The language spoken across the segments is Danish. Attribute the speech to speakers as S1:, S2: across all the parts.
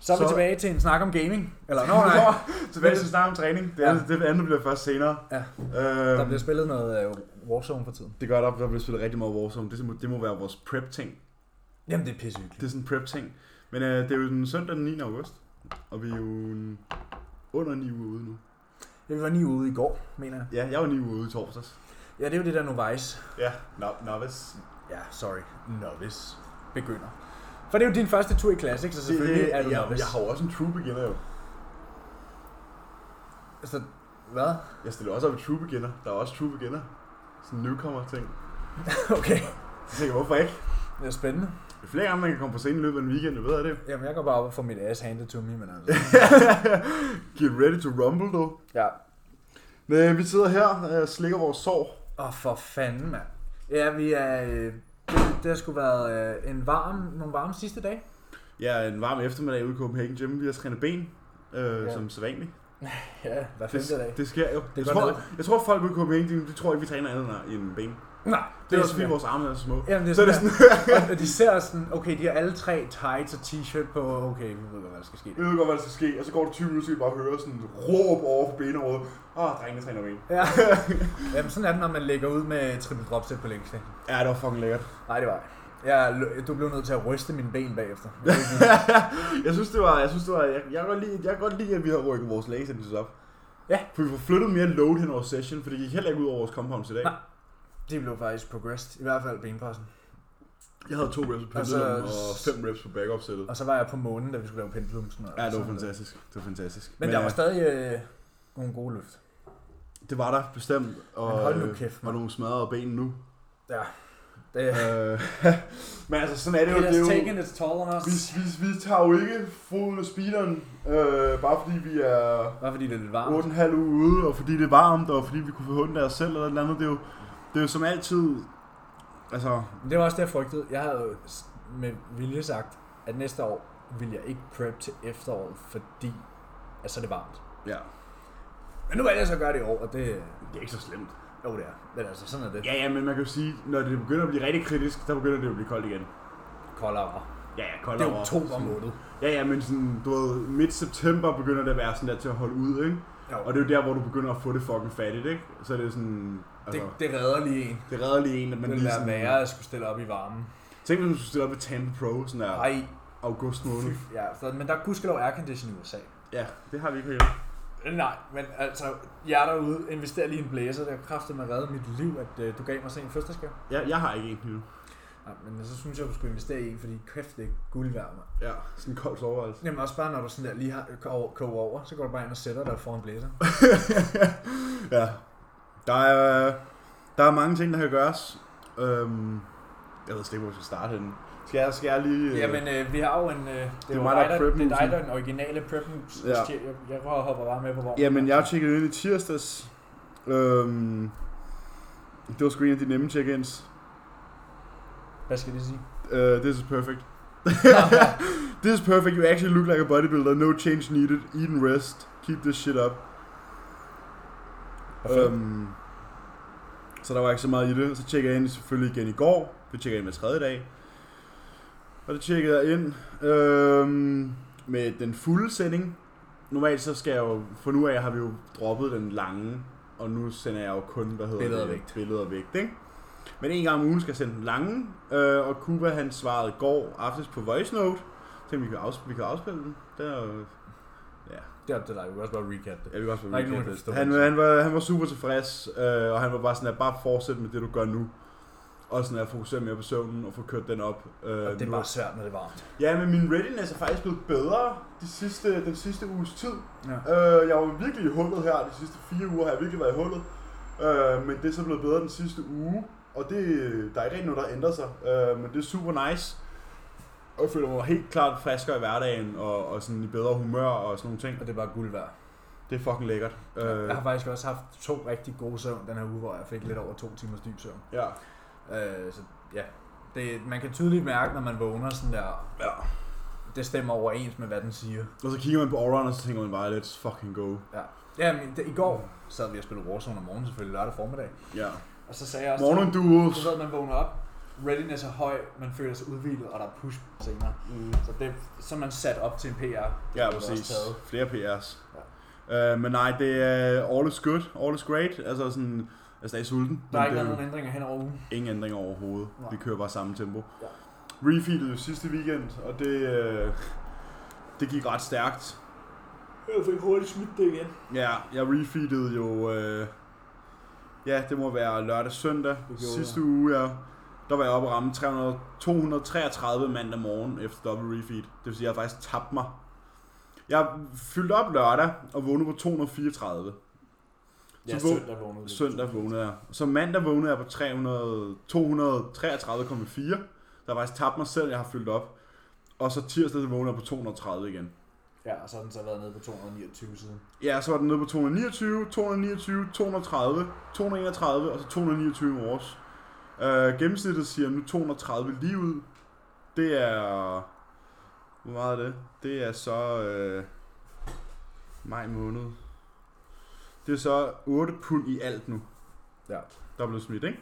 S1: Så er vi
S2: Så-
S1: tilbage til en snak om gaming. Eller, nå nej,
S2: Tilbage til snart om træning. Det andet, det andet bliver først senere.
S1: Ja.
S2: Øhm,
S1: der bliver spillet noget øh, Warzone for tiden.
S2: Det gør der, der bliver spillet rigtig meget Warzone. Det, må, det må være vores prep-ting.
S1: Jamen, det er pissehyggeligt.
S2: Det er sådan en prep-ting. Men øh, det er jo den søndag den 9. august. Og vi er jo en, under 9 uger ude nu.
S1: Jeg var lige ude i går, mener jeg.
S2: Ja, jeg var 9 uger ude i torsdags.
S1: Ja, det er jo det der Novice.
S2: Ja, no, novice.
S1: Ja, sorry. Novice. Begynder. For det er jo din første tur i Classic, så
S2: Det,
S1: selvfølgelig
S2: det,
S1: er du
S2: jeg,
S1: novice.
S2: jeg har jo også en true beginner jo.
S1: Så, Altså, hvad?
S2: Jeg stiller også op i true beginner. Der er også true beginner. Sådan en newcomer-ting.
S1: Okay.
S2: Så tænker jeg, hvorfor ikke?
S1: Det er spændende.
S2: Det er flere gange, man kan komme på scenen i løbet af en weekend, du ved af det.
S1: Jamen, jeg går bare op og får mit ass handed to me, men altså.
S2: Get ready to rumble, du.
S1: ja.
S2: Men Øh, vi sidder her og slikker vores sår.
S1: Åh, oh, for fanden, mand. Ja, vi er... Øh, det, det har sgu været øh, en varm, nogle varme sidste dage.
S2: Ja, en varm eftermiddag ude i Copenhagen Gym. Vi har trænet ben, øh,
S1: Ja.
S2: ja. som sædvanligt.
S1: Ja, hver femte dag.
S2: Det, det sker jo. Det jeg,
S1: går
S2: tror,
S1: ned.
S2: jeg tror, folk ude i Copenhagen Gym, de tror ikke, vi træner andet end ben. Det,
S1: Nej,
S2: det er også fordi,
S1: sådan,
S2: vores arme er så små.
S1: ja. Jamen, det er
S2: Så er
S1: sådan,
S2: det
S1: det og de ser sådan, okay, de har alle tre tights og t-shirt på, okay, vi ved godt, hvad der skal ske.
S2: Jeg ved godt, hvad der skal ske, og så går det 20 minutter, så kan vi bare høre sådan et råb over for benområdet. Åh, drengene træner ben.
S1: Ja. Jamen, sådan er det, når man lægger ud med triple dropset på længste.
S2: Ja, det var fucking lækkert.
S1: Nej, det var jeg. jeg. lø- Du blev nødt til at ryste mine ben bagefter.
S2: jeg synes, det var... Jeg, synes, det var, jeg, jeg, kan godt lide, jeg kan godt lide, at vi har rykket vores lag op.
S1: Ja.
S2: For vi får flyttet mere load hen over session, for det gik heller ikke ud over vores compounds i dag.
S1: Nej. De blev faktisk progressed, i hvert fald benpressen.
S2: Jeg havde to reps på
S1: Altså-
S2: pendulum og fem reps på backup sættet.
S1: Og så var jeg på månen, da vi skulle lave pendulum. Sådan noget.
S2: Ja, det var
S1: Sådan
S2: fantastisk. Det var fantastisk.
S1: Men, der var
S2: øh,
S1: stadig øh, nogle gode løft.
S2: det var der bestemt, og
S1: Men hold nu
S2: øh,
S1: kæft,
S2: var nogle smadrede ben nu.
S1: Det,
S2: Øh, men altså, sådan er det jo.
S1: it
S2: Det er
S1: has
S2: jo
S1: taken its toll on
S2: vi,
S1: us.
S2: vi, vi tager jo ikke foden af speederen, øh, bare fordi vi er
S1: Bare fordi det er lidt varmt.
S2: 8,5 uge ude, og fordi det er varmt, og fordi vi kunne forhånde os selv, eller et eller andet. Det er jo, det er jo som altid, altså,
S1: Men Det var også det, jeg frygtede. Jeg havde jo s- med vilje sagt, at næste år vil jeg ikke prep til efteråret, fordi at så er det varmt.
S2: ja,
S1: Men nu valgte jeg så at gøre det i år, og det...
S2: det er ikke så slemt.
S1: Jo, det er. Men altså, sådan er det.
S2: Ja, ja, men man kan jo sige, når det begynder at blive rigtig kritisk, der begynder det at blive koldt igen.
S1: Koldere.
S2: Ja, ja,
S1: Det
S2: koldere.
S1: er oktober
S2: Sådan-
S1: måned.
S2: Ja, ja, men sådan, du ved, midt september begynder det at være sådan der til at holde ud, ikke?
S1: Jo,
S2: Og det er jo der, hvor du begynder at få det fucking fattigt, ikke? Så er det sådan, altså,
S1: det,
S2: det,
S1: det redder lige en.
S2: det redder lige en, at
S1: Det
S2: man
S1: ville
S2: lige
S1: være
S2: sådan...
S1: værre at skulle stille op i varmen.
S2: Tænk, hvis du skulle stille op ved Tampa Pro, sådan der
S1: Nej,
S2: august måned.
S1: ja, så, men der er gudskelov aircondition i USA.
S2: Ja, det har vi ikke herhjemme.
S1: Nej, men altså, jeg derude investerer lige i en blæser, der kræfter med redde mit liv, at øh, du gav mig sådan en fødselsdagsgave.
S2: Ja, jeg har ikke en endnu.
S1: Nej, men så synes jeg, du skulle investere i en, fordi kæft, det er guld værd, mand.
S2: Ja, sådan en kold soveværelse.
S1: Jamen også bare, når du sådan der lige har, koger, koger over, så går du bare ind og sætter dig foran blæser.
S2: ja. Der er, der er mange ting, der kan gøres. Øhm, jeg ved slet ikke, hvor vi skal starte henne. Skal jeg, skal jeg lige... øh,
S1: Jamen, øh, vi har jo en... Øh, det,
S2: er
S1: er jo
S2: mig, der
S1: dig, der, det er dig,
S2: er prepmusen.
S1: der er den originale prep moves.
S2: Ja.
S1: Jeg, jeg hopper bare med på vognen.
S2: Jamen, jeg tjekkede ind i tirsdags. Øhm, det var sgu en af de nemme check-ins.
S1: Hvad skal det sige?
S2: Uh, this is perfect. this is perfect. You actually look like a bodybuilder. No change needed. Eat and rest. Keep this shit up. Øhm, så der var ikke så meget i det. Så tjekkede jeg ind selvfølgelig igen i går. Det tjekkede jeg ind med tredje dag. Og det tjekkede jeg ind øhm, med den fulde sending. Normalt så skal jeg jo, for nu af har vi jo droppet den lange, og nu sender jeg jo kun, hvad hedder
S1: Billeder og
S2: det?
S1: vægt.
S2: Billeder og vægt, ikke? Men en gang om ugen skal jeg sende den lange, øh, og Kuba han svarede i går aftes på voice note. Så vi kan, afs- vi kan afspille den. Det er jo- ja,
S1: Det er op til dig. Vi kan også bare recap det.
S2: jeg vil også
S1: Der er ikke nogen, der forstår
S2: det. Han,
S1: det.
S2: han, var, han var super tilfreds, øh, og han var bare sådan, at bare fortsæt med det, du gør nu. Og sådan at fokusere mere på søvnen og få kørt den op. Øh,
S1: Og det er
S2: nu.
S1: bare svært, når det er varmt.
S2: Ja, men min readiness er faktisk blevet bedre de sidste, den sidste uges tid.
S1: Ja.
S2: Øh, jeg var virkelig i hullet her de sidste fire uger, har jeg virkelig været i hullet. Øh, men det er så blevet bedre den sidste uge, og det, der er ikke rigtig noget, der ændrer sig. Øh, men det er super nice. Og jeg føler mig helt klart friskere i hverdagen, og, og sådan i bedre humør og sådan nogle ting.
S1: Og det er bare guld værd.
S2: Det er fucking lækkert.
S1: Øh. Jeg har faktisk også haft to rigtig gode søvn den her uge, hvor jeg fik lidt over to timers dyb søvn.
S2: ja.
S1: Øh, så ja, det, man kan tydeligt mærke, når man vågner sådan der,
S2: ja.
S1: det stemmer overens med, hvad den siger.
S2: Og så kigger man på Auron, og så tænker man bare, let's fucking go.
S1: Ja, men det, i går sad vi og spillede Warzone om morgenen selvfølgelig lørdag formiddag.
S2: Ja.
S1: Og så sagde jeg også,
S2: Morning duos.
S1: så ved man vågner op, readiness er høj, man føler sig udvildet, og der er push senere.
S2: Mm.
S1: Så det så er man sat op til en PR. Det
S2: Ja,
S1: er
S2: præcis.
S1: også taget.
S2: Flere PR's. Ja. Øh, men nej, det er all is good, all is great. Altså sådan, jeg er stadig sulten.
S1: Der er
S2: men
S1: ikke
S2: det
S1: været
S2: jo
S1: nogen ændringer hen over ugen.
S2: ingen ændringer overhovedet.
S1: Nej.
S2: Vi kører bare samme tempo.
S1: Ja.
S2: Refeedet jo sidste weekend, og det, øh, det gik ret stærkt.
S1: Jeg fik hurtigt smidt det igen.
S2: Ja, jeg refeedede jo... Øh, ja, det må være lørdag søndag
S1: gjorde
S2: sidste uge, ja. Der var jeg oppe og ramme 300, 233 mandag morgen efter dobbelt refeed. Det vil sige, at jeg har faktisk tabt mig. Jeg fyldte op lørdag og vågnede på 234.
S1: Ja,
S2: Så våg-
S1: søndag vågnede vi.
S2: Søndag vågnede jeg. Så mandag vågnede jeg på 300, 233,4. Der var faktisk tabt mig selv, jeg har fyldt op. Og så tirsdag så vågnede jeg på 230 igen.
S1: Ja, og så har den så været nede på 229 siden.
S2: Ja, så var den nede på 229, 229, 230, 231 og så 229 i morges. Øh, gennemsnittet siger nu 230 lige ud. Det er... Hvor meget er det? Det er så... Øh, maj måned. Det er så 8 pund i alt nu.
S1: Ja.
S2: Der er blevet smidt, ikke?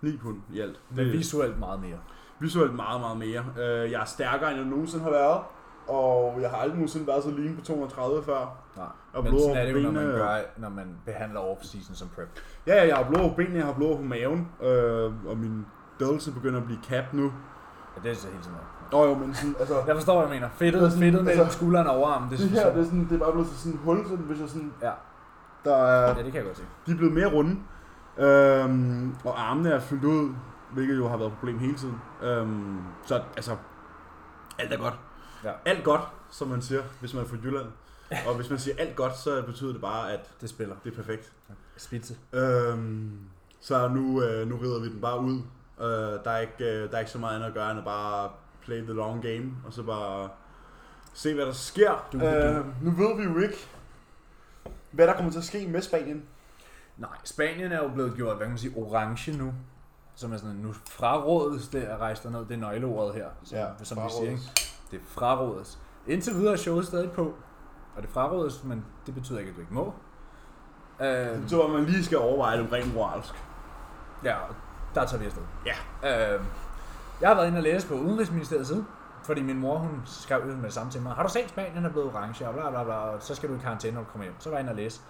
S2: 9 pund i alt. Øh,
S1: Men visuelt meget mere.
S2: Visuelt meget, meget mere. Øh, jeg er stærkere, end jeg nogensinde har været. Og jeg har aldrig nogensinde været så lean på 230 før.
S1: Nej.
S2: Og
S1: Men
S2: blod
S1: sådan
S2: over
S1: er det jo, når man,
S2: benene.
S1: gør, når man behandler off-season som prep.
S2: Ja, ja, jeg har blå på benene, jeg har blå på maven. Øh, og min dødelse begynder at blive kapt nu.
S1: Ja, det er så helt sådan noget.
S2: Nå jo, men sådan, altså...
S1: Jeg forstår, hvad du mener.
S2: Det er
S1: Fedtet,
S2: sådan-
S1: fedtet mellem
S2: altså-
S1: skulderen og overarmen, det
S2: Det
S1: synes
S2: her,
S1: jeg.
S2: det er, sådan, det er bare blevet til sådan en hul, sådan, hvis jeg sådan...
S1: Ja.
S2: Der
S1: Ja,
S2: er,
S1: det kan jeg godt se.
S2: de er blevet mere runde. Øhm, og armene er fyldt ud, hvilket jo har været et problem hele tiden. Øhm, så altså, alt er godt.
S1: Ja.
S2: Alt godt, som man siger, hvis man er fra Jylland. Og hvis man siger alt godt, så betyder det bare, at
S1: Det spiller.
S2: det er perfekt.
S1: Spidse.
S2: Øhm, så nu, øh, nu rider vi den bare ud. Øh, der, er ikke, øh, der er ikke så meget andet at gøre, end at bare play the long game, og så bare se, hvad der sker.
S1: Du-
S2: øh, nu ved vi jo ikke, hvad der kommer til at ske med Spanien.
S1: Nej, Spanien er jo blevet gjort, hvad kan man sige, orange nu. Som er sådan, nu frarådes det at rejse derned. Det er nøgleordet her, som, ja, som vi siger. Ikke? Det er frarådes. Indtil videre er showet stadig på. Og det frarådes, men det betyder ikke, at du ikke må.
S2: Det
S1: Øhm,
S2: betyder, at man lige skal overveje det rent moralsk.
S1: ja, der tager vi afsted.
S2: Ja.
S1: Øhm, jeg har været inde og læse på Udenrigsministeriets side. Fordi min mor, hun skrev ud med det samme til mig. Har du set Spanien er blevet orange, og bla bla bla, og så skal du i karantæne, når du kommer hjem. Så var jeg inde og læse.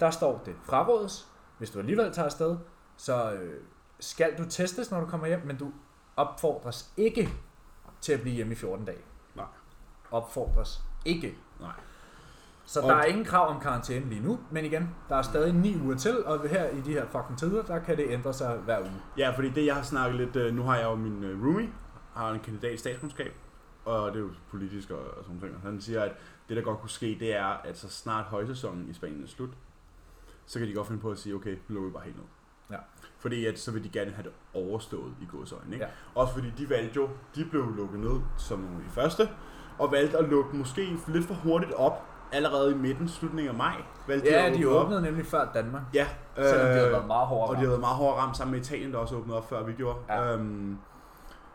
S1: Der står det frarådes. Hvis du alligevel tager afsted, så øh, skal du testes, når du kommer hjem, men du opfordres ikke til at blive hjemme i 14 dage.
S2: Nej.
S1: Opfordres ikke.
S2: Nej.
S1: Så
S2: Og-
S1: der er ingen krav om karantæne lige nu, men igen, der er stadig 9 uger til, og her i de her fucking tider, der kan det ændre sig hver uge.
S2: Ja, fordi det jeg har snakket lidt, øh, nu har jeg jo min øh, roomie, har en kandidat i statskundskab, og det er jo politisk og, og sådan noget. Han siger, at det der godt kunne ske, det er, at så snart højsæsonen i Spanien er slut, så kan de godt finde på at sige, okay, nu lukker vi bare helt ned.
S1: Ja.
S2: Fordi at, så vil de gerne have det overstået i godsøjne, ikke?
S1: Ja.
S2: Også fordi de valgte jo, de blev lukket ned som nogle af de første, og valgte at lukke måske lidt for hurtigt op, allerede i midten, slutningen af maj. Valgte at
S1: Ja, de
S2: åbne op.
S1: åbnede nemlig før Danmark,
S2: Ja,
S1: selvom de havde
S2: øh,
S1: været meget hårde.
S2: og de
S1: ramt.
S2: har været meget hårdt ramt sammen med Italien, der også åbnede op, før vi gjorde.
S1: Ja.
S2: Øhm,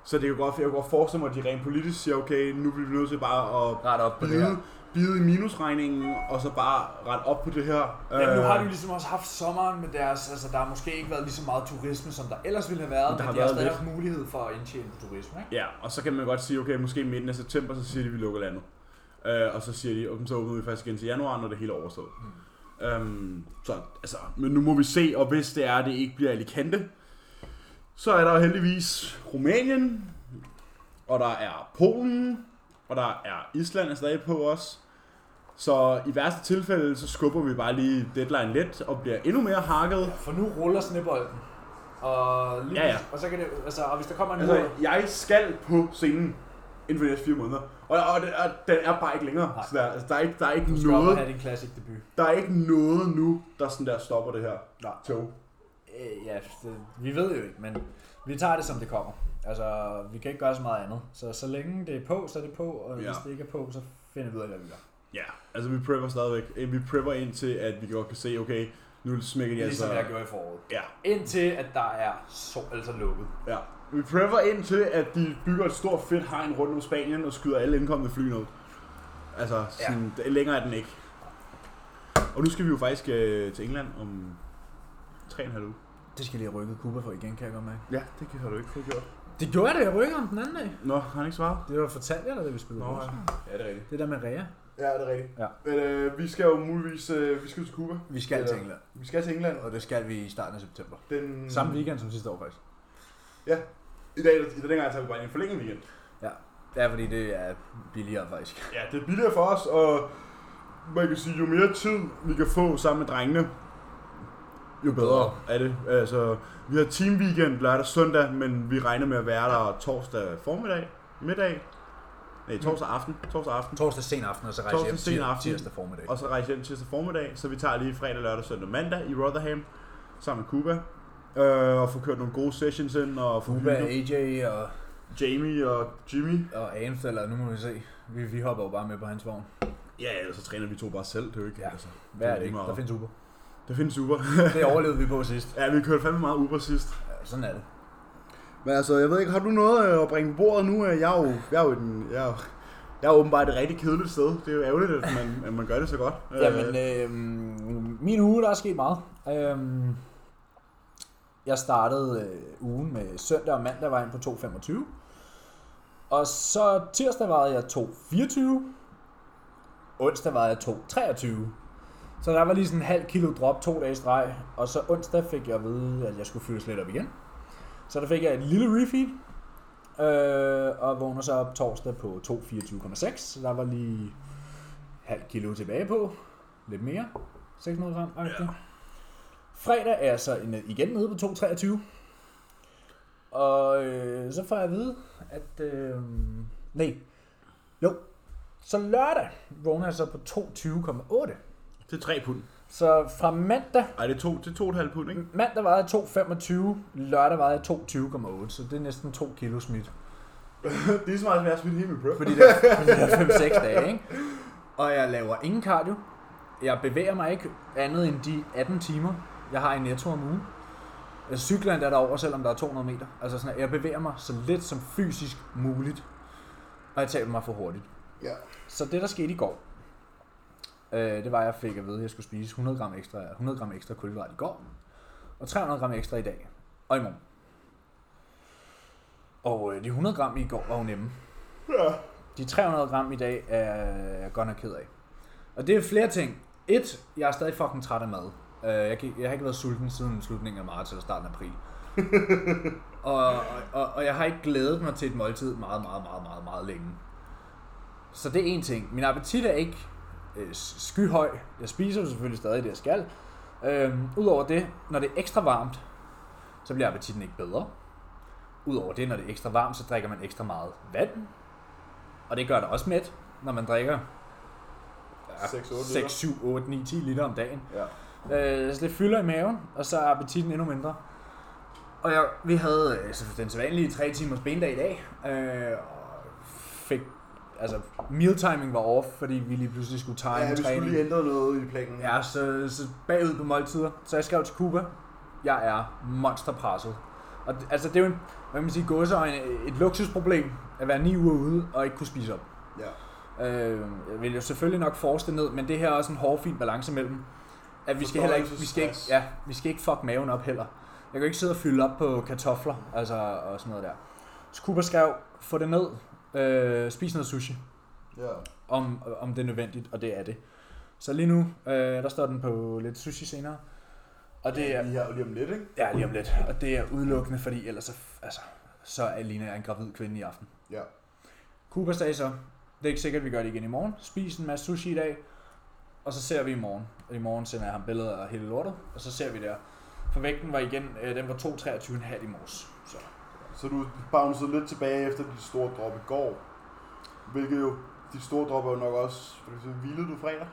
S2: så det kan godt, jeg kan godt forestille mig, at de rent politisk siger, okay, nu bliver vi nødt til bare at
S1: ret op på det her.
S2: bide, bide i minusregningen, og så bare rette op på det her.
S1: Jamen, nu har de jo ligesom også haft sommeren med deres, altså der har måske ikke været lige så meget turisme, som der ellers ville have været,
S2: Men
S1: men,
S2: der
S1: der de
S2: har
S1: har
S2: været
S1: stadig
S2: lidt.
S1: haft mulighed for at indtjene på turisme, ikke?
S2: Ja, og så kan man godt sige, okay, måske i midten af september, så siger de, at vi lukker landet. Øh, og så siger de, okay, så åbner vi faktisk igen til januar, når det hele er overstået. Mm. Øhm, så, altså, men nu må vi se, og hvis det er, at det ikke bliver Alicante, så er der heldigvis Rumænien, og der er Polen, og der er Island er stadig på os. Så i værste tilfælde, så skubber vi bare lige deadline lidt, og bliver endnu mere hakket.
S1: For nu ruller snebolden, og, lige,
S2: Ja, ja.
S1: og så kan det, altså, og hvis der kommer en altså,
S2: Altså, jeg skal på scenen inden for de næste fire måneder. Og, og, den, og den er bare ikke længere.
S1: Nej.
S2: Så der, altså, der, er ikke, der, er
S1: du
S2: ikke
S1: skal op og
S2: noget,
S1: have din classic debut.
S2: der er ikke noget nu, der sådan der stopper det her
S1: Nej.
S2: tog.
S1: Øh, ja, det, vi ved jo ikke, men vi tager det, som det kommer. Altså, vi kan ikke gøre så meget andet. Så så længe det er på, så er det på, og ja.
S2: Ja.
S1: hvis det ikke er på, så finder vi ud af, hvad vi gør.
S2: Ja, altså vi prepper stadigvæk. Eh, Vi prepper indtil, at vi godt kan se, okay, nu smækker de
S1: Ligesom
S2: altså...
S1: jeg gjorde i foråret.
S2: Ja,
S1: Indtil at der er så, altså lukket.
S2: ja. Vi prepper indtil, at de bygger et stort fedt hegn rundt om Spanien og skyder alle indkommende fly ned. Altså, sådan, ja. længere er den ikke. Og nu skal vi jo faktisk øh, til England om 3,5 uge.
S1: Det skal jeg lige have rykket Cuba for igen, kan jeg godt mærke.
S2: Ja, det kan- har du ikke fået gjort.
S1: Det gjorde jeg da, jeg rykkede om den anden dag.
S2: Nå, har han ikke svaret?
S1: Det var fortalt jeg dig, da vi spillede
S2: Nå,
S1: Nå, ja.
S3: Ja, det er rigtigt.
S1: Det der med Rea.
S2: Ja, det er rigtigt.
S1: Ja.
S2: Men øh, vi skal jo muligvis øh, vi skal til Cuba.
S1: Vi skal
S2: Eller-
S1: til England,
S2: Vi skal til England.
S1: og det skal vi i starten af september.
S2: Den...
S1: Samme weekend som sidste år, faktisk.
S2: I dag, i den gang, tager vi bare en forlænget weekend.
S1: Ja, fordi det er billigere, faktisk.
S2: Ja, det er billigere for os, og man kan sige, jo mere tid vi kan få sammen med drengene, jo bedre er det. Altså, vi har team weekend lørdag og søndag, men vi regner med at være der torsdag formiddag, middag, nej, torsdag aften, torsdag aften,
S1: Torsdag sen aften, og så rejse
S2: Torsdag
S1: hjem
S2: sen
S1: tir-
S2: aften.
S1: tirsdag formiddag.
S2: og så rejse hjem tirsdag formiddag, så vi tager lige fredag, lørdag, søndag, mandag i Rotherham sammen med Cuba. Øh, og få kørt nogle gode sessions ind, og få
S1: Cuba,
S2: hygget.
S1: AJ og,
S2: Jamie og Jimmy.
S1: og Anfield, og nu må vi se. Vi, vi hopper jo bare med på hans vogn.
S2: Ja, ellers så træner vi to bare selv, det er jo ikke.
S1: Ja.
S2: Altså,
S1: Hvad
S2: Det
S1: er
S2: er
S1: det ikke?
S2: lige meget.
S1: Der findes Uber.
S2: det findes super.
S1: Det overlevede vi på sidst.
S2: ja, vi kørte fandme meget Uber sidst.
S1: Ja, sådan er det.
S2: Men altså, jeg ved ikke, har du noget øh, at bringe på bordet nu? Øh, Jeg er jo, jeg er jo, den, jeg er jo, jeg er jo åbenbart et rigtig kedeligt sted. Det er jo ærgerligt, at man, at man gør det så godt. Øh,
S1: Jamen, øh, min uge, der er sket meget. Øh, jeg startede øh, ugen med søndag og mandag var jeg inde på 2.25. Og så tirsdag var jeg 2.24. Onsdag var jeg 2.23. Så der var lige sådan en halv kilo drop to dage i streg. Og så onsdag fik jeg at vide, at jeg skulle fyldes lidt op igen. Så der fik jeg et lille refeed. Øh, og vågner så op torsdag på 2.24,6. Så der var lige halv kilo tilbage på. Lidt mere. 600 gram. Ja. Fredag er jeg så en- igen nede på 2,23. Og øh, så får jeg at vide, at... Øh, nej. Jo. Så lørdag vågner jeg så på 22,8.
S2: Det er 3 pund.
S1: Så fra mandag,
S2: Ej, det er to, det er to og et halvt pund, ikke?
S1: mandag var jeg 2,25, lørdag var jeg 2,20,8, så det er næsten 2 kilo smidt.
S2: det er så meget, som jeg har smidt hele min prep.
S1: Fordi det er, fordi det er 5-6 dage, ikke? Og jeg laver ingen cardio. Jeg bevæger mig ikke andet end de 18 timer, jeg har i netto om ugen. Altså, cykler endda derover, selvom der er 200 meter. Altså sådan, at jeg bevæger mig så lidt som fysisk muligt. Og jeg taber mig for hurtigt.
S2: Ja.
S1: Så det, der skete i går, øh, det var, at jeg fik at vide, at jeg skulle spise 100 gram ekstra, 100 gram ekstra kulhydrat i går, og 300 gram ekstra i dag, og i morgen. Og øh, de 100 gram i går var jo nemme.
S2: Ja.
S1: De 300 gram i dag er jeg godt nok ked af. Og det er flere ting. Et, jeg er stadig fucking træt af mad. Øh, Jeg, gik- jeg har ikke været sulten siden slutningen af marts eller starten af april. og, og, og, og jeg har ikke glædet mig til et måltid meget, meget, meget, meget, meget længe. Så det er en ting. Min appetit er ikke øh, skyhøj. Jeg spiser jo selvfølgelig stadig det, jeg skal. Øhm, Udover det, når det er ekstra varmt, så bliver appetitten ikke bedre. Udover det, når det er ekstra varmt, så drikker man ekstra meget vand. Og det gør det også mæt, når man drikker ja,
S2: 6-8 liter.
S1: 6, 7, 8, 9, 10 liter om dagen.
S2: ja.
S1: Øh, så det fylder i maven, og så er appetitten endnu mindre. Og jeg, vi havde øh, så den sædvanlige 3 timers bendag i dag, øh, og fik, altså meal timing var off, fordi vi lige pludselig skulle time
S2: ja, vi
S1: træning.
S2: skulle lige ændre noget i planen.
S1: Ja, så, så bagud på måltider. Så jeg skrev til Cuba, jeg er monsterpresset. Og det, altså, det er jo en, hvad kan man sige, gåseøjne, et luksusproblem at være ni uger ude og ikke kunne spise op.
S2: ja.
S1: Øh, jeg vil jo selvfølgelig nok force det ned, men det her er også en hårfin balance mellem, at vi skal heller ikke, vi skal ikke, ja, vi skal ikke fuck maven op heller. Jeg kan jo ikke sidde og fylde op på kartofler, altså og sådan noget der. Så Cooper skrev, få det ned, øh, spis noget sushi,
S2: ja.
S1: om, om det er nødvendigt, og det er det. Så lige nu, øh, der står den på lidt sushi senere, og det er,
S2: Vi har jo lige om lidt, ikke?
S1: ja, lige om lidt, og det er udelukkende, fordi ellers så, altså, så er Lina jeg en gravid kvinde i aften.
S2: Ja.
S1: Cooper sagde så, det er ikke sikkert, at vi gør det igen i morgen. Spis en masse sushi i dag, og så ser vi i morgen. Og i morgen sender jeg ham billeder af hele lortet, og så ser vi der. For vægten var igen, øh, den var 2,23,5 i morges. Så.
S2: Så du bouncede lidt tilbage efter dit store drop i går. Hvilket jo, dit store drop er jo nok også, for det hvilede du fredag?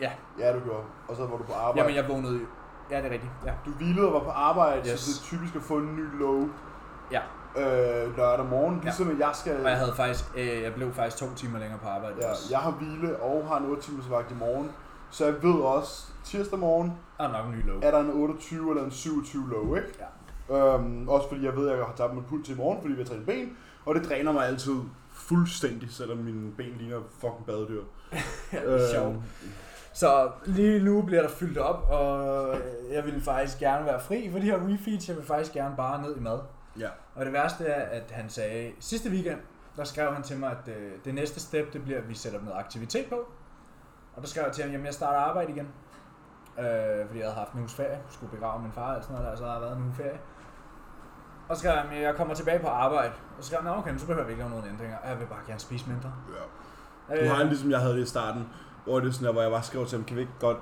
S1: Ja.
S2: Ja, du gjorde. Og så var du på arbejde.
S1: Jamen, jeg vågnede jo. Ja, det er rigtigt. Ja.
S2: Du hvilede og var på arbejde, yes.
S1: Yes.
S2: så det er typisk at få en ny low
S1: ja.
S2: øh, lørdag morgen, ligesom at jeg skal...
S1: Og jeg havde faktisk, øh, jeg blev faktisk to timer længere på arbejde.
S2: ja,
S1: også.
S2: jeg har hvile og har en 8 timers vagt i morgen, så jeg ved også, tirsdag morgen
S1: Og nok en ny lov.
S2: er der en 28 eller en 27 low, ikke?
S1: Ja.
S2: Øhm, også fordi jeg ved, at jeg har tabt mit puls i morgen, fordi vi har trænet ben, og det dræner mig altid fuldstændig, selvom mine ben ligner fucking badedyr. Øhm,
S1: Ja, det er sjovt. Øhm, Så lige nu bliver der fyldt op, og jeg vil faktisk gerne være fri for de her refeeds. Jeg vil faktisk gerne bare ned i mad.
S2: Ja.
S1: Og det værste er, at han sagde, sidste weekend, der skrev han til mig, at øh, det næste step, det bliver, at vi sætter noget aktivitet på. Og der skrev jeg til ham, jamen jeg starter arbejde igen. Øh, fordi jeg havde haft en uges ferie, skulle begrave min far og sådan noget der, så havde jeg været en uge ferie. Og så skrev han, jeg kommer tilbage på arbejde. Og så skrev han, "Nå, okay, men så behøver vi ikke lave nogen ændringer. Jeg vil bare gerne spise mindre. Øh,
S2: ja. Du har det ligesom jeg havde det i starten, hvor, det er sådan der, hvor jeg bare skrev til ham, kan vi ikke godt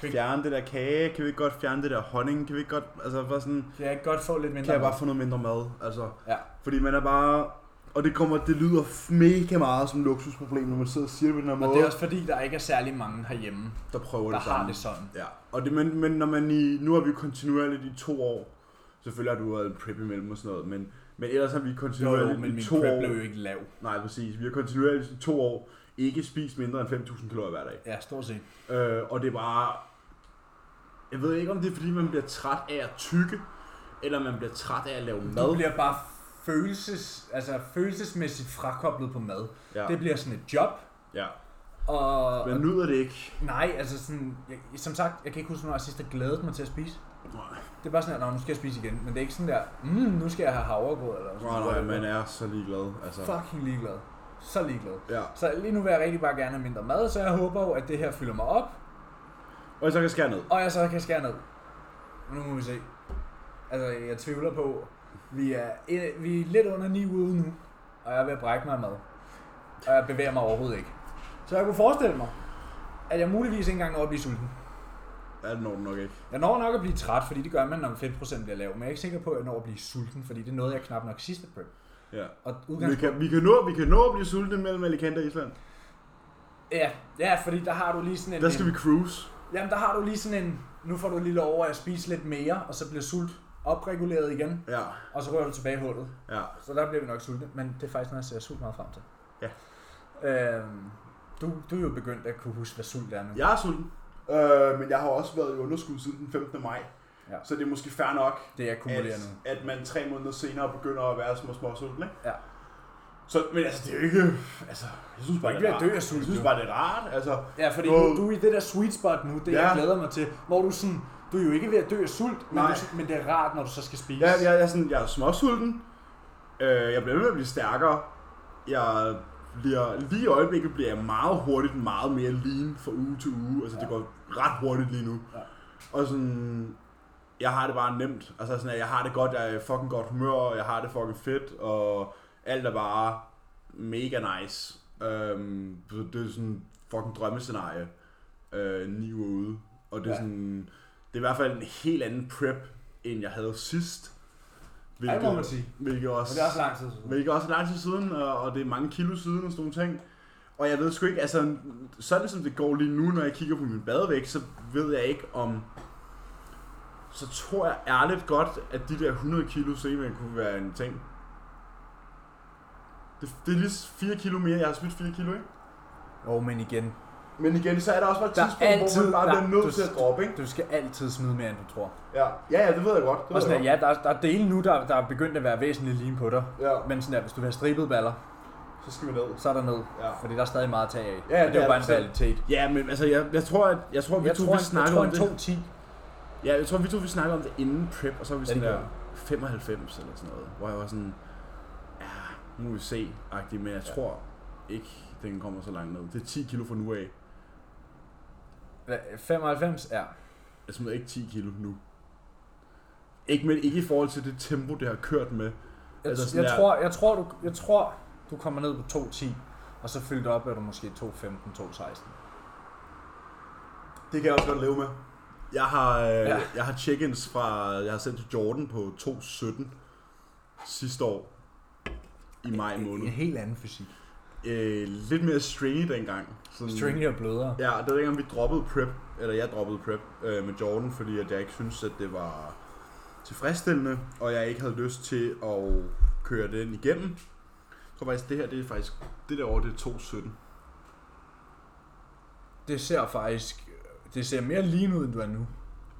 S1: Kan vi-
S2: fjerne det der kage, kan vi ikke godt fjerne det der honning, kan vi ikke godt, altså bare sådan,
S1: kan jeg ikke godt få lidt mindre?
S2: kan jeg
S1: mad?"
S2: bare få noget mindre mad, altså.
S1: Ja.
S2: Fordi man er bare, og det kommer, det lyder f- mega meget som et luksusproblem, når man sidder og siger det på den her
S1: Og
S2: måde,
S1: det er også fordi, der ikke er særlig mange herhjemme,
S2: der prøver
S1: der
S2: det samme.
S1: har det sådan.
S2: Ja, og det, men, men når man i, nu har vi jo kontinuerligt i to år, selvfølgelig har du været en prep imellem og sådan noget, men, men ellers har vi
S1: Jo, jo,
S2: kontinuerligt
S1: men
S2: i
S1: min
S2: to
S1: prep
S2: år,
S1: blev jo ikke lav.
S2: nej præcis, vi har kontinuerligt i to år ikke spist mindre end 5.000 kalorier hver dag.
S1: Ja, stort set.
S2: Øh, og det er bare... Jeg ved ikke, om det er, fordi man bliver træt af at tykke, eller man bliver træt af at lave
S1: Du
S2: mad.
S1: bliver bare følelses, altså følelsesmæssigt frakoblet på mad.
S2: Ja,
S1: Det bliver sådan et job,
S2: ja.
S1: og...
S2: Man nyder det ikke.
S1: Nej, altså sådan, jeg, som sagt, jeg kan ikke huske, når jeg sidst har glædet mig til at spise.
S2: Nej,
S1: Det er bare sådan, at "Nå, nu skal jeg spise igen, men det er ikke sådan der, mm, nu skal jeg have havregrød eller sådan
S2: nej, nej,
S1: whatever.
S2: man er så ligeglad. Altså.
S1: Fucking ligeglad. Så ligeglad.
S2: Ja.
S1: Så lige nu vil jeg rigtig bare gerne have mindre mad, så jeg håber jo, at det her fylder mig op,
S2: Og så kan jeg skære ned.
S1: Og jeg så kan skære ned. Nu må vi se. Altså, jeg tvivler på. Vi er, eh, vi er lidt under 9 ude nu, og jeg er ved at brække mig af mad. Og jeg bevæger mig overhovedet ikke. Så jeg kunne forestille mig, at jeg muligvis ikke engang når at blive sulten.
S2: Ja, det når du nok ikke.
S1: Jeg når nok at blive træt, fordi det gør man, når 5% bliver lav. Men jeg er ikke sikker på, at jeg når at blive sulten, fordi det nåede jeg knap nok sidste prep.
S2: Ja.
S1: Og
S2: Vi
S1: udgangspunkt...
S2: kan, vi, kan nå, vi kan nå at blive sultne mellem Alicante og Island.
S1: Ja, ja, fordi der har du lige sådan en...
S2: Der skal vi cruise.
S1: Jamen, der har du lige sådan en... Nu får du lige lov over at spise lidt mere, og så bliver sult opreguleret igen.
S2: Ja,
S1: Og så rører du tilbage i hullet.
S2: ja.
S1: Så der bliver vi nok sultne, men det er faktisk noget, jeg ser sult meget frem til.
S2: Ja.
S1: Øhm, du, du er jo begyndt at kunne huske, hvad sult er nu.
S2: Jeg er sulten. Øh, men jeg har også været i underskud siden den 15. maj.
S1: Ja.
S2: Så det er måske fair nok,
S1: Det er akkumulerer
S2: at,
S1: nu.
S2: at man tre måneder senere begynder at være små små sulten, ikke?
S1: Ja.
S2: Så, men altså, det er jo ikke... Altså, jeg synes bare,
S1: Jeg
S2: det er
S1: bliver
S2: rart.
S1: død af sult
S2: Jeg synes
S1: nu.
S2: bare, det er rart. Altså,
S1: Ja, fordi
S2: Wow.
S1: du, du er i det der sweet spot nu, det
S2: Ja.
S1: ja. jeg glæder mig til, hvor du sådan, du er jo ikke ved at dø af sult, men,
S2: Nej.
S1: du, men det er rart, når du så skal spise.
S2: jeg, jeg, jeg, er sådan, jeg er småsulten. Øh, jeg bliver ved med at blive stærkere. Jeg bliver, lige i øjeblikket bliver jeg meget hurtigt meget mere lean fra uge til uge. Altså, ja. det går ret hurtigt lige nu.
S1: Ja.
S2: Og sådan, jeg har det bare nemt. Altså sådan, at jeg har det godt, jeg er i fucking godt humør, og jeg har det fucking fedt, og alt er bare mega nice. Øhm, så det er sådan fucking drømmescenarie. Øh, ni uger ude. Og det er
S1: Ja.
S2: ja. sådan, det er i hvert fald en helt anden prep, end jeg havde sidst.
S1: det må man sige.
S2: Hvilket
S1: Men
S2: også,
S1: det er også lang tid siden.
S2: hvilket også er lang tid siden, og, og det er mange kilo siden og sådan nogle ting. Og jeg ved sgu ikke, altså sådan som det går lige nu, når jeg kigger på min badevægt, så ved jeg ikke om... Så tror jeg ærligt godt, at de der 100 kilo semen kunne være en ting. Det, det er lige 4 kilo mere, jeg har smidt 4 kilo, ikke?
S1: Jo, men igen,
S2: Men igen, så er der også bare et
S1: Der er
S2: tidspunkt, altid, hvor man bare
S1: der-
S2: bliver nødt
S1: du-
S2: til at droppe, ikke?
S1: du skal altid smide mere, end du tror.
S2: Ja, ja, ja det ved jeg godt. Det
S1: Og
S2: ved jeg
S1: sådan, at, ja, der, er- der er dele nu, der, der er begyndt at være væsentligt lige på dig.
S2: godt. ja,
S1: Men sådan der, hvis du vil have stribet baller,
S2: så skal vi ned.
S1: så er der ned.
S2: Ja.
S1: Fordi der er stadig meget at tage af.
S2: Ja,
S1: Men
S2: det
S1: det er
S2: er
S1: jo bare en
S2: bestemt.
S1: realitet.
S2: Ja, men altså, jeg, jeg tror, at jeg tror, vi
S1: Jeg
S2: to
S1: tror,
S2: vi
S1: en, jeg
S2: snakker
S1: tror
S2: om
S1: en
S2: det.
S1: 210
S2: Ja, jeg tror, vi to vi snakkede om det inden prep, og så var vi
S1: Ja,
S2: sådan
S1: det
S2: der
S1: gjorde
S2: 95 eller sådan noget, hvor jeg var sådan, ja, nu må vi se-agtig, men jeg tror ikke, den kommer så langt ned. Det er 10 kilo fra nu af.
S1: Hva- 95 er.
S2: Jeg smider ikke 10 kilo nu. Ikke, men ikke i forhold til det tempo, det har kørt med.
S1: Jeg,
S2: Altså
S1: altså
S2: sådan
S1: jeg,
S2: der-
S1: tror, jeg, tror, du, jeg tror, du kommer ned på 2.10, og så fyldt op er du måske 2.15, 2.16.
S2: Det kan jeg også godt leve med. Jeg har, øh, ja.
S1: Ja.
S2: jeg har check-ins fra, jeg har sendt til Jordan på 2.17 sidste år i maj måned.
S1: En helt anden fysik.
S2: Øh, lidt mere stringy dengang. Sådan,
S1: Stringy og blødere.
S2: Ja, det var dengang, vi droppede prep, eller jeg droppede prep øh, med Jordan, fordi at jeg ikke syntes, at det var tilfredsstillende, og jeg ikke havde lyst til at køre den igennem. Så faktisk, det her, det er faktisk, det der år, det er 217.
S1: Det ser faktisk det ser mere lean ud, end du er nu.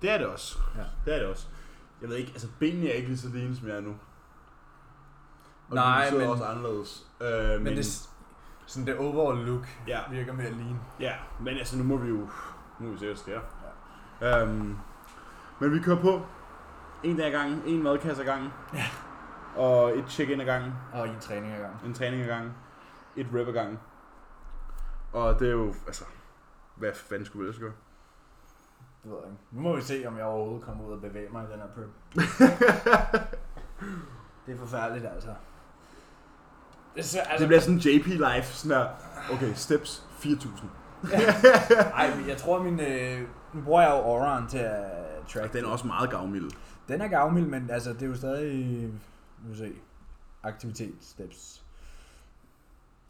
S2: Det er det også.
S1: Ja.
S2: Det er det også. Jeg ved ikke, altså benene er ikke lige så lean, som jeg er nu. Og
S1: Nej,
S2: de sidder
S1: men-
S2: også anderledes. Øh, men,
S1: Men det, s- sådan det overall look
S2: ja,
S1: virker mere lean.
S2: ja, men altså nu må vi jo... Nu må vi se, hvad der sker. Ja. Øhm, men vi kører på. En dag ad gangen, en madkasse ad gangen. Ja. Og et check-in ad gangen,
S1: Og en træning ad gangen.
S2: en træning ad gangen, et rep ad gangen. Og det er jo, altså, hvad fanden skulle vi ellers gøre?
S1: Det ved jeg ikke. Nu må vi se, om jeg overhovedet kommer ud og bevæger mig i den her prep. det er forfærdeligt, altså. Det, er svært, altså
S2: Det bliver sådan JP life, sådan der, okay, steps 4000.
S1: Ej, men jeg tror, min... Øh, nu bruger jeg jo Auron til at
S2: Og
S1: track.
S2: den er også meget gavmild.
S1: Den er gavmild, men altså, det er jo stadig... Nu vil se. Aktivitet steps.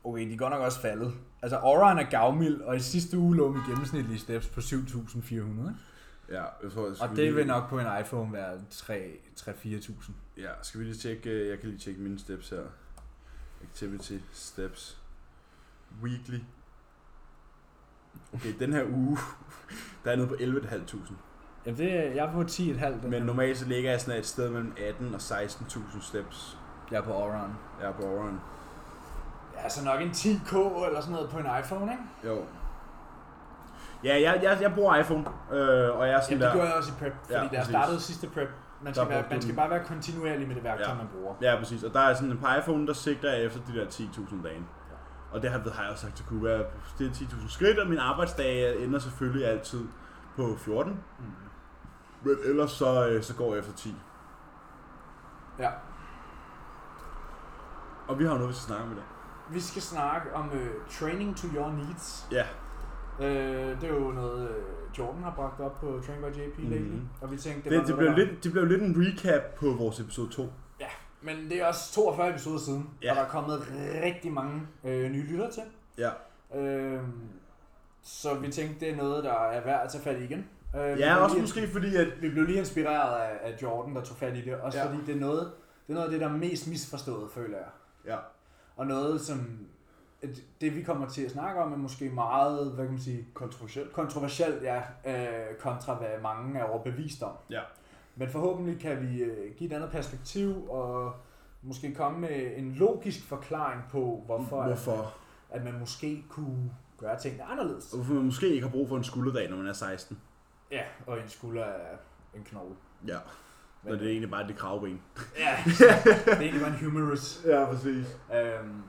S1: Okay, de er godt nok også faldet. Altså, Auron er gavmild, og i sidste uge lå min gennemsnitlige steps på 7.400. ikke?
S2: Ja, jeg tror, jeg skal
S1: Og det
S2: vi lige-
S1: vil nok på en iPhone være 3-4.000.
S2: Ja, skal vi lige tjekke, øh, jeg kan lige tjekke mine steps her. Activity steps. Weekly. Okay, den her uge, der er jeg nede på 11.500.
S1: Jamen, det, er- jeg er på 10,5. den
S2: Men
S1: her.
S2: normalt så ligger jeg sådan et sted mellem 18 og 16.000 steps.
S1: Jeg er på Auron.
S2: Jeg er på overhånd.
S1: Ja, så nok en 10K eller sådan noget på en iPhone, ikke?
S2: Jo. Ja, jeg, jeg, jeg bruger iPhone, øh, og jeg er sådan
S1: Jamen,
S2: der...
S1: det gjorde jeg også i prep, fordi
S2: Ja,
S1: ja, da jeg
S2: præcis.
S1: startede sidste prep, man skal,
S2: brugte
S1: være,
S2: du
S1: man skal
S2: den.
S1: bare være kontinuerlig med det værktøj,
S2: Ja.
S1: man bruger.
S2: Ja, præcis. Og der er sådan en på iPhone, der sigter jeg efter de der 10.000 om dagen. Og det har, har jeg også sagt til Kuba, at det er 10.000 skridt, og min arbejdsdag ender selvfølgelig altid på 14. Mm. Men ellers så, øh, så går jeg efter 10.
S1: Ja.
S2: Og vi har jo noget, vi skal snakke om i dag.
S1: Vi skal snakke om øh, training to your needs.
S2: Ja,
S1: Øh, det er jo noget, øh, Jordan har bragt op på Train by JP mm-hmm. lately,
S2: Mhm.
S1: og vi tænkte, det,
S2: det, det,
S1: var noget,
S2: blev
S1: der var-
S2: lidt, det blev lidt en recap på vores episode 2.
S1: Ja, men det er også 42 episoder siden,
S2: Ja.
S1: og der er kommet rigtig mange øh, nye lyttere til.
S2: Ja,
S1: Øh, så vi tænkte, det er noget, der er værd at tage fat i igen. Øh, vi
S2: ja
S1: blev
S2: også
S1: lige-
S2: måske fordi, at
S1: Vi blev lige inspireret af, af Jordan, der tog fat i det, også
S2: Ja.
S1: ja. fordi det er, noget, det er noget af det, der er mest misforstået, føler jeg.
S2: ja,
S1: Og noget, som at det vi kommer til at snakke om, er måske meget, hvad kan man sige,
S2: kontroversielt.
S1: kontroversielt, ja, øh, kontra hvad mange er overbevist om.
S2: Ja.
S1: Men forhåbentlig kan vi øh, give et andet perspektiv, og måske komme med en logisk forklaring på, hvorfor,
S2: Hvorfor?
S1: At, at man måske kunne gøre tingene anderledes.
S2: Og Hvorfor man måske ikke har brug for en skulderdag, når man er 16.
S1: Ja, og en skulder er en knogle.
S2: Ja, når det er egentlig bare det kravben.
S1: Ja, det er egentlig bare en humorous.
S2: Ja, præcis.
S1: Øhm,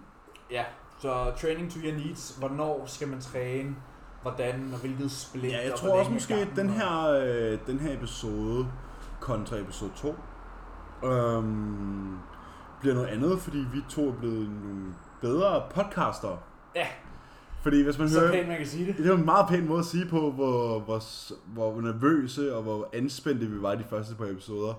S1: ja, så training to your needs. Hvornår skal man træne? Hvordan og hvilket split?
S2: Ja, jeg
S1: og
S2: tror
S1: hvor
S2: også
S1: længe
S2: måske,
S1: ad
S2: at
S1: gangen,
S2: den
S1: og-
S2: her, øh, den her episode kontra episode 2 øhm, bliver noget andet, fordi vi to er blevet nogle bedre podcaster.
S1: Ja.
S2: Fordi hvis man
S1: Så
S2: hører...
S1: pænt man kan sige det.
S2: Det er jo en meget pæn måde at sige på, hvor, hvor, s- hvor nervøse og hvor anspændte vi var i de første par episoder.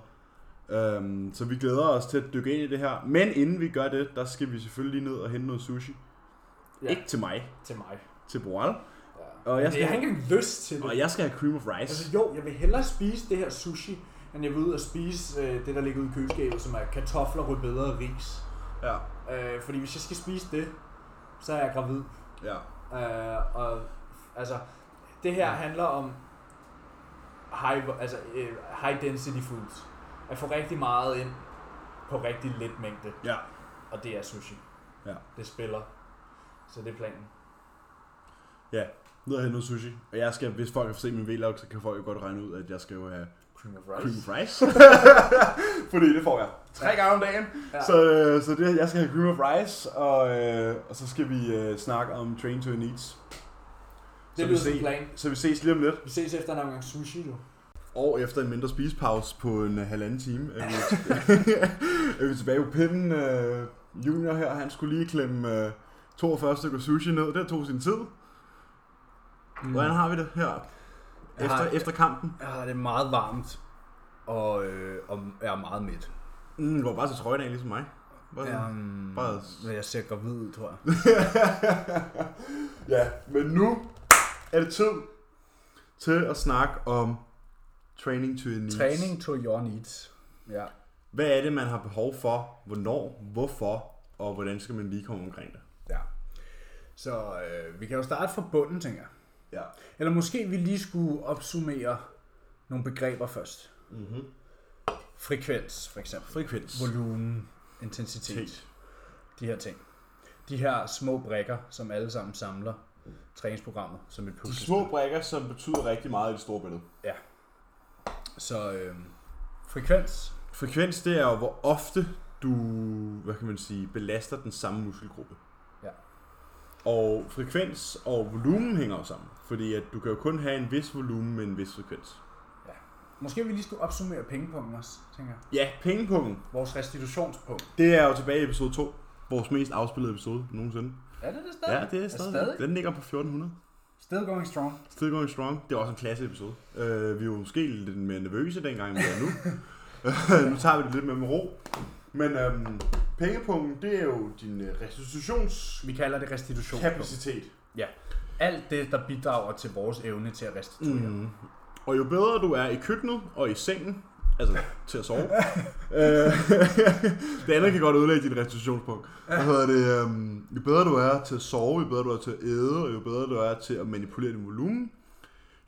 S2: Øhm, så vi glæder os til at dykke ind i det her. Men inden vi gør det, der skal vi selvfølgelig lige ned og hente noget sushi. Ja.
S1: Ja.
S2: Ikke til mig,
S1: Til mig.
S2: til Boral.
S1: Ja.
S2: Og jeg
S1: Men
S2: skal-
S1: jeg har ikke engang lyst til det.
S2: Og jeg skal have cream of rice.
S1: Altså jo, jeg vil hellere spise det her sushi, end jeg vil ud og spise øh, det, der ligger ude i køleskabet, som er kartofler, rødbeder og ris.
S2: Ja,
S1: Øh, fordi hvis jeg skal spise det, så er jeg gravid.
S2: ja.
S1: Øh, og altså, det her handler om high, altså, øh, high density foods. At få rigtig meget ind på rigtig lidt mængde,
S2: Ja,
S1: og det er sushi.
S2: Ja.
S1: Det spiller. Så det er planen.
S2: ned og hente noget sushi. Og jeg skal, hvis folk har set min vlog, så kan folk jo godt regne ud, at jeg skal jo have
S1: Cream of
S2: cream
S1: rice.
S2: of rice. Fordi det får jeg tre gange om dagen. Ja.
S1: Ja.
S2: Så, øh, så det, jeg skal have cream of rice, og, øh, og så skal vi øh, snakke om Train to Your Needs. Så
S1: Det
S2: vi,
S1: lyder som
S2: ses,
S1: plan.
S2: så vi ses lige om lidt.
S1: Vi ses efter en omgang sushi, du.
S2: Og efter en mindre spisepause på en øh, halvanden time, er vi, er vi tilbage på pinden. Øh, junior her, han skulle lige klemme øh, 42 stykker sushi ned. Det tog sin tid. Mm. Hvordan har vi det her?
S1: Jeg
S2: Efter,
S1: har-
S2: efter kampen?
S1: Ja, det er meget varmt, og, øh, og jeg er meget midt.
S2: Mm, du var bare til trøjen af, ligesom mig. Bare sådan.
S1: Um,
S2: bare-
S1: Men jeg ser gravid ud, tror jeg.
S2: ja, men nu er det tid til at snakke om training to your needs.
S1: Træning to your needs. Ja.
S2: Hvad er det, man har behov for? Hvornår? Hvorfor? Og hvordan skal man lige komme omkring det?
S1: ja. Så øh, vi kan jo starte fra bunden, tænker jeg.
S2: Ja.
S1: Eller måske vi lige skulle opsummere nogle begreber først. Mm-hmm. Frekvens, for eksempel.
S2: Frekvens.
S1: Volumen, intensitet,
S2: Intensitet.
S1: de her ting. De her små brækker, som alle sammen samler, træningsprogrammet som et
S2: De
S1: puslespil.
S2: små brækker, som betyder rigtig meget i det store billede.
S1: Så øh, frekvens.
S2: Frekvens, det er jo, hvor ofte du, hvad kan man sige, belaster den samme muskelgruppe.
S1: Ja.
S2: Og frekvens og volumen hænger jo sammen, fordi at du kan jo kun have en vis volumen med en vis frekvens.
S1: Måske vi lige skulle opsummere pengepunkten også, tænker jeg.
S2: Ja, pengepunkten,
S1: Vores restitutionspunkt.
S2: det er jo tilbage i episode 2, vores mest afspillede episode nogensinde.
S1: Er det det stadig?
S2: Ja, det er stadig.
S1: stadig?
S2: Den ligger på 1400.
S1: Still going strong.
S2: Still going strong. Det er også en klasse episode. Uh, vi var måske lidt mere nervøse dengang, end vi er nu. Øh, nu tager vi det lidt mere med ro. Men øhm, pengepunkten, det er jo din øh, restitutionskapacitet.
S1: Vi kalder det restitutionspunkt. Alt det, der bidrager til vores evne til at restituere. Mm.
S2: Mm. Og jo bedre du er i køkkenet og i sengen, altså til at sove, øh, det andet kan godt ødelægge din restitutionspunkt. Hvad hedder det? øhm, jo bedre du er til at sove, jo bedre du er til at æde, og jo bedre du er til at manipulere din volumen,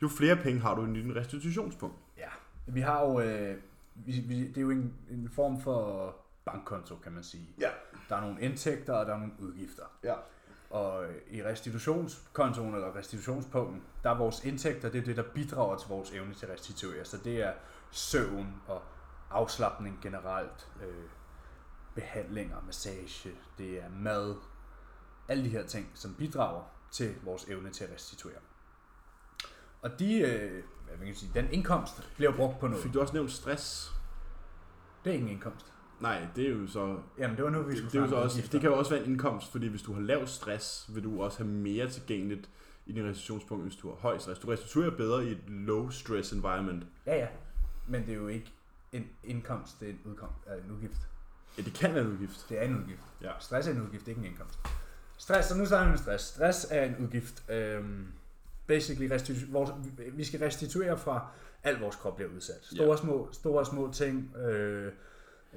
S2: jo flere penge har du i din restitutionspunkt.
S1: Ja. Vi har jo... Øh, vi, vi, det er jo en, en form for bankkonto, kan man sige.
S2: Ja.
S1: Der er nogle indtægter, og der er nogle udgifter.
S2: Ja.
S1: Og i restitutionskontoen eller restitutionspunkten, der er vores indtægter, det er det, der bidrager til vores evne til at restituere. Så det er søvn og afslappning generelt, øh, behandlinger, massage, det er mad, alle de her ting, som bidrager til vores evne til at restituere. Og de, øh, hvad kan jeg sige, den indkomst bliver brugt på noget.
S2: Fik du også nævnt stress?
S1: Det er ingen indkomst.
S2: Nej, det er jo så...
S1: Jamen, det var nu, vi skulle
S2: Det, det, er jo så
S1: snakke om
S2: også,
S1: udgifter.
S2: det kan jo også være en indkomst, fordi hvis du har lav stress, vil du også have mere tilgængeligt i din restitutionspunkt, hvis du har høj stress. Du restituerer bedre i et low stress environment.
S1: Ja, ja. Men det er jo ikke en indkomst, det er en, udkomst, øh, en udgift.
S2: Ja, det kan være en udgift.
S1: Det er en udgift.
S2: Ja.
S1: Stress er en udgift, ikke en indkomst. Stress, så nu starter vi med stress. Stress er en udgift. Øhm, basically, restitu- vores, vi skal restituere fra alt vores krop bliver udsat. Store
S2: Ja.
S1: og små, store og små ting, øh,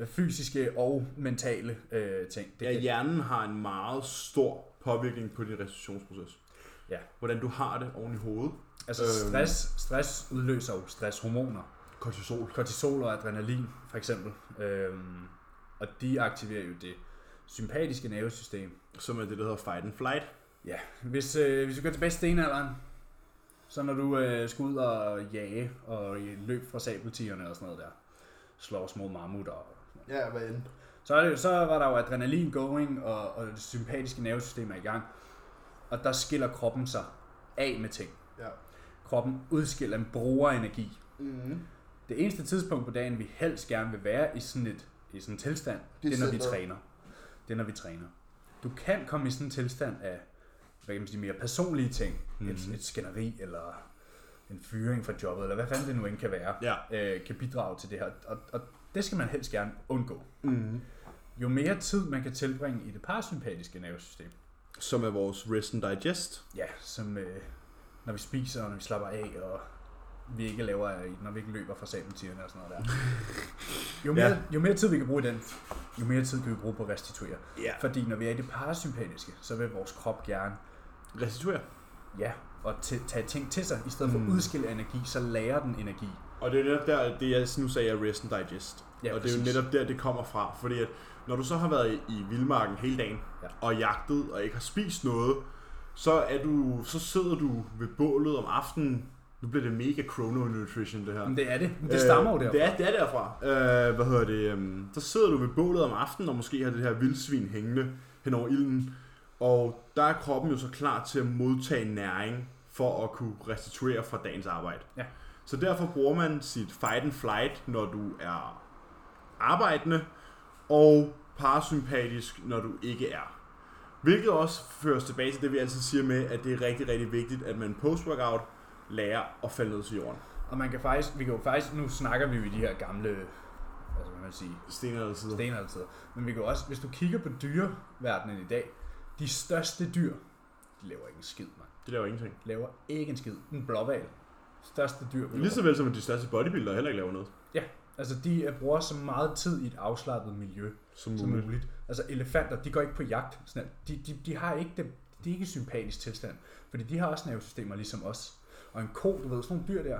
S1: fysiske og mentale øh, ting. Det
S2: Ja,
S1: kan-
S2: hjernen har en meget stor påvirkning på din restitutionsproces.
S1: Ja.
S2: Hvordan du har det oven i hovedet.
S1: Altså
S2: Øhm.
S1: stress, stress udløser jo stresshormoner.
S2: Kortisol.
S1: kortisol og adrenalin for eksempel. Øhm, og de aktiverer jo det sympatiske nervesystem.
S2: Som er det, der hedder fight and flight.
S1: Ja, hvis, øh, hvis vi går tilbage til stenalderen, så når du øh, skal ud og jage og løb fra sabeltigerne og sådan noget der, slår små mammutter og sådan noget.
S2: Ja, hvad end.
S1: Så, er det, jo- så var der jo adrenalin going, og, og det sympatiske nervesystem er i gang. Og der skiller kroppen sig af med ting.
S2: Ja.
S1: Kroppen udskiller, den bruger energi.
S2: Mm-hmm.
S1: Det eneste tidspunkt på dagen, vi helst gerne vil være i sådan, et, i sådan en tilstand, det, det er, når vi
S2: December.
S1: træner. Det er, når vi træner. Du kan komme i sådan en tilstand af, hvad kan man sige, mere personlige ting. Mm. Et, et skænderi, eller en fyring fra jobbet, eller hvad fanden det nu end kan være,
S2: Ja.
S1: øh, kan bidrage til det her. Og, og det skal man helst gerne undgå.
S2: Mm-hmm.
S1: Jo mere tid man kan tilbringe i det parasympatiske nervesystem,
S2: Som er vores rest and digest.
S1: ja, som øh, når vi spiser, og når vi slapper af, og vi ikke laver, øh, når vi ikke løber fra sabeltigerne og sådan noget der. Jo mere, ja.
S2: Ja.
S1: jo mere tid vi kan bruge i den, jo mere tid kan vi bruge på at restituere.
S2: Ja.
S1: Fordi når vi er i det parasympatiske, så vil vores krop gerne
S2: Restituere.
S1: ja, og t- tage ting til sig, i stedet for at
S2: Mm.
S1: udskille energi, så lærer den energi.
S2: Og det er jo netop der, det jeg nu sagde, er rest and digest.
S1: Ja,
S2: Ja, og det er
S1: præcis.
S2: jo netop der, det kommer fra. Fordi at når du så har været i, i vildmarken hele dagen,
S1: Ja.
S2: ja. og jagtet, og ikke har spist noget, så, er du, så sidder du ved bålet om aftenen. Nu bliver det mega chrononutrition, det her.
S1: Men det er det. Men det stammer jo
S2: Øh,
S1: derfra.
S2: Det er, det er derfra. Øh, hvad hedder det? øhm, Så sidder du ved bålet om aftenen, og måske har det her vildsvin hængende hen over ilden. Og der er kroppen jo så klar til at modtage næring for at kunne restituere fra dagens arbejde.
S1: Ja.
S2: Så derfor bruger man sit fight and flight, når du er arbejdende, og parasympatisk, når du ikke er. Hvilket også fører os tilbage til det, vi altid siger med, at det er rigtig, rigtig vigtigt, at man post-workout lærer at falde ned til jorden.
S1: Og man kan faktisk, vi kan jo faktisk, nu snakker vi jo i de her gamle, altså hvad kan man sige,
S2: Stenalder sidder.
S1: stenaldertider. Men vi kan jo også, hvis du kigger på dyreverdenen i dag, de største dyr, de laver ikke en skid, man.
S2: Det laver ingenting.
S1: De laver ikke en skid. En blåval. Største dyr. på
S2: Lige så
S1: jorden.
S2: vel som at de største bodybuildere heller ikke laver noget.
S1: Ja, altså de øh, bruger så meget tid i et afslappet miljø
S2: Som
S1: som
S2: muligt.
S1: muligt. Altså elefanter, de går ikke på jagt. Sådan at de, de, de har ikke det, de er ikke i sympatisk tilstand, fordi de har også nervesystemer ligesom os. Og en ko, du ved, sådan nogle dyr der,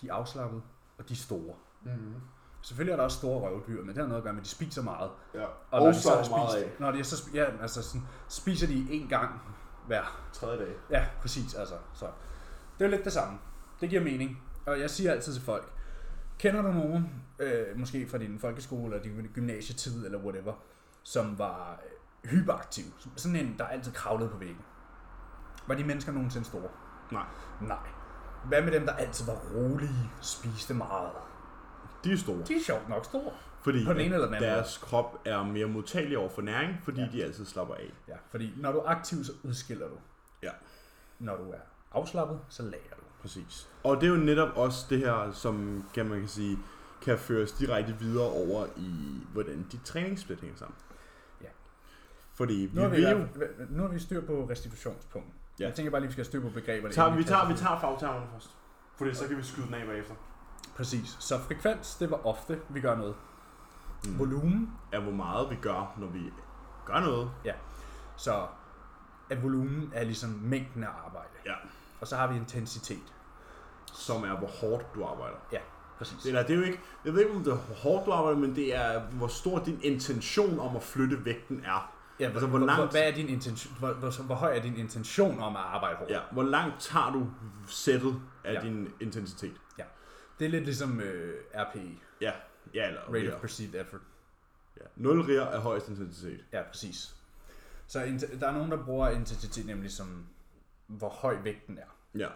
S1: de er afslappet, og de er store.
S2: Mm-hmm.
S1: Selvfølgelig er der også store røvdyr, men det har noget at gøre med, at de spiser meget.
S2: Ja.
S1: Og når de så har
S2: meget af.
S1: spist, når de så, sp- ja, altså sådan, spiser de en gang hver
S2: Tredje dag.
S1: Ja, præcis altså. Så. Det er jo lidt det samme. Det giver mening. Og jeg siger altid til folk, kender du nogen, øh, måske fra din folkeskole eller din gymnasietid eller whatever, som var øh, hyperaktiv, som- sådan en, der altid kravlede på væggen. Var de mennesker nogensinde store?
S2: Nej.
S1: Nej. Hvad med dem, der altid var rolige, spiste meget?
S2: De er store.
S1: De er sjovt nok store.
S2: Fordi
S1: På den ene eller den
S2: at
S1: anden
S2: deres krop er mere modtagelig over for næring, fordi ja. de altid slapper af.
S1: Ja, fordi når du er aktiv, så udskiller du.
S2: Ja,
S1: Når du er afslappet, så lager du.
S2: præcis. Og det er jo netop også det her, som kan man kan sige, kan føres direkte videre over i, hvordan dit træningssplit hænger sammen.
S1: Ja.
S2: Fordi vi,
S1: Nu har vi,
S2: vi jo...
S1: vi, nu har vi styr på restitutionspunktet. Ja.
S2: Ja.
S1: Jeg tænker bare lige, vi skal have styr på begreberne.
S2: Tager,
S1: inden
S2: vi, tager, vi
S1: kaster
S2: tager fagtermerne først. Fordi så kan vi skyde den af bagefter.
S1: ud. Præcis. Så frekvens, det var ofte, vi gør noget. Mm.
S2: Mm.
S1: Volumen,
S2: Er hvor meget vi gør, når vi gør noget.
S1: så at volumen er ligesom mængden af arbejde.
S2: Ja.
S1: Og så har vi intensitet.
S2: Som er, hvor hårdt du arbejder.
S1: Ja, præcis.
S2: Eller det er jo ikke, jeg ved ikke, om det er hvor hårdt du arbejder, men det er, hvor stor din intention om at flytte vægten er.
S1: Ja,
S2: altså, hvor langt-
S1: hvad er din intention, hvor, hvor, hvor, høj er din intention om at arbejde hårdt?
S2: Ja, hvor langt tager du sættet af
S1: Ja.
S2: ja. din intensitet?
S1: Det er lidt ligesom øh, RPE,
S2: Ja, ja eller
S1: Rate
S2: rier.
S1: of Perceived Effort.
S2: Ja. 0 rier er højst intensitet.
S1: Ja, præcis. Så int- der er nogen, der bruger intensitet nemlig som, hvor høj vægten er.
S2: Ja.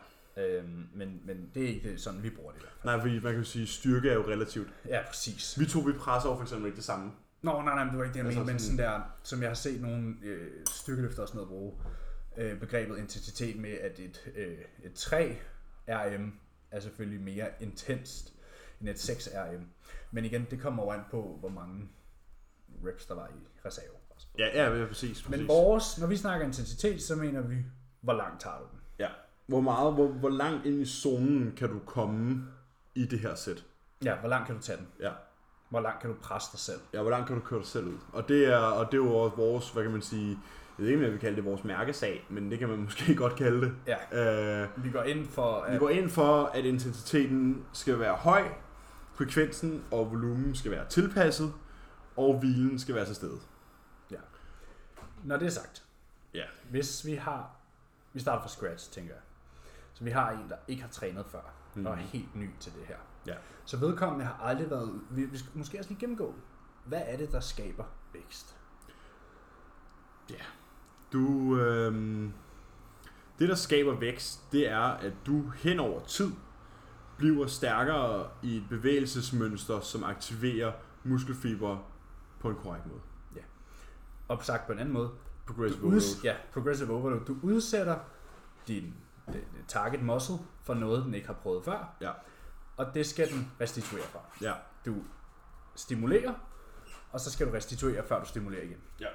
S1: Øhm, men, men det er ikke det, sådan, vi bruger det. i hvert fald.
S2: Nej, fordi man kan jo sige, styrke er jo relativt.
S1: Ja, præcis.
S2: Vi to, vi presser over for eksempel ikke det samme.
S1: Nå, nej, nej, men det var ikke det, jeg
S2: Altså
S1: mente, men sådan der, som jeg har set nogle øh, styrkeløfter og sådan noget bruge, øh, begrebet intensitet med, at et, øh, et 3 RM er selvfølgelig mere intenst end et 6 RM. Men igen, det kommer jo an på, hvor mange reps, der var i reserve. og sådan noget.
S2: Ja, ja, ja præcis. præcis.
S1: Men vores, når vi snakker intensitet, så mener vi, hvor langt tager du den?
S2: Ja. Hvor meget, hvor, hvor langt ind i zonen kan du komme i det her sæt?
S1: Ja, hvor langt kan du tage den?
S2: Ja.
S1: Hvor langt kan du presse dig selv?
S2: Ja, hvor langt kan du køre dig selv ud? Og det er, og det er jo også vores, hvad kan man sige, jeg ved ikke, om jeg vil kalde det vores mærkesag, men det kan man måske godt kalde det.
S1: Ja,
S2: Øh,
S1: vi går ind for... øh,
S2: vi
S1: At,
S2: går ind for, at intensiteten skal være høj, frekvensen og volumen skal være tilpasset, og hvilen skal være til stede.
S1: når det er sagt,
S2: Ja.
S1: Hvis vi har... Vi starter fra scratch, tænker jeg. Så vi har en, der ikke har trænet før, mm. og er
S2: Mhm.
S1: helt ny til det her.
S2: Ja.
S1: Så vedkommende har aldrig været... Vi, vi skal måske også lige gennemgå, hvad er det, der skaber vækst?
S2: Du, øh, det der skaber vækst, det er, at du hen over tid bliver stærkere i et bevægelsesmønster, som aktiverer muskelfiber på en korrekt måde.
S1: Og sagt på en anden måde,
S2: Progressive
S1: du
S2: overload.
S1: ja, progressive overload. Du udsætter din din target muscle for noget, den ikke har prøvet før,
S2: Ja.
S1: og det skal den restituere fra.
S2: Ja.
S1: Du stimulerer, og så skal du restituere, før du stimulerer igen.
S2: Ja.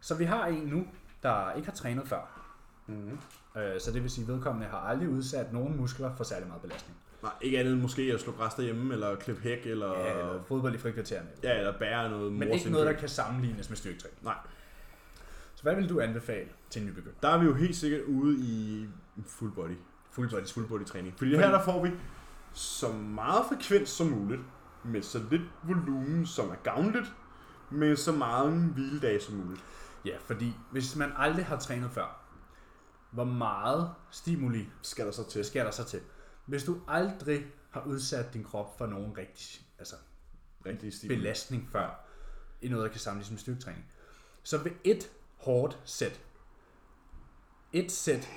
S1: Så vi har en nu, der ikke har trænet før,
S2: Mm-hmm.
S1: Øh, Så det vil sige, at vedkommende har aldrig udsat nogen muskler for særlig meget belastning.
S2: Nej, ikke andet end måske at slå græs derhjemme, eller klippe hæk, eller,
S1: Ja, eller fodbold i frikvartererne.
S2: ja, eller bære noget
S1: Men
S2: mors
S1: ikke noget, der
S2: indkøb.
S1: kan sammenlignes med styrketræning.
S2: Nej.
S1: Så hvad vil du anbefale til en nybegynder?
S2: Der er vi jo helt sikkert ude i full body.
S1: Full body
S2: Full body træning. Fordi her der får vi så meget frekvens som muligt, med så lidt volumen som er gavnligt, med så meget hviledag som muligt.
S1: Ja, fordi hvis man aldrig har trænet før, hvor meget stimuli
S2: Skal der så til.
S1: sker der så til? Hvis du aldrig har udsat din krop for nogen rigtig altså
S2: Rigtig stil.
S1: belastning før, i noget, der kan sammenlignes med styrketræning, så vil et hårdt sæt, et sæt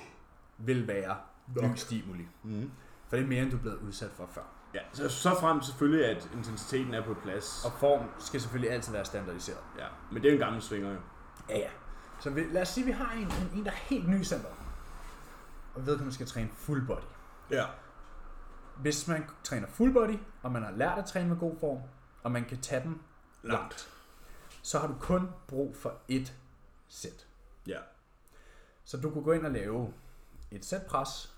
S1: vil være ny stimuli.
S2: Mm.
S1: For det er mere, end du er blevet udsat for før.
S2: Ja, så, så frem selvfølgelig, at intensiteten er på plads.
S1: Og form skal selvfølgelig altid være standardiseret.
S2: Ja, men det er jo en gammel svinger jo.
S1: Ja, ja. Så vi, lad os sige, at vi har en, en, en der er helt ny i centeret. Og vedkommende skal træne full body.
S2: Ja.
S1: Hvis man træner full body, og man har lært at træne med god form, og man kan tage den
S2: Langt.
S1: så har du kun brug for et sæt.
S2: Ja.
S1: Så du kunne gå ind og lave et sæt pres,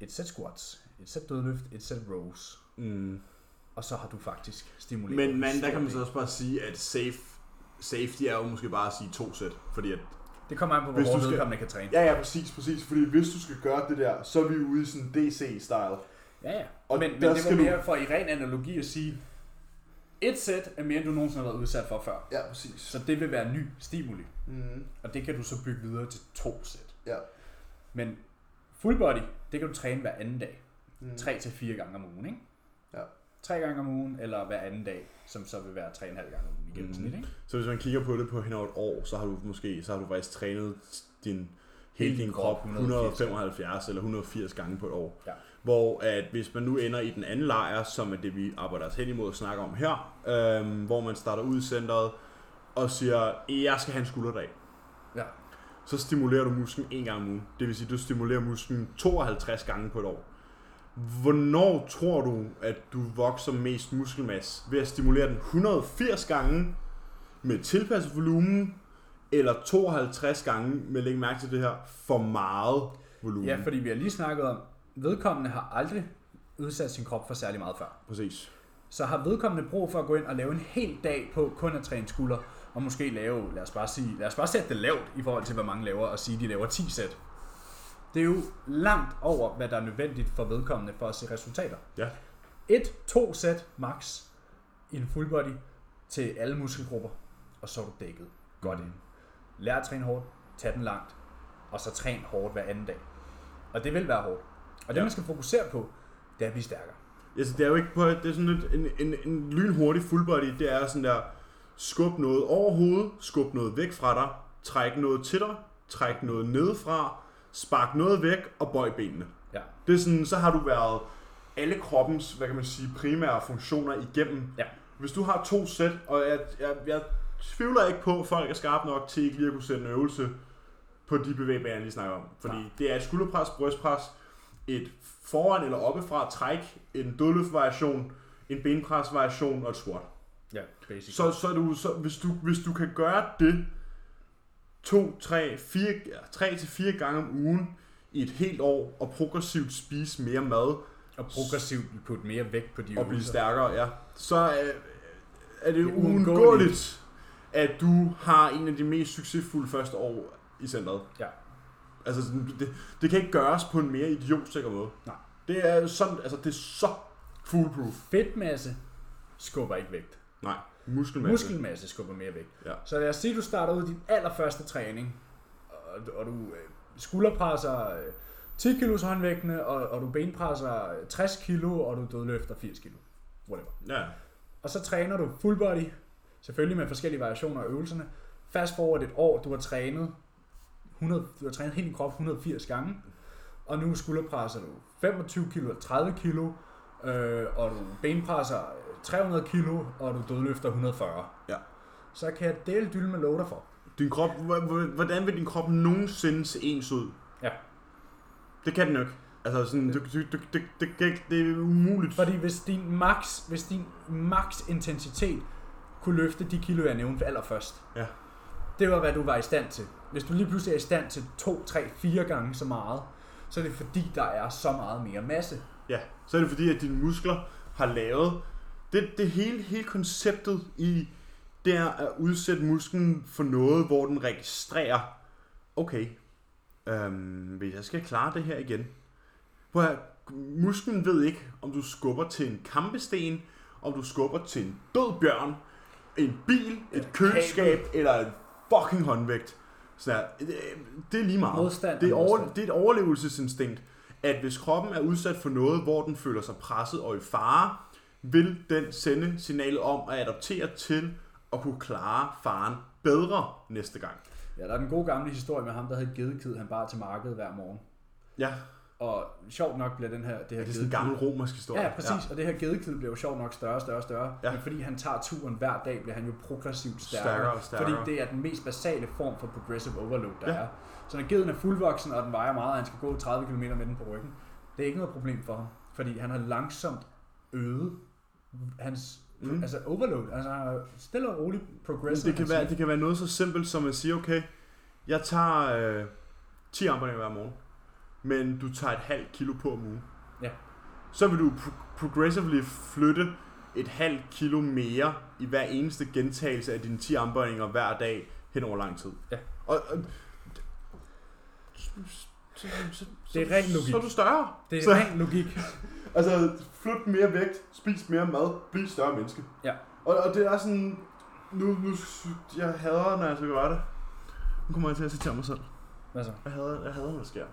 S1: et sæt squats, et sæt dødløft, et sæt rows.
S2: Mm.
S1: Og så har du faktisk stimuleret.
S2: Men
S1: en
S2: man, der
S1: stor
S2: kan man
S1: del.
S2: så også bare sige, at safe, safety er jo måske bare at sige to sæt. Fordi at,
S1: Det kommer an på, hvor
S2: Hvis du
S1: hårdt
S2: skal-
S1: vedkommende kan træne.
S2: ja, ja, præcis, præcis. Fordi hvis du skal gøre det der, så er vi ude i sådan DC-style.
S1: Ja, ja. Og
S2: Og
S1: men, men
S2: der
S1: det var
S2: skal du-
S1: mere for i ren analogi at sige, Et sæt er mere, end du nogensinde har været udsat for før.
S2: Ja, præcis.
S1: Så det vil være ny stimuli.
S2: Mm.
S1: Og det kan du så bygge videre til to sæt.
S2: Ja.
S1: Men full body, det kan du træne hver anden dag.
S2: Mm.
S1: 3 til fire gange om ugen, ikke?
S2: Ja.
S1: Tre gange om ugen, eller hver anden dag, som så vil være tre og en halv gange om ugen i gennemsnit, ikke?
S2: Så hvis man kigger på det på hen over et år, så har du måske så har du faktisk trænet din, hele
S1: Hele
S2: din
S1: krop
S2: krop
S1: 180.
S2: 175 eller 180 gange på et år.
S1: Ja.
S2: Hvor at hvis man nu ender i den anden lejr, som er det vi arbejder os hen imod og snakker om her, øhm, hvor man starter ud i centret og siger, jeg skal have en skulderdag.
S1: Ja.
S2: Så stimulerer du musklen en gang om ugen. Det vil sige, du stimulerer musklen 52 gange på et år. Hvornår tror du, at du vokser mest muskelmasse? Ved at stimulere den 180 gange med tilpasset volumen, eller 52 gange med, læg mærke til det her, for meget volumen?
S1: Ja, fordi vi har lige snakket om, vedkommende har aldrig udsat sin krop for særlig meget før.
S2: Præcis.
S1: Så har vedkommende brug for at gå ind og lave en hel dag på kun at træne skulder, og måske lave, lad os bare, sige, lad os bare sætte det lavt i forhold til, hvad mange laver, og sige, at de laver 10 sæt. Det er jo langt over, hvad der er nødvendigt for vedkommende for at se resultater.
S2: Ja.
S1: Et, to sæt max i en full body til alle muskelgrupper, og så er du dækket godt ind. Lær at træne hårdt, tag den langt, og så træn hårdt hver anden dag. Og det vil være hårdt. Og det,
S2: Ja.
S1: man skal fokusere på, det er at blive stærkere.
S2: Altså, det er jo ikke på, det er sådan lidt en, en, en lynhurtig full body, det er sådan der, skub noget over hovedet, skub noget væk fra dig, træk noget til dig, træk noget nedefra, spark noget væk og bøj benene.
S1: Ja.
S2: Det er sådan, så har du været alle kroppens, hvad kan man sige, primære funktioner igennem.
S1: Ja.
S2: Hvis du har to sæt, og jeg, jeg, jeg tvivler ikke på, at folk er skarpe nok til ikke lige at kunne sætte en øvelse på de bevægbaner, jeg lige snakker om. Fordi
S1: Nej.
S2: det er et skulderpres, brystpres, et foran eller oppefra træk, en dødløftvariation, en benpresvariation og et squat.
S1: Ja, basic.
S2: Så, så, er du, så hvis, du, hvis du kan gøre det 2, 3, 4, 3 til 4 gange om ugen i et helt år, og progressivt spise mere mad,
S1: og progressivt putte mere vægt på de
S2: og blive
S1: øvelser.
S2: stærkere, ja, så er, er det
S1: er uundgåeligt.
S2: uundgåeligt, at du har en af de mest succesfulde første år i centret.
S1: Ja.
S2: Altså, sådan, det, det kan ikke gøres på en mere idiotsikker måde.
S1: Nej.
S2: Det er sådan, altså det er så foolproof.
S1: Fedtmasse skubber ikke vægt.
S2: Nej, muskelmasse.
S1: Muskelmasse skubber mere vægt.
S2: Ja.
S1: Så lad os sige, at du starter ud i din allerførste træning, og, og du øh, skulderpresser øh, 10 kilos håndvægtene, og, og du benpresser øh, 60 kilo, og du dødløfter 80 kilo. Whatever.
S2: Ja,
S1: Og så træner du full body, selvfølgelig med forskellige variationer af øvelserne. Fast forward et år, du har trænet, 100, du har trænet hele din krop 180 gange, og nu skulderpresser du 25 kilo og 30 kilo, øh, og du benpresser 300 kilo, og du dødløfter 140.
S2: Ja.
S1: Så kan jeg dele dyl med lov for.
S2: Din krop, h- h- hvordan vil din krop nogensinde se ens ud?
S1: Ja.
S2: Det kan den jo ikke. Altså sådan, du, du, du, det, det, kan ikke- det er umuligt.
S1: Fordi hvis din max, hvis din max intensitet kunne løfte de kilo, jeg nævnte allerførst,
S2: Ja.
S1: det var, hvad du var i stand til. Hvis du lige pludselig er i stand til 2, 3, 4 gange så meget, så er det fordi, der er så meget mere masse.
S2: Ja, så er det fordi, at dine muskler har lavet... Det, det hele, hele konceptet i det er at udsætte musklen for noget, hvor den registrerer, okay, øhm, hvis jeg skal klare det her igen. Hvor jeg, musklen ved ikke, om du skubber til en kampesten, om du skubber til en død bjørn, en bil, et
S1: Eller
S2: køleskab eller en fucking håndvægt. Så her, det, det er lige meget.
S1: Modstand
S2: det, er
S1: og
S2: over,
S1: modstand.
S2: det er et overlevelsesinstinkt, at hvis kroppen er udsat for noget, hvor den føler sig presset og i fare, vil den sende signalet om at adoptere til at kunne klare faren bedre næste gang.
S1: Ja, der er den gode gamle historie med ham, der hed Gedekid, han bar til markedet hver morgen.
S2: Ja,
S1: Og sjovt nok bliver den her, det her
S2: det er sådan en gammel romersk historie.
S1: Ja, præcis. Ja. Og det her gedekid bliver jo sjovt nok større og større og større.
S2: Ja.
S1: Ja. Men fordi han tager turen hver dag, bliver han jo progressivt stærkere.
S2: Stærkere og stærkere.
S1: Fordi det er den mest basale form for progressive overload, der
S2: Ja.
S1: ja. er. Så når geden er fuldvoksen, og den vejer meget, og han skal gå 30 km med den på ryggen, det er ikke noget problem for ham. Fordi han har langsomt øget hans
S2: Mm.
S1: mm. altså overload. Altså han har stille og roligt
S2: Men
S1: progressive. Altså,
S2: det, kan være, det kan være noget så simpelt som at sige, okay, jeg tager øh, 10 armbåndinger hver morgen, men du tager et halvt kilo på om ugen.
S1: Ja.
S2: Så vil du pro- progressively flytte et halvt kilo mere i hver eneste gentagelse af dine 10 armbøjninger hver dag hen over lang tid.
S1: Ja.
S2: Og, og så, så, så,
S1: Det er ren logik.
S2: Så er du større.
S1: det
S2: Så-
S1: er ren logik.
S2: Altså, flyt mere vægt, spis mere mad, bliv større menneske.
S1: Ja.
S2: Og, og det er sådan, nu, nu, jeg hader, når jeg så gør det. Nu kommer jeg til at citere mig selv.
S1: Hvad så?
S2: Jeg hader, jeg hader, når det sker.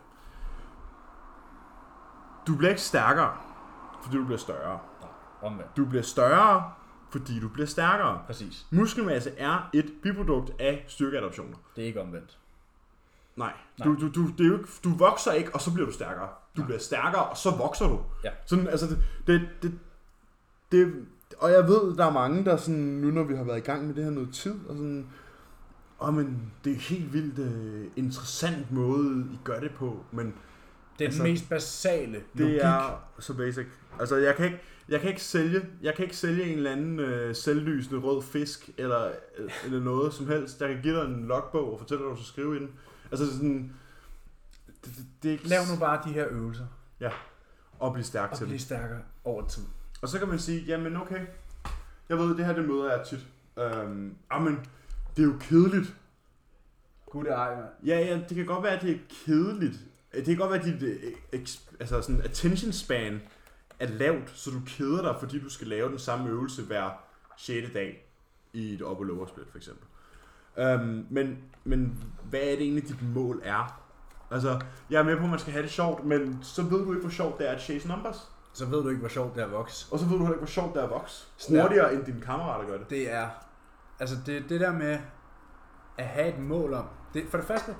S2: Du bliver ikke stærkere, fordi du bliver større.
S1: Omvendt.
S2: Du bliver større, fordi du bliver stærkere.
S1: Præcis.
S2: Muskelmasse er et biprodukt af styrkeadoptioner.
S1: Det er ikke omvendt.
S2: Nej,
S1: Nej.
S2: du, du, du, det er jo ikke, du vokser ikke, og så bliver du stærkere. Du
S1: Nej.
S2: bliver stærkere, og så vokser du.
S1: Ja.
S2: Sådan, altså, det, det, det, det, og jeg ved, der er mange, der sådan, nu når vi har været i gang med det her noget tid, og sådan, åh, men det er helt vildt øh, interessant måde, I gør det på, men
S1: Det er altså,
S2: Altså,
S1: den mest basale
S2: det
S1: logik.
S2: er så basic. Altså, jeg kan ikke, jeg kan ikke sælge, jeg kan ikke sælge en eller anden øh, selvlysende rød fisk, eller, øh, eller noget som helst. Jeg kan give dig en logbog og fortælle dig, hvad du skal skrive i den. Altså, sådan, det, det, det er ikke
S1: Lav nu bare de her øvelser,
S2: at blive stærk
S1: og
S2: til
S1: bliv stærkere over tid.
S2: det. Og så kan man sige, jamen okay, jeg ved, det her det møder jeg tit. Øhm, men det er jo kedeligt.
S1: Gud, det ej, mand.
S2: Ja, ja, det kan godt være, at det er kedeligt. Det kan godt være, at dit øh, eks- altså sådan attention span er lavt, så du keder dig, fordi du skal lave den samme øvelse hver 6. dag i et op- og lower split, for eksempel. Øhm, men, men hvad er det egentlig, dit mål er? Altså, jeg er med på, at man skal have det sjovt, men så ved du ikke, hvor sjovt det er at chase numbers.
S1: Så ved du ikke, hvor sjovt det er at vokse.
S2: Og så ved du heller ikke, hvor sjovt det er at vokse.
S1: Snap.
S2: Hurtigere end dine kammerater gør det.
S1: Det er, altså det, det der med at have et mål om, det, for det første,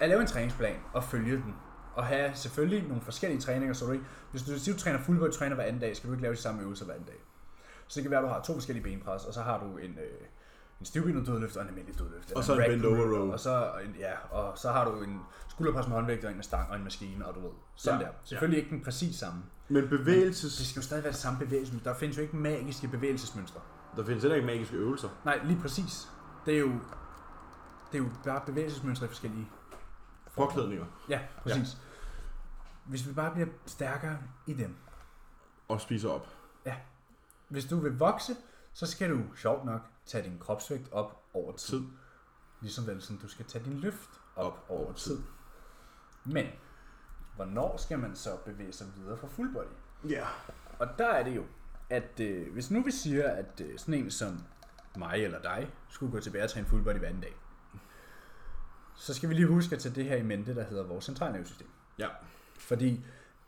S1: at lave en træningsplan og følge den. Og have selvfølgelig nogle forskellige træninger, så du ikke, hvis du siger, du træner fuldbody træner hver anden dag, skal du ikke lave de samme øvelser hver anden dag. Så det kan være, at du har to forskellige benpres, og så har du en, øh, en stivbenet dødløft og en almindelig dødløft.
S2: Og så en
S1: rack
S2: bent over
S1: curl,
S2: row.
S1: Og så, en- ja, og så har du en skulderpres med håndvægt og en med stang og en maskine, og du ved, sådan
S2: Ja,
S1: ja. der. Selvfølgelig ikke den præcis samme.
S2: Men
S1: Det
S2: bevægelses...
S1: skal jo stadig være det samme bevægelsesmønster. Der findes jo ikke magiske bevægelsesmønstre.
S2: Der findes heller ikke magiske øvelser.
S1: Nej, lige præcis. Det er jo, det er jo bare bevægelsesmønstre i forskellige.
S2: Forklædninger.
S1: Ja, præcis. Ja. Hvis vi bare bliver stærkere i dem.
S2: Og spiser op.
S1: Hvis du vil vokse, så skal du sjovt nok tage din kropsvægt op over tid.
S2: Tid.
S1: tid. Ligesom vel, som du skal tage din løft op,
S2: Op
S1: op
S2: over
S1: over, over tid. tid. Men, hvornår skal man så bevæge sig videre fra full body?
S2: Ja.
S1: Og der er det jo, at øh, hvis nu vi siger, at øh, sådan en som mig eller dig skulle gå tilbage og træne full body hver anden dag, så skal vi lige huske at tage det her i mente, der hedder vores centralnervesystem.
S2: Ja.
S1: Fordi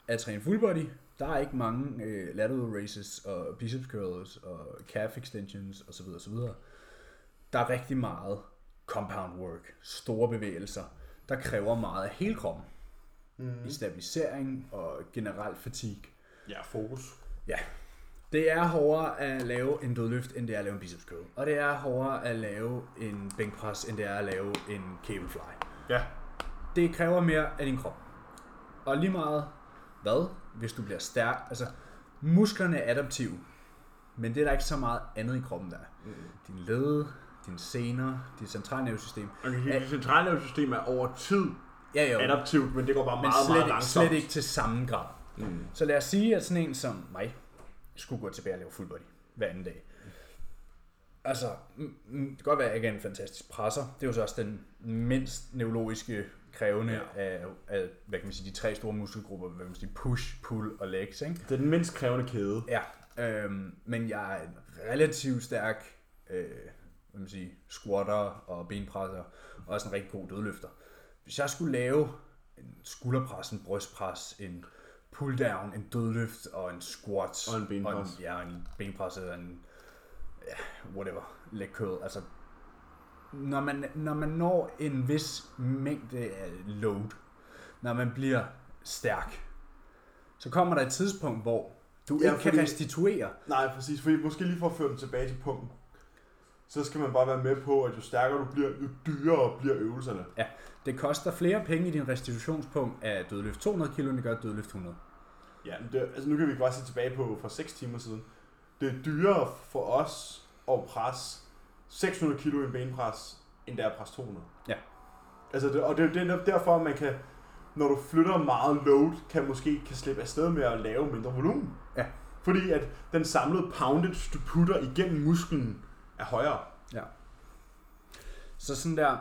S1: at træne full body, der er ikke mange øh, lateral raises og biceps curls og calf extensions osv. osv. Der er rigtig meget compound work, store bevægelser, der kræver meget af hele kroppen. Mm. I stabilisering og generel fatigue.
S2: Ja, fokus.
S1: Ja. Det er hårdere at lave en dødløft, end det er at lave en biceps curl. Og det er hårdere at lave en bænkpres, end det er at lave en cable fly.
S2: Ja.
S1: Det kræver mere af din krop. Og lige meget hvad, hvis du bliver stærk. Altså, musklerne er adaptive. Men det er der ikke så meget andet i kroppen, der er. Din led, dine sener, dit centralnervesystem.
S2: Okay, det centrale system er over tid
S1: Ja, jo.
S2: adaptivt, men det går bare
S1: men
S2: meget,
S1: slet,
S2: meget
S1: ikke-
S2: langsomt.
S1: slet ikke til samme grad. Mm. Så lad os sige, at sådan en som mig skulle gå tilbage og lave full body hver anden dag. Altså, mm, mm, det kan godt være, at jeg ikke er en fantastisk presser. Det er jo så også den mindst neurologiske krævende ja. af, af, hvad kan man sige, de tre store muskelgrupper, hvad kan man sige, push, pull og legs, ikke?
S2: Det er den mindst krævende kæde.
S1: Ja, øhm, men jeg er en relativt stærk øh, hvad man sige, squatter og benpresser, og også en rigtig god dødløfter. Hvis jeg skulle lave en skulderpres, en brystpres, en pulldown, en dødløft og en squat.
S2: Og en benpres.
S1: Og en, ja, en benpres eller en ja, whatever, leg curl. Altså, når man, når man når en vis mængde af load, når man bliver stærk, så kommer der et tidspunkt, hvor du
S2: Ja,
S1: ja, ikke kan
S2: fordi-
S1: restituere.
S2: Nej, præcis. Fordi måske lige for at føre den tilbage til punkten, så skal man bare være med på, at jo stærkere du bliver, jo dyrere bliver øvelserne.
S1: Ja, det koster flere penge i din restitutionspunkt af dødløft 200 kg, end det gør dødløft 100.
S2: Ja, men det, altså nu kan vi bare se tilbage på for 6 timer siden. Det er dyrere for os at presse 600 kilo i en benpres, end det er at presse 200.
S1: Ja.
S2: Altså det, og det er jo det er netop derfor, at man kan, når du flytter meget load, kan måske kan slippe afsted med at lave mindre volumen.
S1: Ja.
S2: Fordi at den samlede poundage, du putter igennem musklen, er højere.
S1: Ja. Så sådan der,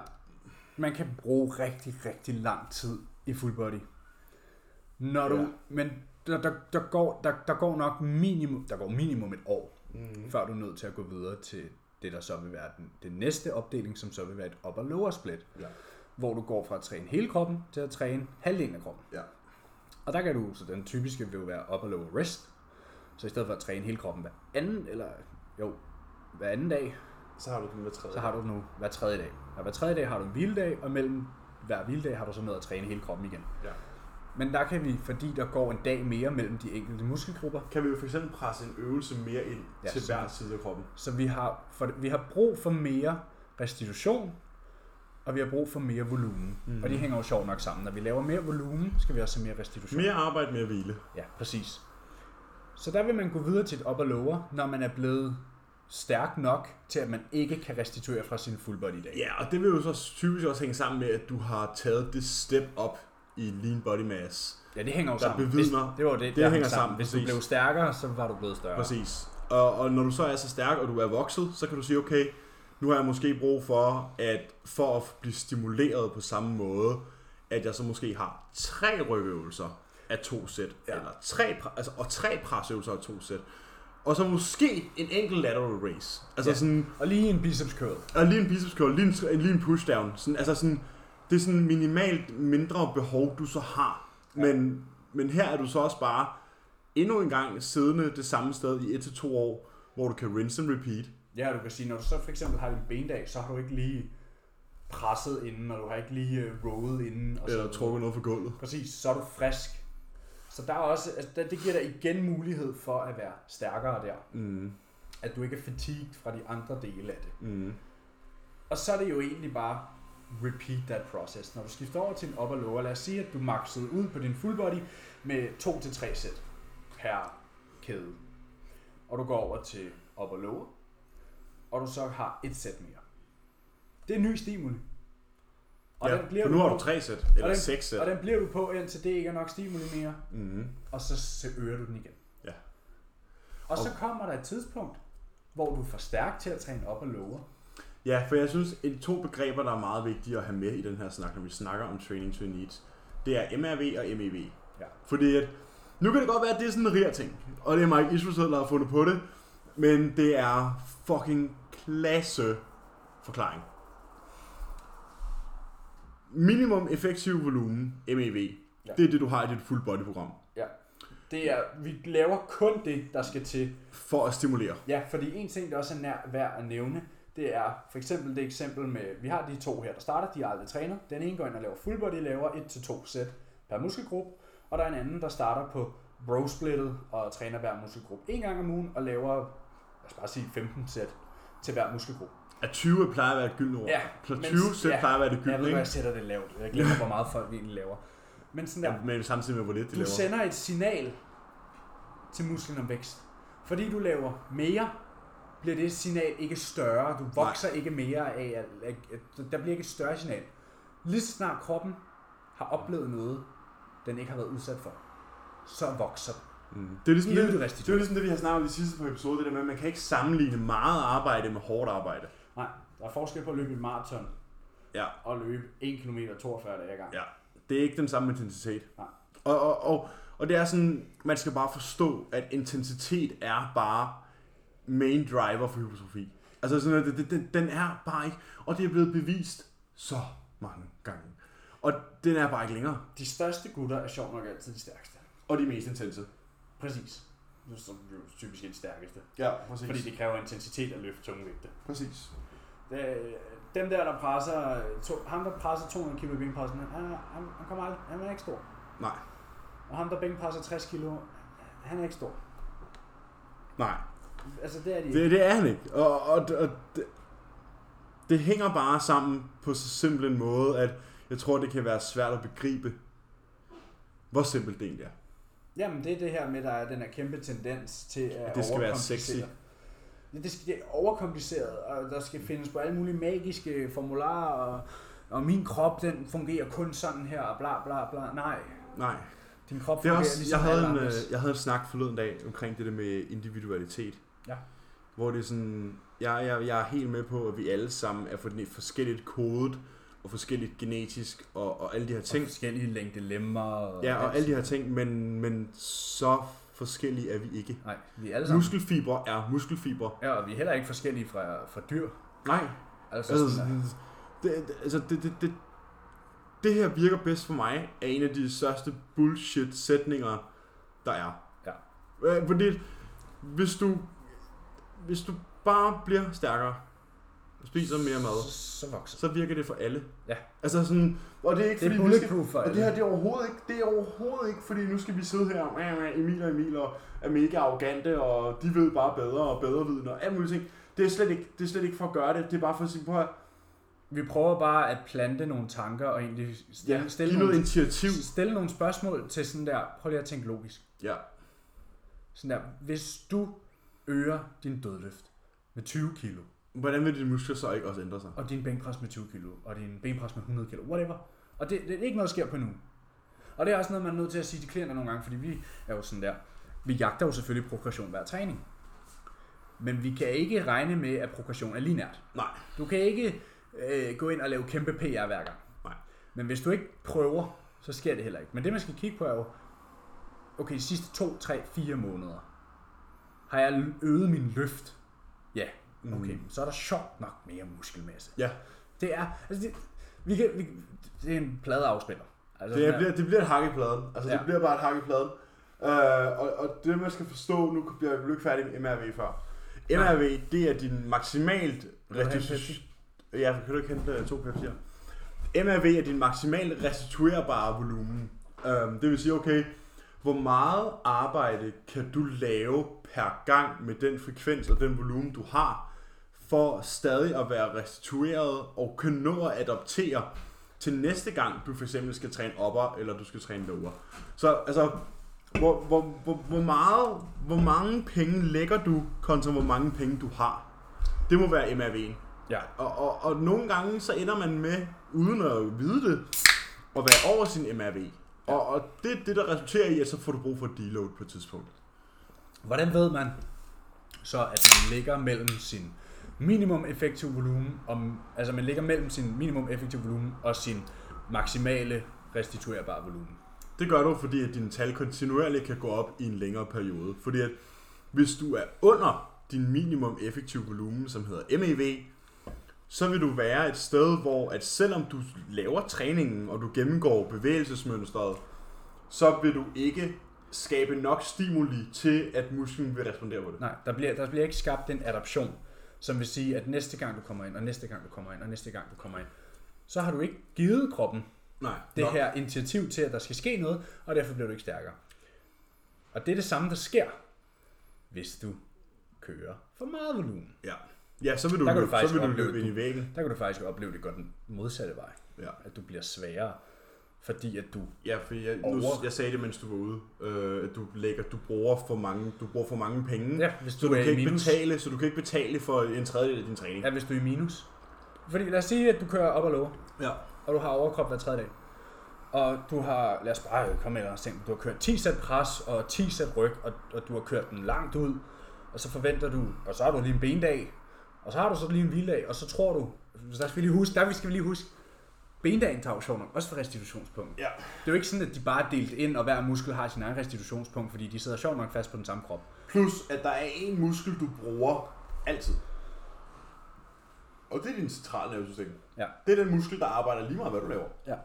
S1: man kan bruge rigtig, rigtig lang tid i full body. Når du,
S2: Ja.
S1: ja. men der, der, der, går, der, der går nok minimum, der går minimum et år,
S2: Mm.
S1: før du er nødt til at gå videre til det, der så vil være den, den næste opdeling, som så vil være et op- og lower split,
S2: Ja.
S1: hvor du går fra at træne hele kroppen til at træne halvdelen af kroppen.
S2: Ja.
S1: Og der kan du, så den typiske vil jo være op- og lower rest, så i stedet for at træne hele kroppen hver anden, eller jo, hver anden dag,
S3: Så har du den med tredje.
S1: så har du den nu hver tredje dag. Og hver tredje dag har du en hviledag, og mellem hver hviledag har du så noget at træne hele kroppen igen.
S3: Ja.
S1: Men der kan vi, fordi der går en dag mere mellem de enkelte muskelgrupper,
S2: Kan vi jo for eksempel presse en øvelse mere ind
S1: Ja,
S2: ja, til
S1: sådan.
S2: hver side af kroppen?
S1: Så vi har, for, vi har brug for mere restitution, og vi har brug for mere volumen. Mm. Og
S2: Mhm.
S1: de hænger jo sjovt nok sammen. Når vi laver mere volumen, skal vi også have mere restitution.
S2: Mere arbejde, mere hvile.
S1: Ja, præcis. Så der vil man gå videre til et op og lower, når man er blevet stærk nok til, at man ikke kan restituere fra sin full body i dag.
S2: Ja, og det vil jo så typisk også hænge sammen med, at du har taget det step op i lean body mass.
S1: Ja, det hænger jo
S2: Der
S1: sammen.
S2: bevidner-
S1: Hvis- det var jo det, det
S2: hænger sammen,
S1: Hvis du
S2: præcis.
S1: blev stærkere, så var du blevet større.
S2: Præcis. Og, og når du så er så stærk, og du er vokset, så kan du sige, okay, nu har jeg måske brug for, at for at blive stimuleret på samme måde, at jeg så måske har tre rygøvelser af to sæt,
S1: Ja.
S2: ja. eller tre, pre- altså, og tre presøvelser af to sæt, og så måske en enkelt lateral raise. Altså
S1: Ja.
S2: ja. sådan,
S1: Og lige en biceps curl.
S2: og lige en biceps curl, lige en, tr- lige en pushdown. Sådan, altså sådan, det er sådan minimalt mindre behov, du så har.
S1: Ja.
S2: Men, men her er du så også bare endnu en gang siddende det samme sted i 1-2 år, hvor du kan rinse and repeat.
S1: Ja, du kan sige, når du så for eksempel har din bendag, så har du ikke lige presset inden, og du har ikke lige øh, roet inden. Og
S2: Eller
S1: så,
S2: trukke noget for gulvet.
S1: Præcis, så er du frisk. Så der er også, altså, det, det giver dig igen mulighed for at være stærkere der.
S2: Mm.
S1: At du ikke er fatigued fra de andre dele af det.
S2: Mm.
S1: Og så er det jo egentlig bare repeat that process. Når du skifter over til en upper lower, lad os sige, at du maxede ud på din full body med 2-3 sæt per kæde. Og du går over til upper lower, og du så har et sæt mere. Det er en ny stimuli. Og,
S2: ja,
S1: den bliver
S2: for nu har
S1: på-
S2: du tre sæt,
S1: og
S2: eller
S1: den,
S2: seks sæt.
S1: Og den bliver du på, indtil det ikke er nok stimuli mere,
S2: Mm.
S1: og så, så øger du den igen.
S2: Ja.
S1: Og så kommer der et tidspunkt, hvor du er for stærk til at træne op og lower.
S2: Ja, for jeg synes, et to begreber, der er meget vigtige at have med i den her snak, når vi snakker om training to needs, det er MRV og MEV.
S1: Ja.
S2: Fordi at, nu kan det godt være, at det er sådan en rir ting, og det er Mike Israelsen, der har fundet på det, men det er fucking klasse forklaring. Minimum effektiv volumen, MEV,
S1: Ja.
S2: ja. det er det, du har i dit full body program,
S1: Ja. Det er, vi laver kun det, der skal til.
S2: for at stimulere.
S1: Ja, fordi en ting, der også er nær, værd at nævne, det er for eksempel det eksempel med, vi har de to her, der starter, de er aldrig træner. Den ene går ind og laver full body, laver 1-2 sæt per muskelgruppe, og der er en anden, der starter på bro splittet og træner hver muskelgruppe en gang om ugen og laver, lad os bare sige 15 sæt til hver muskelgruppe.
S2: At 20 plejer at være et gyldent ord.
S1: Ja,
S2: Pla- 20
S1: men-
S2: sæt
S1: ja.
S2: plejer at være det
S1: Jeg ved,
S2: gyldne,
S1: godt,
S2: ikke?
S1: jeg sætter det lavt. Jeg glemmer, hvor meget folk egentlig laver. Men sådan der,
S2: Ja, men samtidig med, hvor lidt de
S1: du
S2: laver.
S1: sender et signal til musklen om vækst. Fordi du laver mere, bliver det signal ikke større. Du vokser Nej. ikke mere af, at- at- at- der bliver ikke et større signal. Lige så snart kroppen har oplevet noget, den ikke har været udsat for, så vokser den.
S2: Mm. Det er ligesom
S1: I
S2: det,
S1: øvrigt
S2: det,
S1: restitution.
S2: det, er ligesom det, vi har snakket om de sidste par episoder, det der med, at man kan ikke sammenligne meget arbejde med hårdt arbejde.
S1: Nej, der er forskel på at løbe et maraton
S2: Ja,
S1: og løbe 1 km 42 dage ad gangen.
S2: ja. Det er ikke den samme intensitet.
S1: Nej.
S2: Og, og, og, og det er sådan, man skal bare forstå, at intensitet er bare main driver for hypertrofi. Altså sådan, at det, det, den- den er bare ikke, og det er blevet bevist så mange gange. Og den er bare ikke længere.
S1: De største gutter er sjovt nok altid de stærkeste.
S2: Og de mest intense.
S1: Præcis. Det er som jo typisk de stærkeste.
S2: Ja, præcis.
S1: Fordi det kræver intensitet at løfte tunge vægte.
S2: Præcis.
S1: Øh, dem der, der presser, to, ham der presser 200 kilo i bænkpressen, han, er- han, han kommer aldrig, han er ikke stor.
S2: Nej,
S1: Og ham der bænkpresser 60 kilo, han er ikke stor.
S2: nej.
S1: Altså det er de
S2: Det, det er han ikke. Og, og, og det, det hænger bare sammen på så simpel en måde, at jeg tror, det kan være svært at begribe, hvor simpelt det egentlig er.
S1: Jamen det er det her med, der er den her kæmpe tendens til at
S2: Det skal være
S1: overkomplicere.
S2: sexy.
S1: Ja, Det, skal, det er overkompliceret, og der skal findes på alle mulige magiske formularer, og, og min krop, den fungerer kun sådan her, og bla bla bla. Nej,
S2: Nej.
S1: din krop
S2: Det
S1: fungerer
S2: er også,
S1: ligesom
S2: jeg, havde
S1: alle
S2: en, øh,
S1: andres.
S2: jeg havde en snak forleden dag omkring det der med individualitet.
S1: Ja.
S2: Hvor det er sådan, jeg, jeg, jeg er helt med på, at vi alle sammen er for- forskelligt kodet, og forskelligt genetisk, og, og alle de her ting.
S1: Og forskellige længde lemmer.
S2: Ja, og alle de her ting, men, men så forskellige er vi ikke.
S1: Nej, vi er alle sammen.
S2: Muskelfiber er muskelfiber.
S1: Ja, og vi er heller ikke forskellige fra, fra dyr.
S2: Nej,
S1: Altså,
S2: altså,
S1: sådan,
S2: sådan, det, det- altså det, det, det, det her virker bedst for mig, er en af de største bullshit-sætninger, der er.
S1: Ja.
S2: Øh, Fordi hvis du, hvis du bare bliver stærkere, og spiser mere mad,
S1: Så, så vokser
S2: så virker det for alle.
S1: Ja.
S2: Altså sådan, og det er ikke
S1: det. Det er
S2: fordi, vi skal,
S1: bulletproof altså. for
S2: og det
S1: alle.
S2: her det er overhovedet ikke, det er overhovedet ikke, fordi nu skal vi sidde her, "Mæh, mæh, Emil og Emil og er mega arrogante, og de ved bare bedre og bedre viden og alt muligt ting. Det er slet ikke, det er slet ikke for at gøre det, det er bare for at sige, prøv at
S1: Vi prøver bare at plante nogle tanker og egentlig stille,
S2: Ja,
S1: ja,
S2: stille
S1: stille,
S2: noget
S1: nogle,
S2: initiativ.
S1: stille nogle spørgsmål til sådan der, prøv lige at tænke logisk.
S2: Ja.
S1: Sådan der, hvis du øger din dødløft med 20 kilo,
S2: Hvordan vil dine muskler så ikke også ændre sig?
S1: og din bænkpres med 20 kilo, og din benpres med 100 kilo, whatever. Og det, det er ikke noget, der sker på nu. Og det er også noget, man er nødt til at sige til klienter nogle gange, fordi vi er jo sådan der, vi jagter jo selvfølgelig progression hver træning. Men vi kan ikke regne med, at progression er linært.
S2: Nej.
S1: Du kan ikke øh, gå ind og lave kæmpe PR hver gang.
S2: Nej.
S1: Men hvis du ikke prøver, så sker det heller ikke. Men det, man skal kigge på, er jo, okay, de sidste 2, 3, 4 måneder, har jeg øget min løft? Ja, okay, mm. så er der sjovt nok mere muskelmasse.
S2: Ja.
S1: Det er, altså det, vi kan, vi, det er en pladeafspiller. Altså,
S2: Det,
S1: sådan
S2: er,
S1: her.
S2: bliver, det bliver et hak i pladen. Altså, ja. det
S1: Ja.
S2: bliver bare et hak i pladen. Øh, og, og det, man skal forstå, nu bliver jeg jo ikke færdig med MRV før. MRV, det er din maksimalt
S1: du have en
S2: restitu- Ja, kan du ikke hente øh, to Pepsi'er? MRV er din maksimalt restituerbare volumen. Øh, det vil sige, okay, hvor meget arbejde kan du lave per gang med den frekvens og den volumen, du har, for stadig at være restitueret og kan nå at adoptere til næste gang, du for eksempel skal træne opper, eller du skal træne lower. Så altså, hvor, hvor, hvor, hvor, meget, hvor mange penge lægger du, kontra hvor mange penge du har. Det må være MRV'en.
S1: Ja.
S2: Og, og, og nogle gange så ender man med, uden at vide det, at være over sin MRV. Og, og det er det, der resulterer i, at så får du brug for et deload på et tidspunkt.
S1: Hvordan ved man så, at man ligger mellem sin minimum effektiv volumen, og, altså man ligger mellem sin minimum effektiv volumen og sin maksimale restituerbare volumen?
S2: Det gør du, fordi at dine tal kontinuerligt kan gå op i en længere periode. Fordi at hvis du er under din minimum effektiv volumen, som hedder MEV, så vil du være et sted, hvor at selvom du laver træningen, og du gennemgår bevægelsesmønstret, så vil du ikke skabe nok stimuli til, at musklen vil respondere på det.
S1: Nej, der bliver, der bliver ikke skabt den adaption, som vil sige, at næste gang du kommer ind, og næste gang du kommer ind, og næste gang du kommer ind, så har du ikke givet kroppen
S2: Nej.
S1: det Nå. her initiativ til, at der skal ske noget, og derfor bliver du ikke stærkere. Og det er det samme, der sker, hvis du kører for meget volumen.
S2: Ja. Ja, så vil du,
S1: Der kan du
S2: løbe, så
S1: faktisk
S2: vil du
S1: opleve
S2: løbe ind i
S1: det.
S2: væggen.
S1: Der kan du faktisk opleve det godt den modsatte vej.
S2: Ja.
S1: At du bliver sværere, fordi at du...
S2: Ja, for jeg, nu,
S1: Over.
S2: jeg sagde det, mens du var ude, øh, at du lægger, du bruger for mange, du bruger for mange penge.
S1: Ja, hvis
S2: så
S1: du
S2: du,
S1: er
S2: kan
S1: i
S2: ikke
S1: minus.
S2: betale, så du kan ikke betale for en tredjedel af din træning.
S1: Ja, hvis du er i minus. Fordi lad os sige, at du kører op og lower,
S2: ja.
S1: og du har overkrop hver tredje dag. Og du har, lad os bare komme med et eller andet eksempel, du har kørt 10 sæt pres og 10 sæt ryg, og, og du har kørt den langt ud, og så forventer du, og så har du lige en bendag, og så har du så lige en hviledag, og så tror du, så skal vi lige huske, der skal vi lige huske, bendagen tager jo sjovt nok også for restitutionspunkt.
S2: ja.
S1: Det er jo ikke sådan, at de bare er delt ind, og hver muskel har sin egen restitutionspunkt, fordi de sidder sjovt nok fast på den samme krop.
S2: Plus, at der er en muskel, du bruger altid. Og det er din centralnervesystem.
S1: Ja.
S2: Det er den muskel, der arbejder lige meget, hvad du laver.
S1: Ja.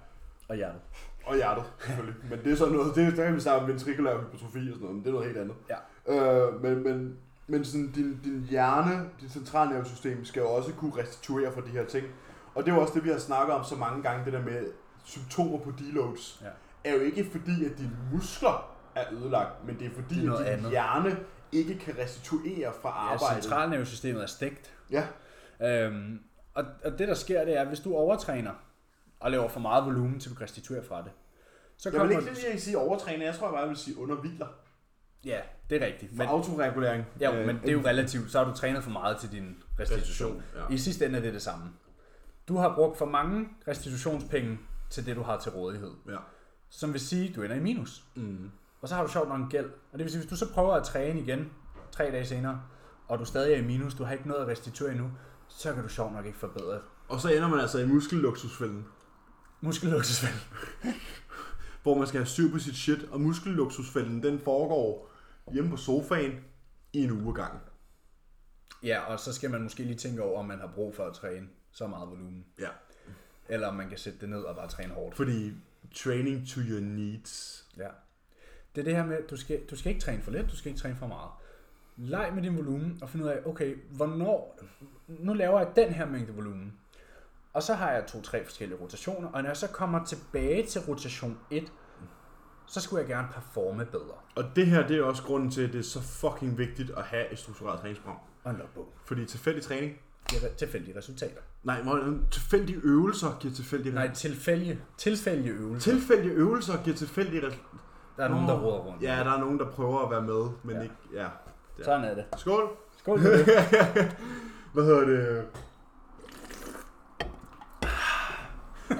S1: Og hjertet.
S2: Og hjertet, selvfølgelig. men det er sådan noget, det, der kan vi snakke om ventrikulær hypertrofi og sådan noget, men det er noget helt andet.
S1: Ja.
S2: Øh, men, men, men sådan, din, din hjerne, dit centralnervesystem, skal jo også kunne restituere for de her ting. Og det er jo også det, vi har snakket om så mange gange, det der med symptomer på deloads.
S1: Ja.
S2: Er jo ikke fordi, at dine muskler er ødelagt, men det er fordi,
S1: Det er
S2: det er
S1: noget
S2: at din
S1: andet.
S2: hjerne ikke kan restituere fra
S1: Ja,
S2: arbejdet.
S1: centralnervesystemet er stegt.
S2: ja.
S1: Øhm, og, og det der sker, det er, at hvis du overtræner og laver for meget volumen, til du kan restituere fra det, så
S2: Jeg vil
S1: kommer
S2: ikke lige jeg vil sige overtræne, jeg tror bare, jeg vil sige underhviler.
S1: Ja, det er rigtigt.
S2: For
S1: Men,
S2: autoregulering. Øh,
S1: ja, men det er jo relativt. Så har du trænet for meget til din restitution.
S2: Restitution, ja.
S1: I sidste ende er det det samme. Du har brugt for mange restitutionspenge til det, du har til rådighed.
S2: Ja.
S1: Som vil sige, at du ender i minus.
S2: Mm.
S1: Og så har du sjovt nok en gæld. Og det vil sige, hvis du så prøver at træne igen tre dage senere, og du stadig er i minus, du har ikke nået at restituere endnu, så kan du sjovt nok ikke forbedre
S2: Og så ender man altså i muskelluksusfælden.
S1: muskelluksusfald.
S2: hvor man skal have styr på sit shit, og muskelluksusfælden, den foregår hjemme på sofaen i en uge gang.
S1: Ja, og så skal man måske lige tænke over, om man har brug for at træne så meget volumen.
S2: Ja.
S1: Eller om man kan sætte det ned og bare træne hårdt.
S2: Fordi training to your needs.
S1: Ja. Det er det her med, at du skal, du skal ikke træne for lidt, du skal ikke træne for meget. Leg med din volumen og find ud af, okay, hvornår, nu laver jeg den her mængde volumen. Og så har jeg to-tre forskellige rotationer, og når jeg så kommer tilbage til rotation 1, så skulle jeg gerne performe bedre.
S2: Og det her, det er også grunden til, at det er så fucking vigtigt at have et struktureret træningsprogram.
S1: Og en logbog.
S2: Fordi tilfældig træning,
S1: Det er re- tilfældige resultater.
S2: nej, må- tilfældige øvelser giver tilfældige
S1: Nej, tilfældige, tilfældige øvelser.
S2: Tilfældige øvelser giver tilfældige resultater.
S1: Der er nogen, der råder rundt.
S2: Ja, der er nogen, der prøver at være med, men
S1: Ja.
S2: ja. ikke... Ja.
S1: Sådan er det.
S2: Skål!
S1: Skål for det.
S2: Hvad hedder det?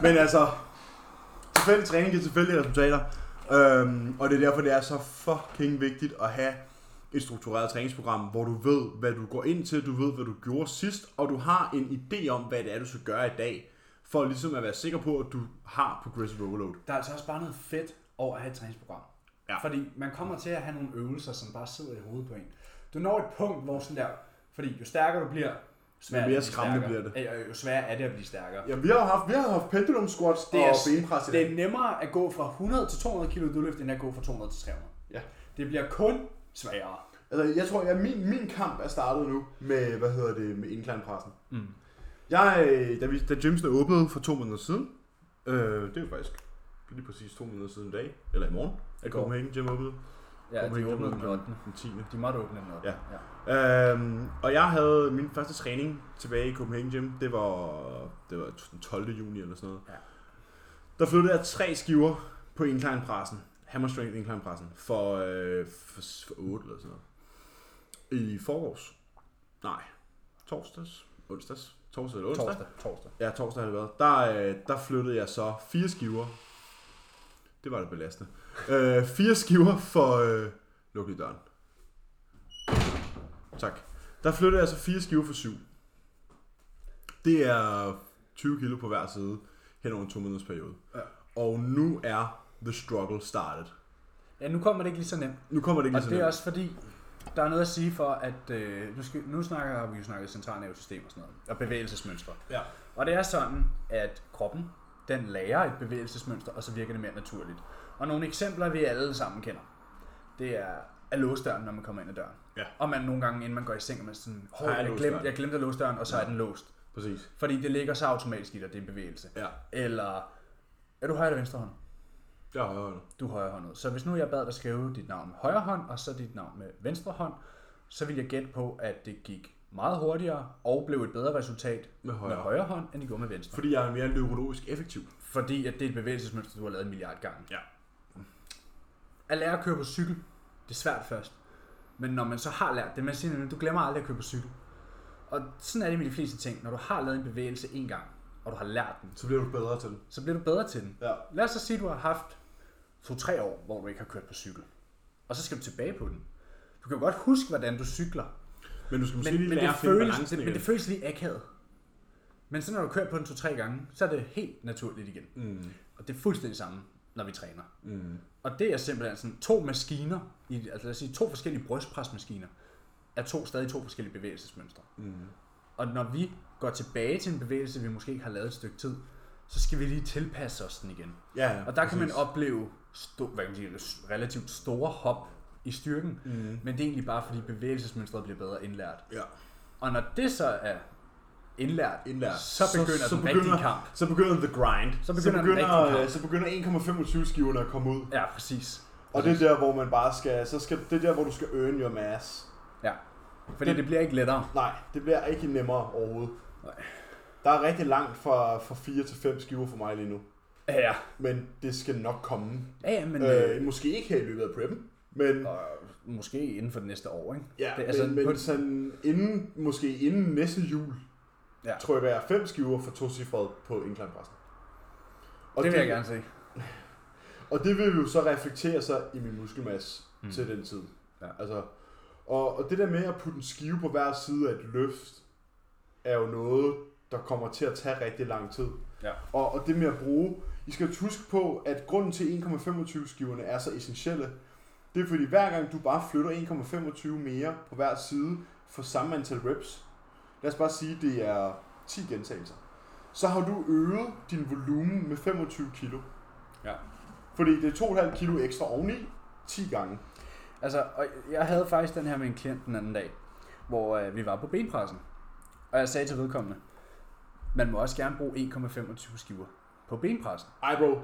S2: Men altså, tilfældig træning giver tilfældige resultater. Øhm, og det er derfor, det er så fucking vigtigt at have et struktureret træningsprogram, hvor du ved, hvad du går ind til, du ved, hvad du gjorde sidst, og du har en idé om, hvad det er, du skal gøre i dag, for ligesom at være sikker på, at du har progressive overload.
S1: Der er altså også bare noget fedt over at have et træningsprogram.
S2: Ja.
S1: Fordi man kommer til at have nogle øvelser, som bare sidder i hovedet på en. Du når et punkt, hvor sådan der, fordi jo stærkere du bliver, jo sværere
S2: mere
S1: er det at blive
S2: skræmmende
S1: stærkere. Ja, og Jo sværere er det at blive stærkere.
S2: Ja, vi har jo haft, vi har haft pendulum squats
S1: Det er,
S2: og benpres
S1: det
S2: i dag.
S1: er nemmere at gå fra 100 til 200 kilo dødløft, end at gå fra 200 til 300.
S2: Ja.
S1: Det bliver kun sværere.
S2: Altså, jeg tror, at min, min kamp er startet nu med, hvad hedder det, med incline-pressen. Mm. Jeg, øh, da, vi, da gymsene åbnede for to måneder siden, øh, det er jo faktisk lige præcis to måneder siden i dag, eller i morgen, at
S1: Går.
S2: Copenhagen Gym åbnede. Copenhagen Gym den 10.
S1: De måtte åbne den 8.
S2: Ja. Øhm, og jeg havde min første træning tilbage i Copenhagen Gym, det var, det var den 12. juni eller sådan noget.
S1: Ja.
S2: Der flyttede jeg tre skiver på incline-pressen, hammer strength incline-pressen, for, øh, for, for 8 eller sådan noget. I forårs. Nej, torsdags, onsdags, torsdag eller onsdag.
S1: Torsdag. Torsdag.
S2: Ja, torsdag har det været. Der, øh, der flyttede jeg så fire skiver. Det var det belastende. Øh, fire skiver for... Øh, luk lige døren. Tak. Der flyttede jeg så fire skiver for syv. Det er 20 kilo på hver side hen over en to måneders periode.
S1: Ja.
S2: Og nu er the struggle started.
S1: Ja, nu kommer det ikke lige så nemt.
S2: Nu kommer det ikke
S1: Og
S2: lige så
S1: det er
S2: nemt.
S1: også fordi, der er noget at sige for, at øh, nu, skal, nu snakker har vi jo snakket centralnervesystem og sådan noget, og bevægelsesmønstre.
S2: Ja.
S1: Og det er sådan, at kroppen, den lærer et bevægelsesmønster, og så virker det mere naturligt. Og nogle eksempler, vi alle sammen kender, det er at låse døren, når man kommer ind ad døren.
S2: Ja.
S1: Og man nogle gange, inden man går i seng, er man sådan, Hov,
S2: Har jeg
S1: jeg,
S2: låst
S1: glemte,
S2: døren?"
S1: jeg glemte at låse døren, og så er den låst.
S2: Præcis.
S1: Fordi det ligger så automatisk i dig, det er en bevægelse.
S2: Ja.
S1: Eller, er du højre eller venstre hånd?
S2: Det har jeg hørt.
S1: du er højrehåndet. Så hvis nu jeg bad dig skrive dit navn med højre hånd, og så dit navn med venstre hånd, så vil jeg gætte på, at det gik meget hurtigere og blev et bedre resultat
S2: Med højre.
S1: med højre hånd, end det gjorde med venstre.
S2: Fordi jeg er mere neurologisk effektiv.
S1: Fordi at det er et bevægelsesmønster, du har lavet en milliard gange.
S2: Ja.
S1: At lære at køre på cykel, det er svært først. Men når man så har lært det, man siger, nemlig, du glemmer aldrig at køre på cykel. Og sådan er det med de fleste ting. Når du har lavet en bevægelse en gang, og du har lært den,
S2: Så bliver du bedre til det.
S1: så bliver du bedre til den.
S2: Ja.
S1: Lad os så sige, at du har haft 2-3 år, hvor du ikke har kørt på cykel. Og så skal du tilbage på den. Du kan jo godt huske, hvordan du cykler.
S2: Men du skal måske
S1: Men,
S2: lige
S1: men,
S2: lære
S1: det,
S2: at finde
S1: føles,
S2: balancen
S1: det, men det
S2: igen.
S1: føles lige akavet. Men så når du kører på den 2-3 gange, så er det helt naturligt igen.
S2: Mm.
S1: Og det er fuldstændig samme, når vi træner.
S2: Mm.
S1: Og det er simpelthen sådan to maskiner, i, altså lad os sige to forskellige brystpresmaskiner, er to stadig to forskellige bevægelsesmønstre.
S2: Mm.
S1: Og når vi går tilbage til en bevægelse, vi måske ikke har lavet et stykke tid, så skal vi lige tilpasse os den igen.
S2: Ja, ja,
S1: Og der kan man
S2: præcis.
S1: opleve sto, hvad kan man sige, relativt store hop i styrken, mm. men det er egentlig bare fordi bevægelsesmønstret bliver bedre indlært.
S2: Ja.
S1: Og når det så er indlært,
S2: Indlært.
S1: så begynder så, den rigtige kamp.
S2: Så begynder the grind.
S1: Så begynder den rigtige kamp.
S2: så begynder 1,25 skiverne at komme ud.
S1: Ja, præcis.
S2: Og det er der, hvor man bare skal, så skal, det er der, hvor du skal earn your mass.
S1: Ja. Fordi det, det bliver ikke lettere.
S2: Nej, det bliver ikke nemmere overhovedet.
S1: Nej.
S2: Der er rigtig langt fra, fra 4 til 5 skiver for mig lige nu.
S1: Ja, ja.
S2: Men det skal nok komme.
S1: ja, ja men øh,
S2: Øh, måske ikke her i løbet af preppen, men,
S1: og måske inden for det næste år, ikke?
S2: ja,
S1: det, altså,
S2: men, men
S1: på,
S2: sådan inden, måske inden næste jul,
S1: Ja.
S2: trykker jeg 5 skiver for to cifret på incline-pressen.
S1: det, vil jeg gerne se.
S2: Og det vil jo så reflektere sig i min muskelmasse
S1: Mm.
S2: mm. til den tid.
S1: Ja.
S2: Altså, og, og det der med at putte en skive på hver side af et løft, er jo noget, der kommer til at tage rigtig lang tid.
S1: Ja.
S2: Og, og det med at bruge... I skal jo huske på, at grunden til 1,25 skiverne er så essentielle, Det er fordi, hver gang du bare flytter 1,25 mere på hver side for samme antal reps, lad os bare sige, det er 10 gentagelser, så har du øget din volumen med 25 kilo.
S1: Ja.
S2: Fordi det er 2,5 kilo ekstra oveni 10 gange.
S1: Altså, og jeg havde faktisk den her med en klient den anden dag, hvor øh, vi var på benpressen. Og jeg sagde til vedkommende, man må også gerne bruge 1,25 skiver på benpressen.
S2: Ej bro.
S1: Jo,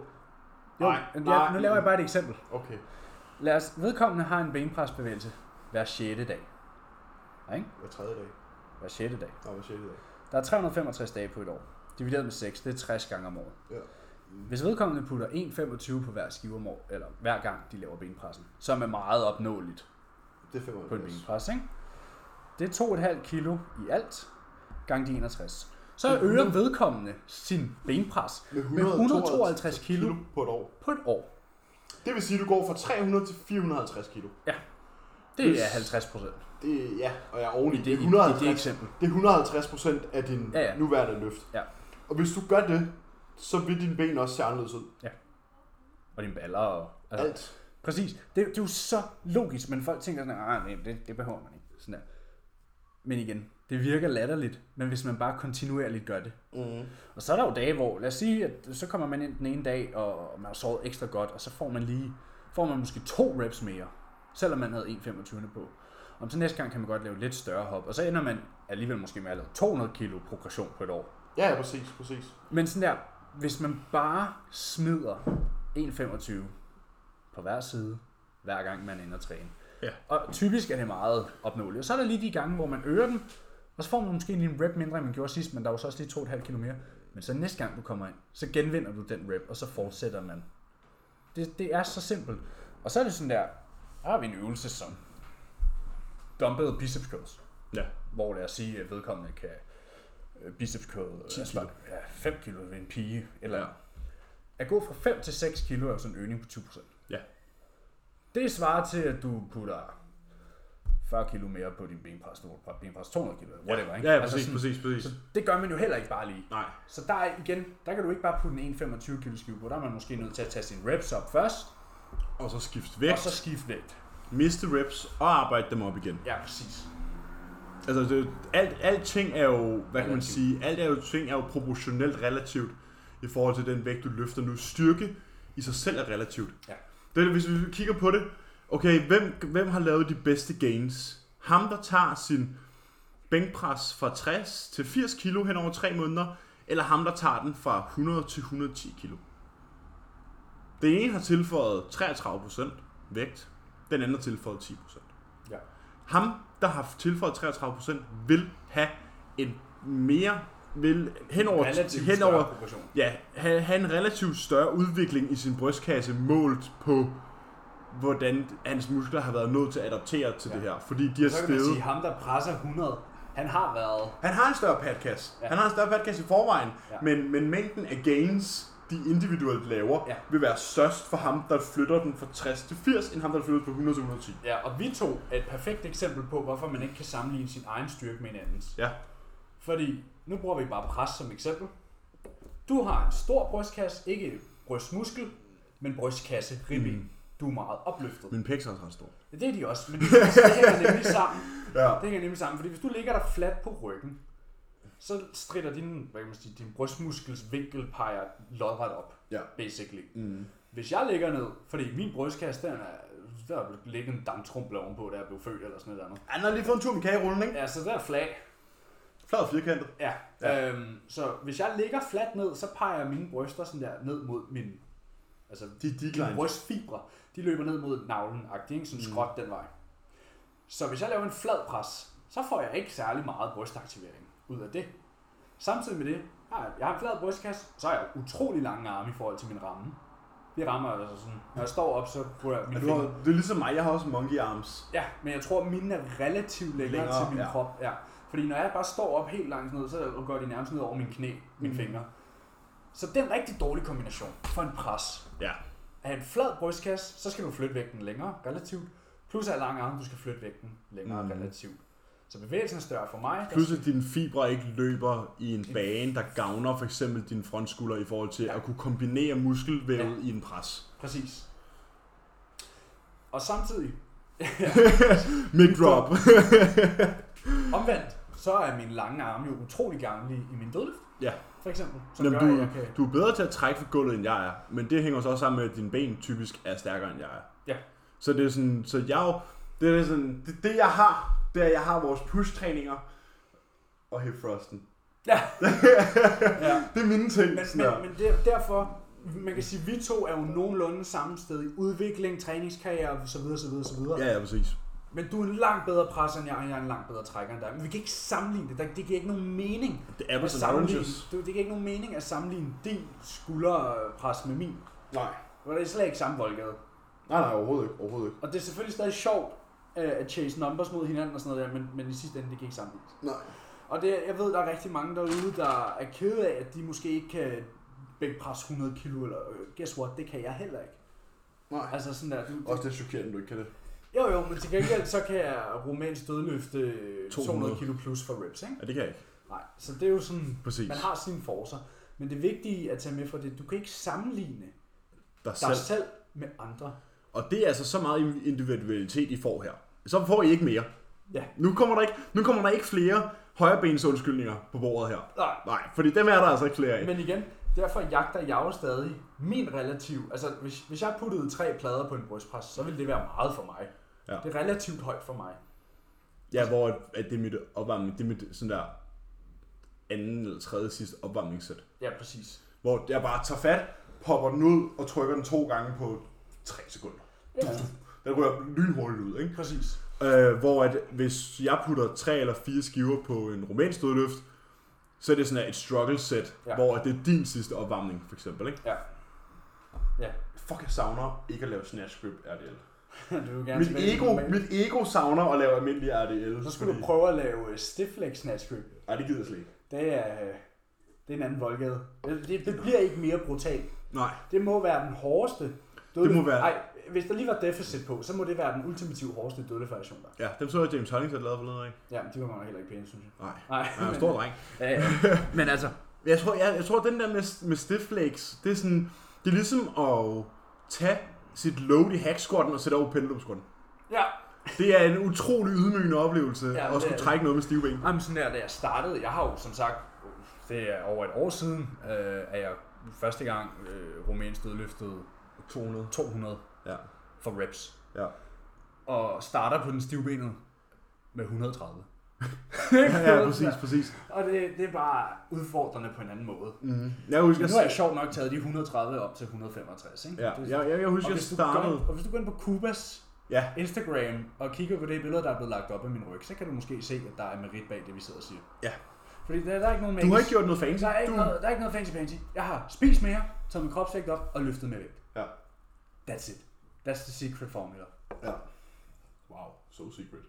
S2: Nej,
S1: men
S2: nej.
S1: jeg, nu laver jeg bare et eksempel.
S2: Okay.
S1: Lad os, vedkommende har en benpresbevægelse hver 6. dag. Ja, ikke?
S2: Hver tredje dag.
S1: Hver 6. dag.
S2: Nå, hver sjette dag.
S1: Der er 365 dage på et år. Divideret med 6, det er 60 gange om året.
S2: Ja.
S1: Hvis vedkommende putter 1,25 på hver skive om året, eller hver gang de laver benpressen, som er meget opnåeligt
S2: Det er
S1: på en
S2: 75.
S1: benpres, ikke? Det er 2,5 kilo i alt, gange de 61. Så
S2: Det er
S1: øger vedkommende sin benpres
S2: Med
S1: med 152 kilo
S2: på et år.
S1: på et år.
S2: Det vil sige, at du går fra 300 til 450 kilo.
S1: Det er 50 procent
S2: Det er, ja, og jeg er oven i.
S1: i
S2: Det,
S1: det, i,
S2: er
S1: i
S2: 150,
S1: det eksempel.
S2: det er 150 procent af din
S1: Ja, ja.
S2: nuværende løft.
S1: Ja.
S2: Og hvis du gør det, så vil dine ben også se anderledes ud.
S1: Og dine baller og... Altså,
S2: Alt.
S1: Præcis. Det, det er jo så logisk, men folk tænker sådan, "Ah, nej, det, det behøver man ikke. Sådan der. Men igen, det virker latterligt, men hvis man bare kontinuerligt gør det.
S2: Mm.
S1: Og så er der jo dage, hvor, lad os sige, at så kommer man ind den ene dag, og man har sovet ekstra godt, og så får man lige, får man måske to reps mere, selvom man havde 1,25 på. Om så næste gang kan man godt lave lidt større hop, og så ender man alligevel måske med at lave 200 kilo progression på et år.
S2: Ja, ja, præcis, præcis.
S1: Men sådan der, hvis man bare smider 1,25 på hver side, hver gang man ender at træne.
S2: Ja.
S1: Og typisk er det meget opnåeligt. Og så er der lige de gange, hvor man øger den, og så får man måske lige en rep mindre, end man gjorde sidst, men der er jo så også lige 2,5 kilo mere. Men så næste gang du kommer ind, så genvinder du den rep, og så fortsætter man. Det, det er så simpelt. Og så er det sådan der, der har vi en øvelse som dumbbell biceps curls
S2: Ja.
S1: hvor lad os sige, at vedkommende kan øh, biceps curl
S2: 10
S1: altså, ja, 5 kilo ved en pige. Eller
S2: Ja.
S1: ja. At gå fra 5 til 6 kilo er jo sådan en øgning på 20%.
S2: Ja.
S1: Det svarer til, at du putter 40 kilo mere på din benpres, du putter benpres 200 kilo, whatever, ikke? Altså
S2: Ja, ja præcis,
S1: sådan,
S2: præcis, præcis.
S1: Så det gør man jo heller ikke bare lige.
S2: Nej.
S1: Så der er igen, der kan du ikke bare putte en 1,25 kilo skive på, der er man måske nødt til at tage sine reps op først,
S2: Og så skift vægt,
S1: og så skifte vægt.
S2: miste reps og arbejde dem op igen.
S1: Ja, præcis.
S2: Altså, det, alt, alt ting er jo, hvad kan man
S1: Relativt.
S2: sige, alt er jo, ting er jo proportionelt relativt i forhold til den vægt, du løfter nu. Styrke i sig selv er relativt.
S1: Ja.
S2: Det, er det, hvis vi kigger på det, okay, hvem, hvem har lavet de bedste gains? Ham, der tager sin bænkpres fra 60 til 80 kilo hen over 3 måneder, eller ham, der tager den fra 100 til 110 kilo? Den ene har tilføjet 33% vægt, den anden har tilføjet 10%.
S1: Ja.
S2: Ham, der har tilføjet 33%, vil have en mere, vil hen over,
S1: Relativt
S2: hen
S1: større
S2: over
S1: proportion.
S2: ja, have, have en relativt større udvikling i sin brystkasse målt på, hvordan hans muskler har været nødt til at adaptere til ja.
S1: Ja.
S2: det her. Fordi de har
S1: Så kan man sige,
S2: steget.
S1: ham der presser 100, han har været
S2: Han har en større padkasse. Ja.
S1: Ja.
S2: Han har en større padkasse i forvejen. Ja.
S1: Ja.
S2: Men, men mængden af gains, de individuelt laver, ja.
S1: Ja.
S2: vil være størst for ham, der flytter den fra 60 til 80, end ham, der flytter den fra 100 til 110.
S1: Ja, og vi to er et perfekt eksempel på, hvorfor man ikke kan sammenligne sin egen styrke med en andens.
S2: Ja.
S1: Fordi, nu bruger vi bare pres som eksempel. Du har en stor brystkasse, ikke brystmuskel, men brystkasse, ribben. Mm. Du er meget opløftet.
S2: Min pæks er også ret stor.
S1: Ja, det er de også, men det hænger nemlig sammen.
S2: Ja.
S1: Det hænger nemlig sammen, fordi hvis du ligger der fladt på ryggen, så strider din, hvad kan man sige, din brystmuskels vinkel peger lodret op,
S2: Ja.
S1: basically.
S2: Mm.
S1: Hvis jeg ligger ned, fordi min brystkasse, den er, der er ligget en damptrumple ovenpå, da jeg blev født eller sådan noget andet.
S2: Han har lige fået en tur med kagerullen, ikke?
S1: Ja, så der er flag.
S2: Flad og firkantet.
S1: Ja.
S2: Ja.
S1: ja. Øhm, så hvis jeg ligger fladt ned, så peger mine bryster sådan der ned mod min... Altså,
S2: De er
S1: mine
S2: declined. Mm.
S1: brystfibre, de løber ned mod navlen ikke? Sådan skråt den vej. Så hvis jeg laver en flad pres, så får jeg ikke særlig meget brystaktivering ud af det. Samtidig med det, har jeg- jeg har en flad brystkasse, så har jeg utrolig lange arme i forhold til min ramme. Det rammer jeg altså sådan. Når jeg står op, så bruger jeg min
S2: Ja, du har,
S1: finger.
S2: det er ligesom mig, jeg har også monkey arms.
S1: Ja, men jeg tror, at mine er relativt længere,
S2: Længere,
S1: længere til min
S2: ja.
S1: ja. krop. Ja. Fordi når jeg bare står op helt langt ned, så går de nærmest ned over min knæ, mine
S2: Mm.
S1: mm. fingre. Så det er en rigtig dårlig kombination for en pres.
S2: Ja.
S1: At have en flad brystkasse, så skal du flytte vægten længere relativt. Plus at have lange arme, du skal flytte vægten længere
S2: Mm.
S1: mm. relativt. Så bevægelsen er større for mig.
S2: Plus at dine fibre ikke løber i en bane, der gavner for eksempel din frontskulder i forhold til at kunne kombinere muskelvævet ja. i en pres.
S1: Præcis. Og samtidig,
S2: Mic drop.
S1: omvendt, så er min lange arme jo utrolig gavnlig i min dødløft.
S2: Ja.
S1: For eksempel. Som
S2: Jamen,
S1: gør, at
S2: du,
S1: jeg kan...
S2: du er bedre til at trække for gulvet, end jeg er. Men det hænger så også sammen med, at dine ben typisk er stærkere, end jeg er.
S1: Ja.
S2: Så det er sådan, så jeg er jo, det er sådan, det, det jeg har, det er, at jeg har vores push-træninger og hip thrusten.
S1: Ja. ja.
S2: Det er mine ting.
S1: Men,
S2: sådan der.
S1: men, men der, derfor, man kan sige, at vi to er jo nogenlunde samme sted i udvikling, træningskarriere osv. Så videre, så videre, så videre.
S2: Ja, ja, præcis.
S1: Men du er en langt bedre presser end jeg, og jeg er en langt bedre trækker end dig. Men vi kan ikke sammenligne det. Der- Det giver ikke nogen mening
S2: Det er
S1: at
S2: apples and
S1: sammenligne.
S2: oranges.
S1: Det, det giver ikke nogen mening at sammenligne din skulderpres med min.
S2: Nej.
S1: For det er slet ikke samme voldgade.
S2: Nej, nej, overhovedet ikke. Overhovedet ikke.
S1: Og det er selvfølgelig stadig sjovt øh, at chase numbers mod hinanden og sådan noget der, men, men i sidste ende, det kan ikke sammenlignes.
S2: Nej.
S1: Og det, jeg ved, der er rigtig mange derude, der er kede af, at de måske ikke kan bækpresse 100 kilo, eller øh, guess what, det kan jeg heller ikke.
S2: Nej.
S1: Altså sådan der, du,
S2: Også det er chokerende, du ikke kan det.
S1: jo jo, men til gengæld, så kan jeg romansk dødløfte øh, 200
S2: 200
S1: kilo plus for reps, ikke?
S2: Ja, det kan jeg ikke.
S1: Nej, så det er jo sådan,
S2: Præcis.
S1: man har sine forser. Men det vigtige at tage med for det, du kan ikke sammenligne
S2: Der
S1: dig
S2: selv.
S1: selv med andre.
S2: Og det er altså så meget individualitet, I får her. Så får I ikke mere.
S1: Ja.
S2: Nu kommer der ikke, nu kommer der ikke flere højrebens undskyldninger på bordet her.
S1: Nej,
S2: Nej, fordi dem er der altså ikke flere af.
S1: Men igen, derfor jagter jeg jo stadig min relativ. Altså, hvis, hvis jeg puttede tre plader på en brystpres, så ville det være meget for mig.
S2: Ja.
S1: Det er relativt højt for mig.
S2: Ja, hvor at, at det er mit opvarmning, det er mit sådan der anden eller tredje sidste opvarmningssæt.
S1: Ja, præcis.
S2: Hvor jeg bare tager fat, popper den ud og trykker den to gange på 3 sekunder.
S1: Ja.
S2: Den rører lynhurtigt ud, ikke?
S1: Præcis.
S2: Øh, hvor at, hvis jeg putter tre eller fire skiver på en rumænsk dødløft, så er det sådan her et struggle set,
S1: Ja.
S2: ja. hvor at det er din sidste opvarmning, for eksempel, ikke?
S1: Ja. Ja,
S2: Fuck, jeg savner ikke at lave snatch grip RDL.
S1: du vil gerne
S2: Mit
S1: tilbage til
S2: ego,
S1: normalen.
S2: mit ego savner at lave almindelig RDL.
S1: Så skulle du prøve at lave øh, stiff leg snatch grip.
S2: Nej, det gider jeg slet ikke.
S1: Det er, øh, det er en anden voldgade. Det, det, det bliver ikke mere brutalt.
S2: Nej.
S1: Det må være den hårdeste
S2: Det må være-
S1: Nej, hvis der lige var deficit på, så må det være den ultimative hårdeste dødlefariation der.
S2: Ja, dem så jeg James Hollings havde lavet forleden, ikke?
S1: Ja, men de var godt nok heller ikke pæne, synes jeg.
S2: Nej.
S1: Nej,
S2: Han er en stor dreng.
S1: Ja, ja. Men altså,
S2: Jeg tror, jeg, jeg tror den der med, med stiff legs, det er sådan, det er ligesom at tage sit load i hacksquatten og sætte over pendulum squatten.
S1: ja,
S2: Det er en utrolig ydmygende oplevelse
S1: men
S2: ja,
S1: det
S2: at skulle
S1: er
S2: trække noget med stive ben.
S1: Jamen sådan der, da jeg startede, jeg har jo som sagt, det er over et år siden, øh, at jeg første gang øh, rumænsk dødløftede
S2: 200.
S1: 200
S2: Ja.
S1: for reps.
S2: Ja.
S1: Og starter på den stivbenet med 130.
S2: Ja, ja, præcis, præcis.
S1: Og det, det er bare udfordrende på en anden måde.
S2: Mm. Jeg husker,
S1: Men
S2: jeg,
S1: nu har jeg sjovt nok taget de 130 op til 165, ikke?
S2: ja,
S1: Det-
S2: jeg, jeg, jeg husker,
S1: og,
S2: jeg
S1: hvis du går
S2: startede...
S1: ind, og hvis du går ind på Kubas
S2: Ja,
S1: Instagram og kigger på det billede, der er blevet lagt op af min ryg, så kan du måske se, at der er merit bag det, vi sidder og siger.
S2: Ja.
S1: Fordi der, der er ikke nogen
S2: du har
S1: manus.
S2: ikke gjort noget fancy.
S1: Der er, ikke
S2: Du...
S1: du... noget, der er ikke noget fancy fancy. Jeg har spist mere, taget min kropsvægt op og løftet med vægt.
S2: Ja.
S1: That's it. That's the secret formula.
S2: ja. Wow, so secret.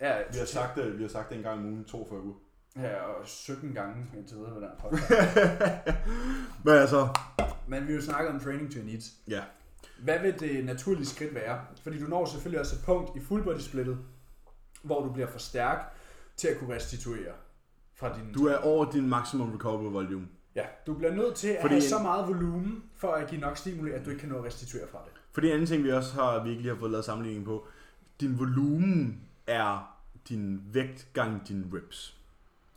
S1: Ja,
S2: Vi har sagt det, vi har sagt det en gang om ugen, 42 uger.
S1: ja og 17 gange indtil videre på den her podcast.
S2: Men altså...
S1: Men vi har jo snakket om training to your needs.
S2: Ja.
S1: Hvad vil det naturlige skridt være? Fordi du når selvfølgelig også et punkt i full body splittet, hvor du bliver for stærk til at kunne restituere fra din...
S2: Du er over din maximum recovery volume.
S1: Ja, du bliver nødt til at
S2: Fordi-
S1: have så meget volumen for at give nok stimuli, at du ikke kan nå at restituere fra det.
S2: For det anden ting, vi også har, vi ikke lige har fået lavet sammenligning på, din volumen er din vægt gange dine reps.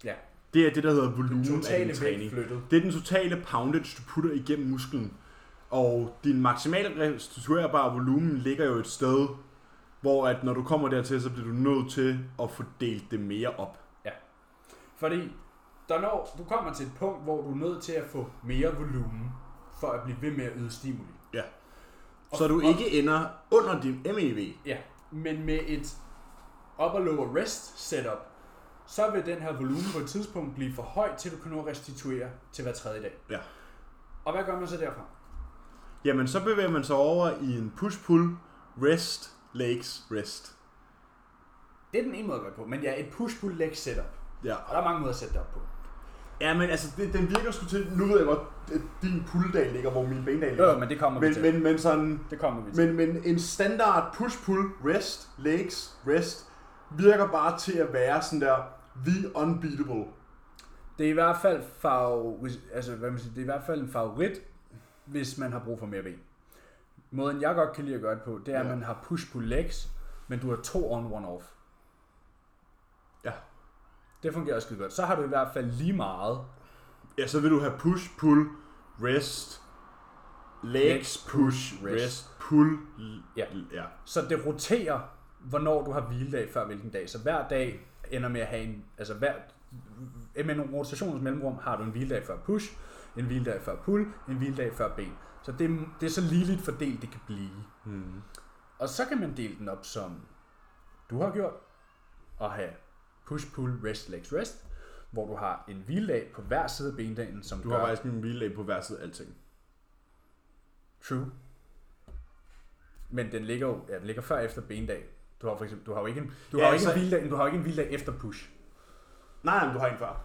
S1: Ja,
S2: Det er det, der hedder
S1: den
S2: volumen af
S1: totale
S2: din træning.
S1: vægt flyttet.
S2: Det er den totale poundage, du putter igennem musklen. Og din maksimale restituerbare volumen ligger jo et sted, hvor at når du kommer dertil, så bliver du nødt til at få delt det mere op.
S1: Fordi der når du kommer til et punkt, hvor du er nødt til at få mere volumen, for at blive ved med at yde stimuli.
S2: Ja. Så du ikke ender under din E MEV.
S1: Ja, men med et upper lower rest setup, så vil den her volumen på et tidspunkt blive for høj, til du kan nå at restituere til hver tredje dag.
S2: Ja.
S1: Og hvad gør man så derfra?
S2: Jamen, så bevæger man sig over i en push-pull, rest, legs, rest.
S1: Det er den ene måde at gøre det på, men ja, et push-pull leg setup.
S2: Ja.
S1: Og der er mange måder at sætte det op på.
S2: Ja, men altså, det, den virker sgu til... Nu ved jeg godt, at din pulldag ligger, hvor min benedag ligger.
S1: Jo, men det kommer vi
S2: men,
S1: til.
S2: men, men sådan...
S1: Det kommer vi til.
S2: Men, men en standard push-pull, rest, legs, rest, virker bare til at være sådan der, vi er unbeatable.
S1: Det er i hvert fald fav... hvis- altså, hvad man siger, det er i hvert fald en favorit, hvis man har brug for mere ben. Måden, jeg godt kan lide at gøre det på, det er, ja. at
S2: Ja.
S1: man har push-pull-legs, men du har to on, one off.
S2: Ja.
S1: Det fungerer skide godt. Så har du i hvert fald lige meget.
S2: Ja, så vil du have push, pull, rest, legs, push,
S1: rest.
S2: rest, pull. l-
S1: Ja.
S2: l- ja.
S1: Så det roterer, hvornår du har hviledag før hvilken dag. Så hver dag ender med at have en... Altså hver, med en rotationens mellemrum har du en hviledag før push, en hviledag før pull, en hviledag før ben. Så det, er- det er så ligeligt fordelt, det kan blive.
S2: Hmm.
S1: Og så kan man dele den op som du har gjort, og have push, pull, rest, legs, rest, hvor du har en hviledag på hver side af bendagen, som
S2: Du
S1: gør
S2: har faktisk en hviledag på hver side af alting.
S1: true. Men den ligger jo, ja, den ligger før og efter bendag. Du har for eksempel, du har jo ikke en, du
S2: Ja,
S1: ja, har jo ikke
S2: så-
S1: en hviledag, du har jo ikke en hviledag efter push.
S2: Nej, nej, men du har en før.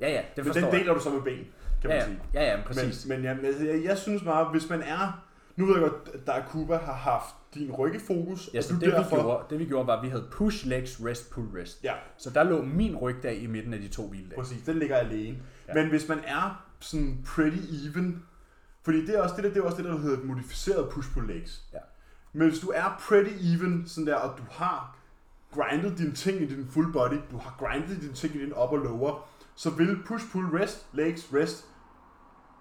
S1: Ja, ja, det
S2: Men
S1: forstår
S2: den
S1: jeg.
S2: deler du så med ben, kan man
S1: ja,
S2: sige.
S1: ja, ja, ja, præcis. Men,
S2: Men, men ja, men jeg, jeg synes meget, hvis man er... Nu ved jeg godt, at der Cuba har haft din ryggefokus,
S1: ja, så
S2: og
S1: det
S2: du
S1: vi, gjorde, det vi gjorde var, at vi havde push, legs, rest, pull, rest.
S2: Ja,
S1: Så der lå min rygdag i midten af de to hviledage.
S2: præcis. Den ligger alene.
S1: Ja.
S2: Ja. Men hvis man er sådan pretty even... Fordi det er også det, der, det er også det, der hedder et modificeret push på legs.
S1: Ja.
S2: Men hvis du er pretty even, sådan der, og du har grindet dine ting i din full body, du har grindet dine ting i din upper lower, så vil push, pull, rest, legs, rest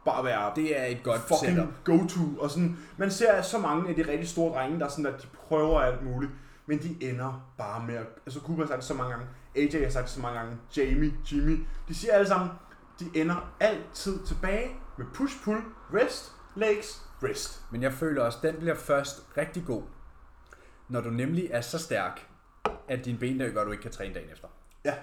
S2: bare være
S1: Det er et godt
S2: fucking
S1: setup.
S2: go-to. Og sådan, man ser så mange af de rigtig store drenge, der sådan, at de prøver alt muligt, men de ender bare med at... Altså, Cooper har sagt det så mange gange, AJ har sagt det så mange gange, Jamie, Jimmy, de siger alle sammen, de ender altid tilbage med push-pull, rest, legs, rest.
S1: Men jeg føler også, den bliver først rigtig god, når du nemlig er så stærk, at dine ben gør, at du ikke kan træne dagen efter.
S2: Ja,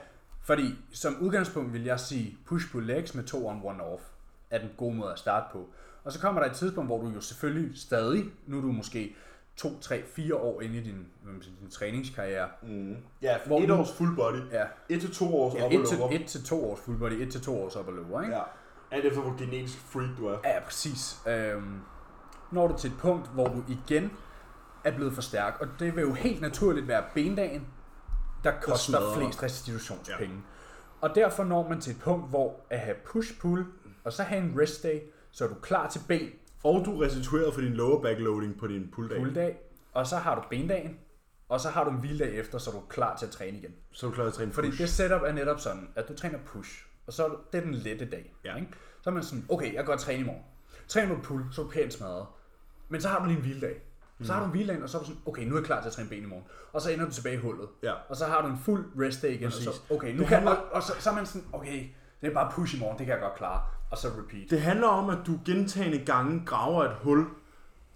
S1: Fordi som udgangspunkt vil jeg sige, push pull legs med to on one off er den gode måde at starte på. Og så kommer der et tidspunkt, hvor du jo selvfølgelig stadig, nu er du måske 2, 3, 4 år inde i din, hvad man siger, din træningskarriere,
S2: ja
S1: Mm. Hvor
S2: for et
S1: nu-
S2: års full body,
S1: ja,
S2: et til to års
S1: ja,
S2: upper
S1: et, til,
S2: lower.
S1: et til to års full body, et til to års upper lower, ikke?
S2: Ja, alt efter hvor genetisk freak du er.
S1: Ja, ja præcis. Øhm, når du til et punkt, hvor du igen er blevet for stærk, og det vil jo helt naturligt være bendagen, der koster
S2: smadrer.
S1: flest restitutionspenge. Ja. Og derfor når man til et punkt, hvor at have push-pull, og så have en rest day, så er du klar til ben
S2: Og du restituerer for din lower back loading på din pull day.
S1: pull dag, og så har du bendagen, og så har du en hviledag efter, så er du klar til at træne igen.
S2: Så er du klar til at træne
S1: Fordi
S2: push.
S1: det setup er netop sådan, at du træner push, og så er det er den lette dag.
S2: Ja.
S1: Ikke? Så er man sådan, okay, jeg kan godt træne i morgen. Træner du pull, så er du pænt smadret. Men så har du lige en hviledag. Så har du en hviledag, og så er du sådan, okay, nu er jeg klar til at træne ben i morgen. Og så ender du tilbage i hullet.
S2: Ja.
S1: Og så har du en fuld rest day igen. Og så,
S2: Præcis.
S1: okay, nu
S2: Det
S1: kan,
S2: handler-
S1: og, og så, så er man sådan, okay, det er bare push i morgen, det kan jeg godt klare. Og så repeat.
S2: Det handler om, at du gentagende gange graver et hul,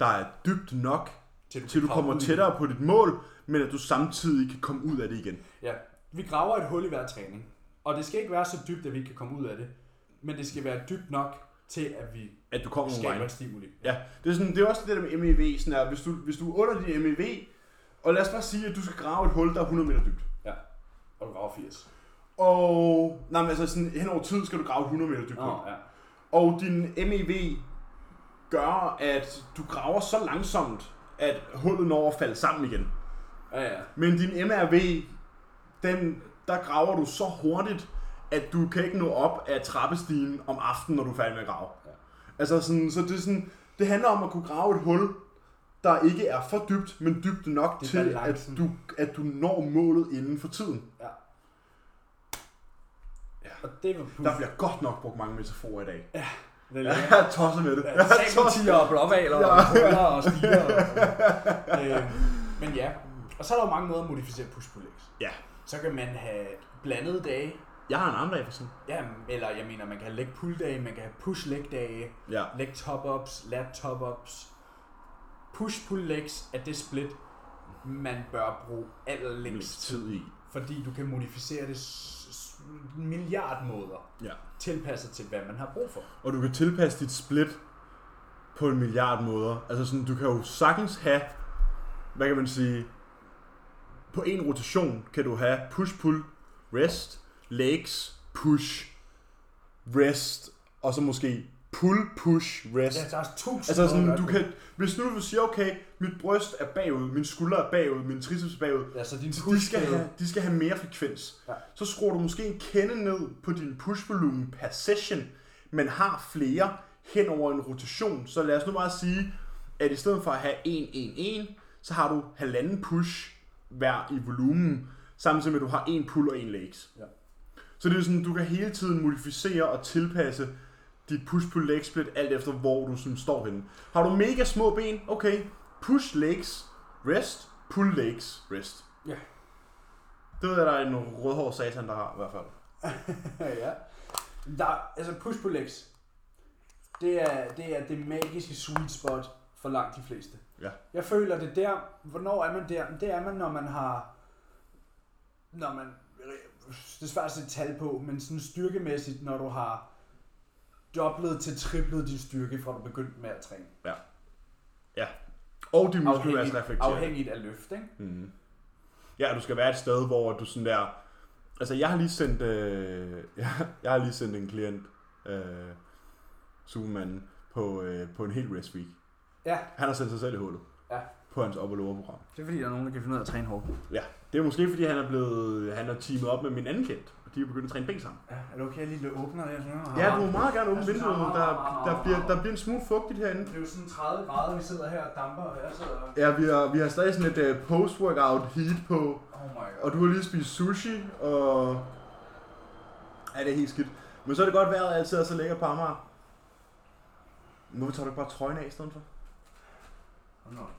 S2: der er dybt nok, til du, til du kommer tættere på dit mål, men at du samtidig kan komme ud af det igen.
S1: Ja, vi graver et hul i hver træning. Og det skal ikke være så dybt, at vi ikke kan komme ud af det. Men det skal være dybt nok til, at vi
S2: At du kommer nogle
S1: skaber
S2: vegne.
S1: et stimuli.
S2: Ja, det er, sådan, det er også det der med MEV, E sådan der, hvis, du, hvis du er under din MEV, og lad os bare sige, at du skal grave et hul, der er 100 meter dybt.
S1: Ja. Og du graver 80.
S2: Og nej, men altså sådan, hen over tid skal du grave et 100 meter dybt. hul.
S1: Nå, ja.
S2: Og din MEV gør, at du graver så langsomt, at hullet når at falde sammen igen.
S1: Ja, ja.
S2: Men din MRV, den, der graver du så hurtigt, at du kan ikke nå op af trappestigen om aftenen, når du er færdig med at grave.
S1: Ja.
S2: Altså sådan, så det, er sådan, det handler om at kunne grave et hul, der ikke er for dybt, men dybt nok
S1: Det er
S2: til, at
S1: balancen.
S2: du, at du når målet inden for tiden.
S1: ja. ja. Og det var puff.
S2: Der bliver godt nok brugt mange metaforer i dag. Ja,
S1: Det er
S2: jeg er tosset med det. Jeg er tosset.
S1: Sagbutier og blåvaler ja. og huller og stiger. Og sådan. øh, men ja. Og så er der jo mange måder at modificere push pull legs.
S2: Ja,
S1: Så kan man have blandede dage.
S2: jeg har en armdag for sådan.
S1: Ja, eller jeg mener, man kan have leg pull dage, man kan have push leg dage,
S2: Ja.
S1: leg top ups, lat top ups. Push pull legs er det split, man bør bruge allerlængst
S2: Mest tid i.
S1: fordi du kan modificere det s- s- milliard måder,
S2: Ja.
S1: tilpasset til, hvad man har brug for.
S2: og du kan tilpasse dit split på en milliard måder. Altså sådan, du kan jo sagtens have, hvad kan man sige, på en rotation kan du have push-pull, rest, legs, push, rest, og så måske pull-push, rest.
S1: Ja, der er tusind
S2: Altså sådan,
S1: måder
S2: du
S1: at gøre
S2: kan, hvis nu du siger, okay, mit bryst er bagud, min skulder er bagud, min triceps er bagud,
S1: det. Altså din
S2: så de
S1: push
S2: skal, have, øh, de skal have mere frekvens.
S1: Ja.
S2: Ja. Så skruer du måske en kende ned på din pushvolumen per session, men har flere hen over en rotation. Så lad os nu bare sige, at i stedet for at have 1-1-1, så har du halvanden push hver i volumen, samtidig med at du har en pull og en legs.
S1: Ja.
S2: Så det er sådan, du kan hele tiden modificere og tilpasse dit push-pull-leg split, alt efter hvor du sådan står henne. Har du mega små ben, okay, push legs, rest, pull legs, rest.
S3: Ja.
S2: Det ved jeg, der er en rødhård satan, der har i hvert fald.
S3: ja. Der, altså push på legs. Det er, det er det magiske sweet spot for langt de fleste.
S2: Ja.
S3: Jeg føler det der, hvornår er man der? Det er man, når man har, når man, det er svært at sætte tal på, men sådan styrkemæssigt, når du har dobblet til triplet din styrke, fra du begyndte med at træne.
S2: Og de muskler er
S3: Afhængigt,
S2: reflekterende.
S3: afhængigt af løft, ikke?
S2: Mm. Ja, du skal være et sted, hvor du sådan der... Altså, jeg har lige sendt, øh, jeg, jeg har lige sendt en klient, øh, Supermanden, på, øh, på en hel rest week.
S3: Ja.
S2: Han har sendt sig selv i hullet.
S3: Ja.
S2: På hans op- og program.
S3: Det er fordi, der er nogen, der kan finde ud af at træne hårdt.
S2: Det er måske, fordi han er blevet, han er teamet op med min anden klient, og de er begyndt at træne ben sammen.
S3: Ja, er det okay, jeg lige åbner det? Sådan,
S2: Ja, du må meget gerne åbne
S3: Jeg synes,
S2: vinduet.
S3: der er
S2: Der,
S3: meget, meget,
S2: der,
S3: meget,
S2: bliver,
S3: meget.
S2: der bliver en smule fugtigt herinde.
S3: Det er jo sådan 30 grader, vi sidder her og damper, og jeg sidder og...
S2: Ja, vi har, vi har stadig sådan et uh, post-workout heat på,
S3: Oh my god.
S2: Og du har lige spist sushi, og... Ja, det er helt skidt. Men så er det godt vejret altid er så lækker på Amager. Hvorfor tager du ikke bare trøjen af i stedet for?
S3: Hold nu op.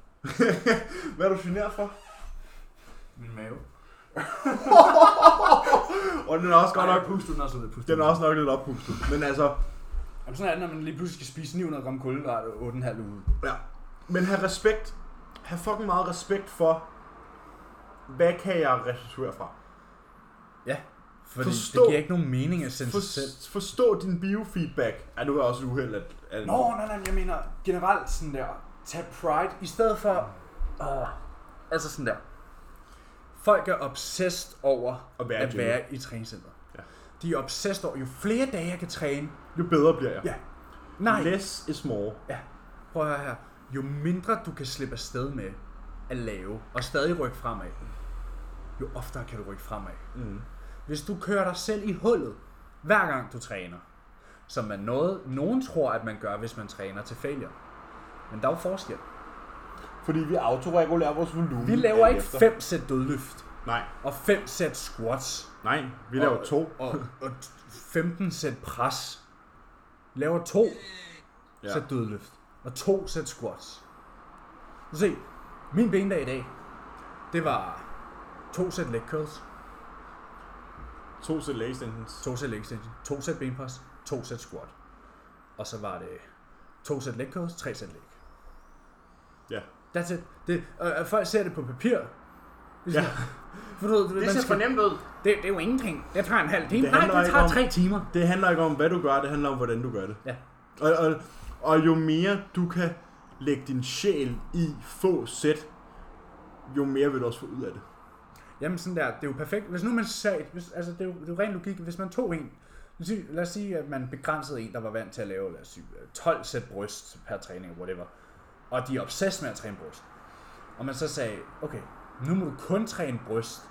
S2: Hvad er du generet for?
S3: Min mave.
S2: Og den er også godt nok...
S3: pustet, den er også lidt pustet.
S2: Den er også nok lidt oppustet. Men altså...
S3: Jamen, sådan er det, når man lige pludselig skal spise 900 gram kulhydrater 8,5 uge.
S2: Men have respekt. Have fucking meget respekt for... Hvad kan jeg restituere fra?
S1: Fordi Forstå.
S2: Forstå-
S1: det giver ikke nogen mening at sende
S2: For,
S1: sig selv.
S2: forstå din biofeedback. Ja, nu er jeg også et uheld, at... at
S3: Nå, nej, nej, men jeg mener generelt sådan der. Tag pride i stedet for... Åh,
S1: Altså sådan der. Folk er obsessed over
S2: at være,
S1: at
S2: at
S1: være i træningscenter.
S2: Ja.
S1: De er obsessed over, jo flere dage jeg kan træne.
S2: Jo bedre bliver jeg.
S1: Ja. Nej,
S2: Less is more.
S1: prøv at høre her. Jo mindre du kan slippe afsted med at lave, og stadig rykke fremad, jo oftere kan du rykke fremad.
S2: Mm.
S1: Hvis du kører dig selv i hullet, hver gang du træner, som man noget, nogen tror, at man gør, hvis man træner til failure. Men der er jo forskel.
S2: Fordi vi autoregulerer vores volumen.
S1: Vi laver
S2: Mm, alt
S1: ikke
S2: efter.
S1: fem sæt dødløft,
S2: Nej,
S1: og fem sæt squats,
S2: nej. Vi laver
S1: Og-
S2: to.
S1: og, og 15 sæt pres. Laver to
S2: Ja.
S1: ja. sæt dødløft, og to sæt squats. Så se, min bendag i dag, det var to sæt leg curls,
S2: To sæt leg extensions.
S1: to sæt leg extension, to sæt benpres, to sæt squat. Og så var det to sæt leg curls, tre sæt leg.
S2: Ja.
S1: That's it. Det, og, og folk ser det på papir.
S2: Ja.
S1: For du, ved, man skal,
S2: nemt ud.
S1: det, det er jo ingenting. Det tager en halv time.
S2: Det
S1: Nej,
S2: handler
S1: det
S2: ikke
S1: tager
S2: om-
S1: tre timer.
S2: Det handler ikke om, hvad du gør, det handler om, hvordan du gør det.
S1: Ja.
S2: Og, og, og jo mere du kan lægge din sjæl i få sæt, jo mere vil du også få ud af det.
S1: Jamen sådan der, det er jo perfekt. Hvis nu man sagde, hvis, altså det er, jo, det er jo ren logik, hvis man tog en, lad os sige- lad os sige, at man begrænsede en, der var vant til at lave, lad os sige, 12 sæt bryst per træning, whatever, og de er obsessed med at træne bryst, og man så sagde, okay, nu må du kun træne bryst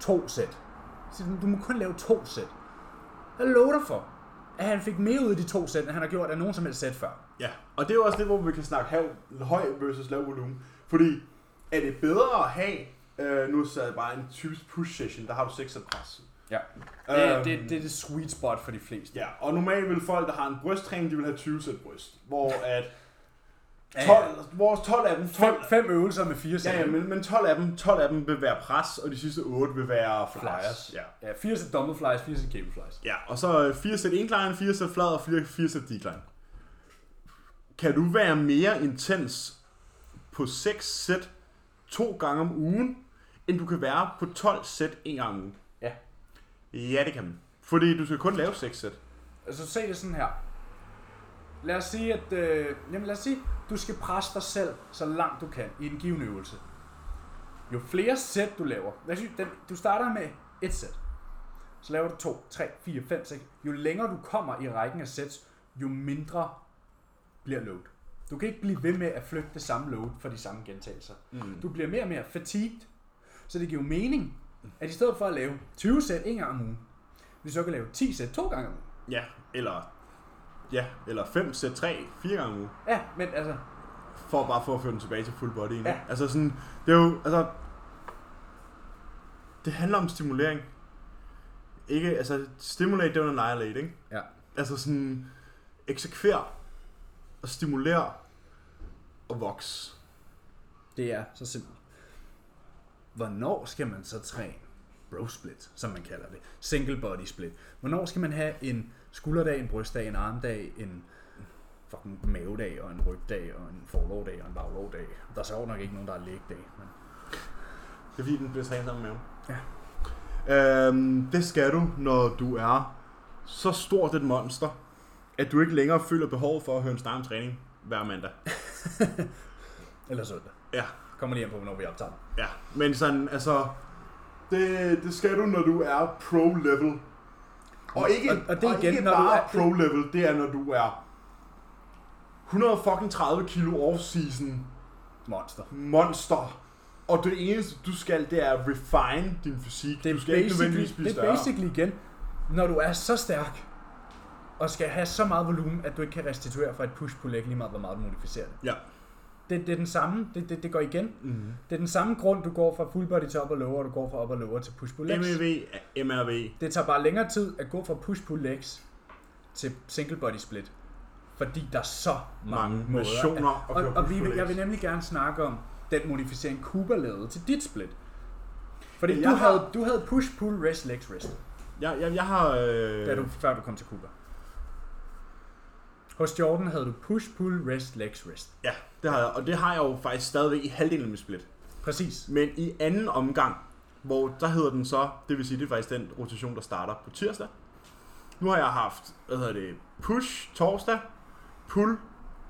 S1: to sæt. Så Du må kun lave to sæt. Jeg lover dig for, at han fik mere ud af de to sæt, end han har gjort af nogen som helst sæt før.
S2: Ja. Og det er jo også det, hvor vi kan snakke hav, høj versus lav volumen. Fordi er det bedre at have, øh, nu så jeg bare en typisk push session, der har du 6 sæt pres.
S1: Ja.
S2: Øhm.
S1: Det, det, det er det sweet spot for de fleste.
S2: Ja, og normalt vil folk, der har en brysttræning, de vil have 20 sæt bryst. Hvor at 12,
S1: Ja,
S2: vores 12 af dem,
S1: Fem,
S2: 12,
S1: fem øvelser med fire sæt.
S2: ja, ja, men, men 12 af dem, 12 af dem vil være pres, og de sidste 8 vil være flyers.
S1: Flyers.
S2: Ja.
S1: Ja, 4 sæt dumbbell flies, 4 sæt cable flies.
S2: ja, og så 4 sæt incline, 4 sæt flad og 4, 4 sæt decline. Kan du være mere intens på 6 sæt to gange om ugen, end du kan være på 12 sæt en gang om ugen?
S1: Ja.
S2: Ja, det kan man. Fordi du skal kun lave 6 sæt.
S1: Altså se det sådan her. Lad os sige, at øh, jamen, lad os sige, du skal presse dig selv så langt du kan i en given øvelse. Jo flere sæt du laver, lad os sige, den, du starter med et sæt. Så laver du to, tre, fire, fem, seks. Jo længere du kommer i rækken af sæt, jo mindre bliver load. Du kan ikke blive ved med at flytte det samme load for de samme gentagelser.
S2: Mm.
S1: Du bliver mere og mere fatigued. Så det giver jo mening, at i stedet for at lave 20 sæt en gang om ugen, vi så kan lave 10 sæt to gange om ugen.
S2: Ja, eller ja, eller 5 sæt 3, 4 gange om ugen,
S3: Ja, men altså,
S2: for bare for at føre den tilbage til full body. ikke?
S3: Ja.
S2: Altså sådan, det er jo, altså, det handler om stimulering. Ikke, altså, stimulate, det er jo en annihilate, ikke?
S1: Ja.
S2: Altså sådan, eksekver og stimulere og vokse.
S1: Det er så simpelt. Hvornår skal man så træne bro split, som man kalder det? Single body split. Hvornår skal man have en skulderdag, en brystdag, en armdag, en fucking mavedag og en rygdag og en forlovdag og en baglovdag. Der er så nok ikke nogen, der er lægdag. Men...
S2: Det er fordi, den bliver trænet sammen med maven.
S1: Ja.
S2: Øhm, det skal du, når du er så stort et monster, at du ikke længere føler behov for at høre en snak om træning hver mandag.
S1: Eller søndag.
S2: Ja.
S1: Kommer lige an på, hvornår vi optager. den.
S2: Ja, men sådan, altså... Det, det skal du, når du er pro-level. Og ikke,
S1: Og- og det igen,
S2: ikke
S1: når du
S2: bare
S1: er-
S2: pro-level, det er, når du er 130 kilo off-season
S1: Monster.
S2: monster. Og det eneste, du skal, det er at refine din fysik.
S1: Det er,
S2: du skal ikke nødvendigvis
S1: basically,
S2: blive
S1: det er
S2: større.
S1: basically igen, når du er så stærk, og skal have så meget volumen, at du ikke kan restituere fra et push-pull-leg, lige meget hvor meget du modificerer det.
S2: Ja.
S1: Det, det er den samme, det, det, det går igen.
S2: Mm-hmm.
S1: Det er den samme grund, du går fra full body til op og lower, og du går fra op og lower til push pull legs.
S2: MEV, MRV.
S1: Det tager bare længere tid at gå fra push pull legs til single body split. Fordi der er så mange,
S2: Mange
S1: måder.
S2: versioner
S1: at-
S2: at
S1: og,
S2: køre
S1: og vi,
S2: push-pull
S1: vil- jeg vil
S2: legs.
S1: nemlig gerne snakke om den modificering Cooper lavede til dit split. Fordi
S2: Jeg
S1: du,
S2: har-
S1: havde, du havde push pull rest legs rest,
S2: Jeg, jeg, jeg har... Øh,
S1: da du, før du kom til Cooper. Hos Jordan havde du push pull rest legs rest.
S2: Ja, det har jeg. Og det har jeg jo faktisk stadigvæk i halvdelen af min split.
S1: Præcis.
S2: Men i anden omgang, hvor der hedder den så, det vil sige, det er faktisk den rotation, der starter på tirsdag. Nu har jeg haft, hvad hedder det, push torsdag, pull,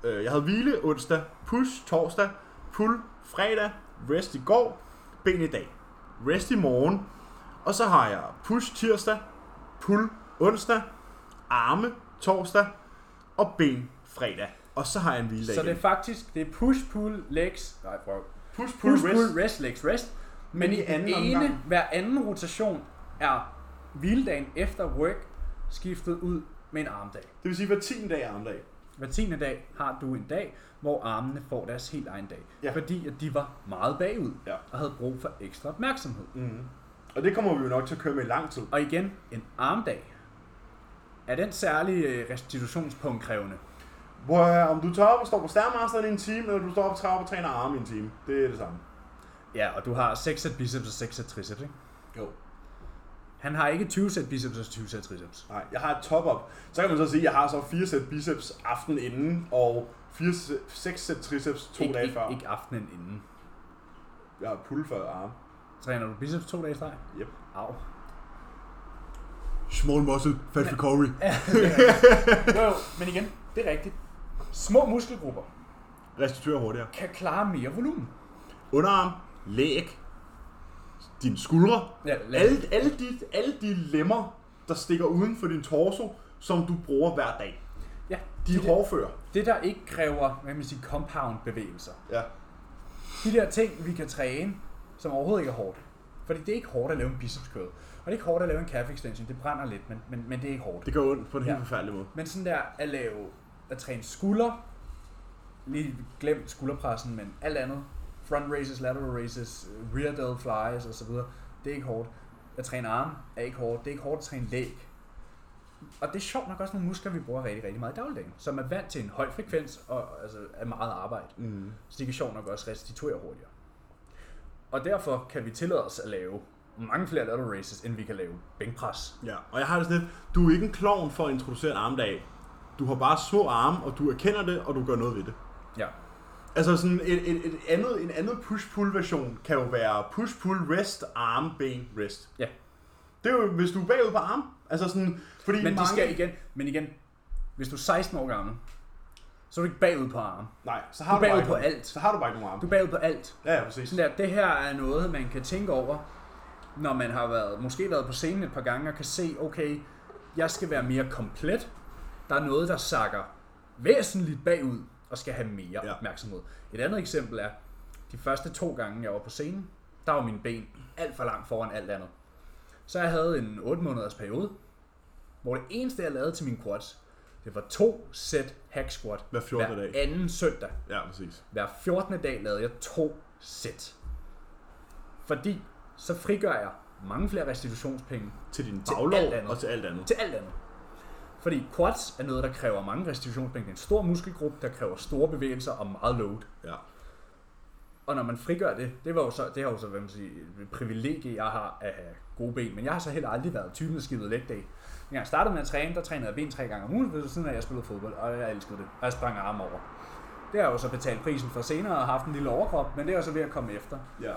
S2: øh, jeg havde hvile onsdag, push torsdag, pull fredag, rest i går, ben i dag, rest i morgen, og så har jeg push tirsdag, pull onsdag, arme torsdag og ben fredag. Og så har jeg en hviledag
S1: Så det er
S2: igen.
S1: faktisk, det er push pull legs. Nej, prøv.
S2: Push,
S1: push, pull, rest, legs, rest. Men i
S2: i anden
S1: anden ene,
S2: omgang.
S1: hver anden rotation er hviledagen efter work skiftet ud med en armdag.
S2: Det vil sige hver 10. dag er armdag.
S1: Hver tiende dag har du en dag, hvor armene får deres helt egen dag.
S2: Ja.
S1: Fordi at de var meget bagud
S2: Ja.
S1: og havde brug for ekstra opmærksomhed.
S2: Mm. Og det kommer vi jo nok til at køre med i lang tid.
S1: Og igen, en armdag er den særlige øh, restitutionspunkt krævende.
S2: Hvor øh, om du tager op og står på stærmasteren i en time, eller du står op og træner og træner arme i en time. Det er det samme.
S1: Ja, og du har 6 sæt biceps og 6 sæt triceps, ikke?
S2: Jo.
S1: Han har ikke 20 sæt biceps og 20 sæt triceps.
S2: Nej, jeg har et top-up. Så kan man så sige, at jeg har så fire sæt biceps aften inden, og fire sæt, seks sæt triceps to
S1: ikke,
S2: dage
S1: ikke,
S2: før.
S1: ikke aftenen inden.
S2: Jeg har pull for arme.
S1: Træner du biceps to dage i streg?
S2: Yep.
S1: Au.
S2: Small muscle, fat recovery.
S1: Jo, jo, men igen, det er rigtigt. Små muskelgrupper
S2: Restituer hurtigere.
S1: kan klare mere volumen.
S2: Underarm, læg, dine skuldre,
S1: Ja,
S2: alle, alle, de, alle de lemmer, der stikker uden for din torso, som du bruger hver dag.
S1: ja
S2: De
S1: de
S2: er
S1: det,
S2: hårdfører.
S1: det, der ikke kræver, hvad kan man sige, compound bevægelser.
S2: Ja.
S1: De der ting, vi kan træne, som overhovedet ikke er hårdt. Fordi det er ikke hårdt at lave en biceps curl. Og det er ikke hårdt at lave en calf extension. Det brænder lidt, men, men, men det er ikke hårdt.
S2: Det gør ondt på en helt
S1: Ja.
S2: forfærdelig måde.
S1: Men sådan der at lave, at træne skulder, lige glem skulderpressen, men alt andet, front raises, lateral raises, rear delt flies osv., det er ikke hårdt. At træne arme er ikke hårdt, det er ikke hårdt at træne læg. Og det er sjovt nok også nogle muskler, vi bruger rigtig, rigtig meget i dagligdagen, som er vant til en høj frekvens og altså, er meget arbejde.
S2: Mm.
S1: Så de kan sjovt nok også restituere hurtigere. Og derfor kan vi tillade os at lave mange flere lateral raises, end vi kan lave bænkpres.
S2: Ja, og jeg har det sådan lidt, du er ikke en klovn for at introducere en armdag. Du har bare små arme, og du erkender det, og du gør noget ved det.
S1: Ja.
S2: Altså sådan et, et, et andet, en andet push-pull version kan jo være push-pull rest, arm, ben, rest.
S1: Ja,
S2: Det er jo, hvis du er bagud på arm. Altså sådan, fordi
S1: Men de
S2: mange...
S1: skal igen, men igen, hvis du er 16 år gammel, så er du ikke bagud på armen.
S2: Nej, så
S1: Du
S2: har
S1: er
S2: du, bare
S1: bagud
S2: ikke
S1: på
S2: nogen-
S1: alt.
S2: Så har du bare ikke nogen arme.
S1: Du er bagud på alt.
S2: Ja, ja, præcis.
S1: Sådan der, det her er noget, man kan tænke over, når man har været, måske været på scenen et par gange og kan se, okay, jeg skal være mere komplet. Der er noget, der sakker væsentligt bagud og skal have mere
S2: Ja.
S1: ja. opmærksomhed. Et andet eksempel er, de første to gange, jeg var på scenen, der var mine ben alt for langt foran alt andet. Så jeg havde en 8 måneders periode, hvor det eneste, jeg lavede til min quads, Det var to sæt hack squat
S2: Hver 14.
S1: hver
S2: dag.
S1: anden søndag.
S2: Ja, præcis.
S1: Hver 14. dag lavede jeg to sæt. Fordi så frigør jeg mange flere restitutionspenge
S2: Til din
S1: Til alt
S2: baglov
S1: andet.
S2: og til alt andet.
S1: til alt andet. Fordi quads er noget, der kræver mange restitutionspenge. Det er en stor muskelgruppe, der kræver store bevægelser og meget load.
S2: Ja.
S1: Og når man frigør det, det, var jo så, det har jo så hvad man siger, et privilegie, jeg har at have gode ben. Men jeg har så heller aldrig været typen, der skidede leg day. Når jeg startede med at træne, der trænede jeg ben tre gange om ugen, ved siden af at jeg spillede fodbold, og jeg elskede det. Og jeg sprang arme over. Det har jeg jo så betalt prisen for senere og haft en lille overkrop, men det er jo så ved at komme efter.
S2: ja.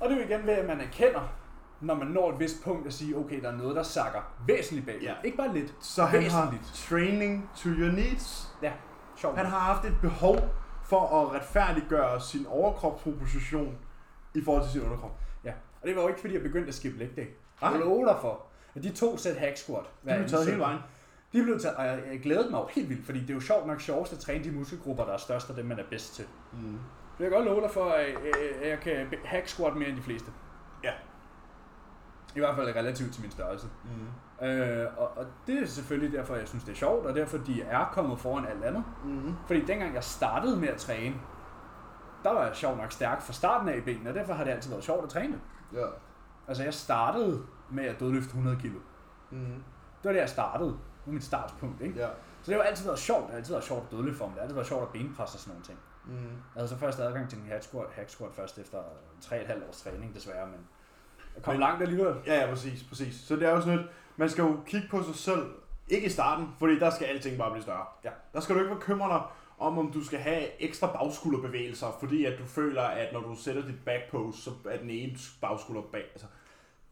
S3: Og det er jo igen ved, at man erkender, når man når et vist punkt at sige, okay, der er noget, der sakker væsentligt bagud.
S2: Ja.
S3: Ja. Ikke bare lidt.
S2: Så han har
S3: væsentligt.
S2: training to your needs.
S3: Ja, sjovt.
S2: Han har haft et behov for at retfærdiggøre sin overkropsproposition i forhold til sin underkrop.
S3: Ja. Og det var jo ikke, fordi jeg begyndte at skip leg day.
S2: Nej.
S3: Jeg lover dig for, at de to sæt hack squat.
S2: Du har taget hele vejen.
S3: De blev taget, og jeg, jeg glædede mig jo helt vildt, fordi det er jo sjovt nok sjovest at træne de muskelgrupper, der er størst og dem, man er bedst til. Mm. Det vil jeg godt love dig for, at øh, at jeg kan be- hack squat mere end de fleste.
S2: Ja.
S3: I hvert fald relativt til min størrelse. Mm. Øh, og, og det er selvfølgelig derfor, jeg synes, det er sjovt, og derfor de er kommet foran alt andet.
S2: Mm-hmm.
S3: Fordi dengang jeg startede med at træne, der var jeg sjov nok stærk fra starten af i benene, og derfor har det altid været sjovt at træne.
S2: Ja.
S3: Altså jeg startede med at dødløfte 100 kilo.
S2: Mm-hmm.
S3: Det var det, jeg startede. Det var mit startpunkt, ikke?
S2: Ja.
S3: Så det har jo altid været sjovt. Det har altid været sjovt at dødløfte for mig. Det har altid været sjovt at benpresse og sådan nogle ting.
S2: Mm.
S3: Jeg havde så først adgang til en hack squat, hack squat først efter 3,5 års træning, desværre, men jeg kom
S2: Men-
S3: men, langt alligevel.
S2: Ja, ja, præcis, præcis. Så det er jo sådan lidt, man skal jo kigge på sig selv, ikke i starten, fordi der skal alting bare blive større.
S3: Ja.
S2: Der skal du ikke bekymre dig om, om du skal have ekstra bagskulderbevægelser, fordi at du føler, at når du sætter dit back pose, så er den ene bagskulder bag, altså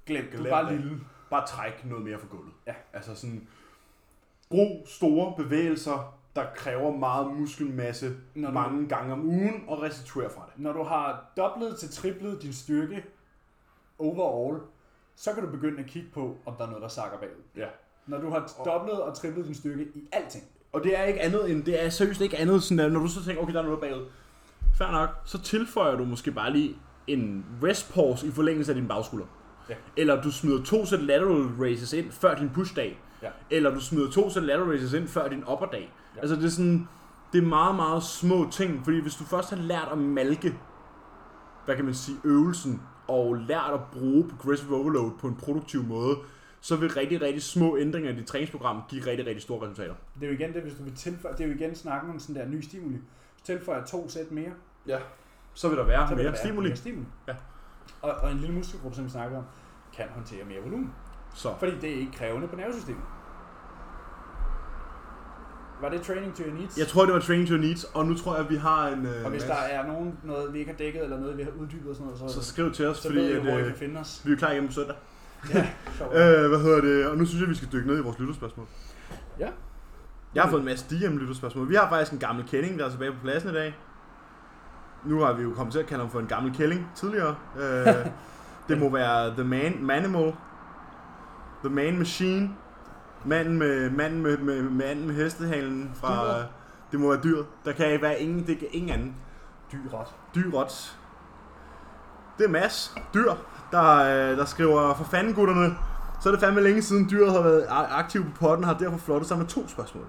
S3: Glem, du
S2: glem
S3: er bare
S2: det.
S3: lille.
S2: bare træk noget mere fra gulvet.
S3: Ja.
S2: Altså sådan, brug store bevægelser, der kræver meget muskelmasse
S3: Når du-
S2: mange gange om ugen, og restituer fra det.
S3: Når du har dobblet til triplet din styrke overall, så kan du begynde at kigge på, om der er noget, der sakker bagud.
S2: Ja.
S3: Når du har dobblet og triplet din styrke i alting.
S2: Og det er ikke andet end, det er seriøst ikke andet, sådan at når du så tænker, okay, der er noget bagud. Fair nok, så tilføjer du måske bare lige en rest pause i forlængelse af din bagskulder.
S3: Ja.
S2: Eller du smider to sæt lateral raises ind før din push-dag.
S3: Ja.
S2: Eller du smider to sæt lateral raises ind før din upper-dag. Ja.
S3: Ja.
S2: Altså det er sådan, det er meget, meget små ting, fordi hvis du først har lært at malke, hvad kan man sige, øvelsen, og lært at bruge progressive overload på en produktiv måde, så vil rigtig, rigtig små ændringer i dit træningsprogram give rigtig, rigtig store resultater.
S3: Det er jo igen det, hvis du vil tilføje, det er jo igen snakken om sådan der ny stimuli. Så tilføjer jeg to sæt mere,
S2: Ja. Så vil der være
S3: så
S2: så
S3: vil
S2: mere
S3: der være
S2: stimuli.
S3: Mere stimuli.
S2: Ja.
S3: Og, og en lille muskelgruppe, som vi snakker om, kan håndtere mere volumen.
S2: Så.
S3: Fordi det er ikke krævende på nervesystemet. Var det training to your needs?
S2: Jeg tror, det var Training to Your Needs, og nu tror jeg, at vi har en... Øh,
S3: og hvis der er nogen, noget, vi ikke har dækket, eller noget, vi har uddybet og sådan noget, så,
S2: Så skriv til os,
S3: så
S2: fordi
S3: ved jeg,
S2: at,
S3: hvor I kan
S2: øh,
S3: finde os.
S2: vi er klar igen på søndag.
S3: Ja, sjovt.
S2: Øh, hvad hedder det? Og nu synes jeg, vi skal dykke ned i vores lytterspørgsmål.
S3: Ja.
S2: Jeg har fået en masse DM-lytterspørgsmål. Vi har faktisk en gammel kending, der er tilbage på pladsen i dag. Nu har vi jo kommet til at kalde ham for en gammel kælling tidligere. Øh, det må være The Man, Manimal. The Man Machine. Manden med, manden med, med, manden med hestehalen fra... øh,
S3: Dyret.
S2: Det må være dyr. Der kan ikke være ingen, det kan ingen anden.
S3: Dyret.
S2: Dyret. Det er Mads Dyr, der, øh, der skriver, for fanden gutterne, så er det fandme længe siden dyret har været a- aktiv på potten, har derfor flottet sig med to spørgsmål.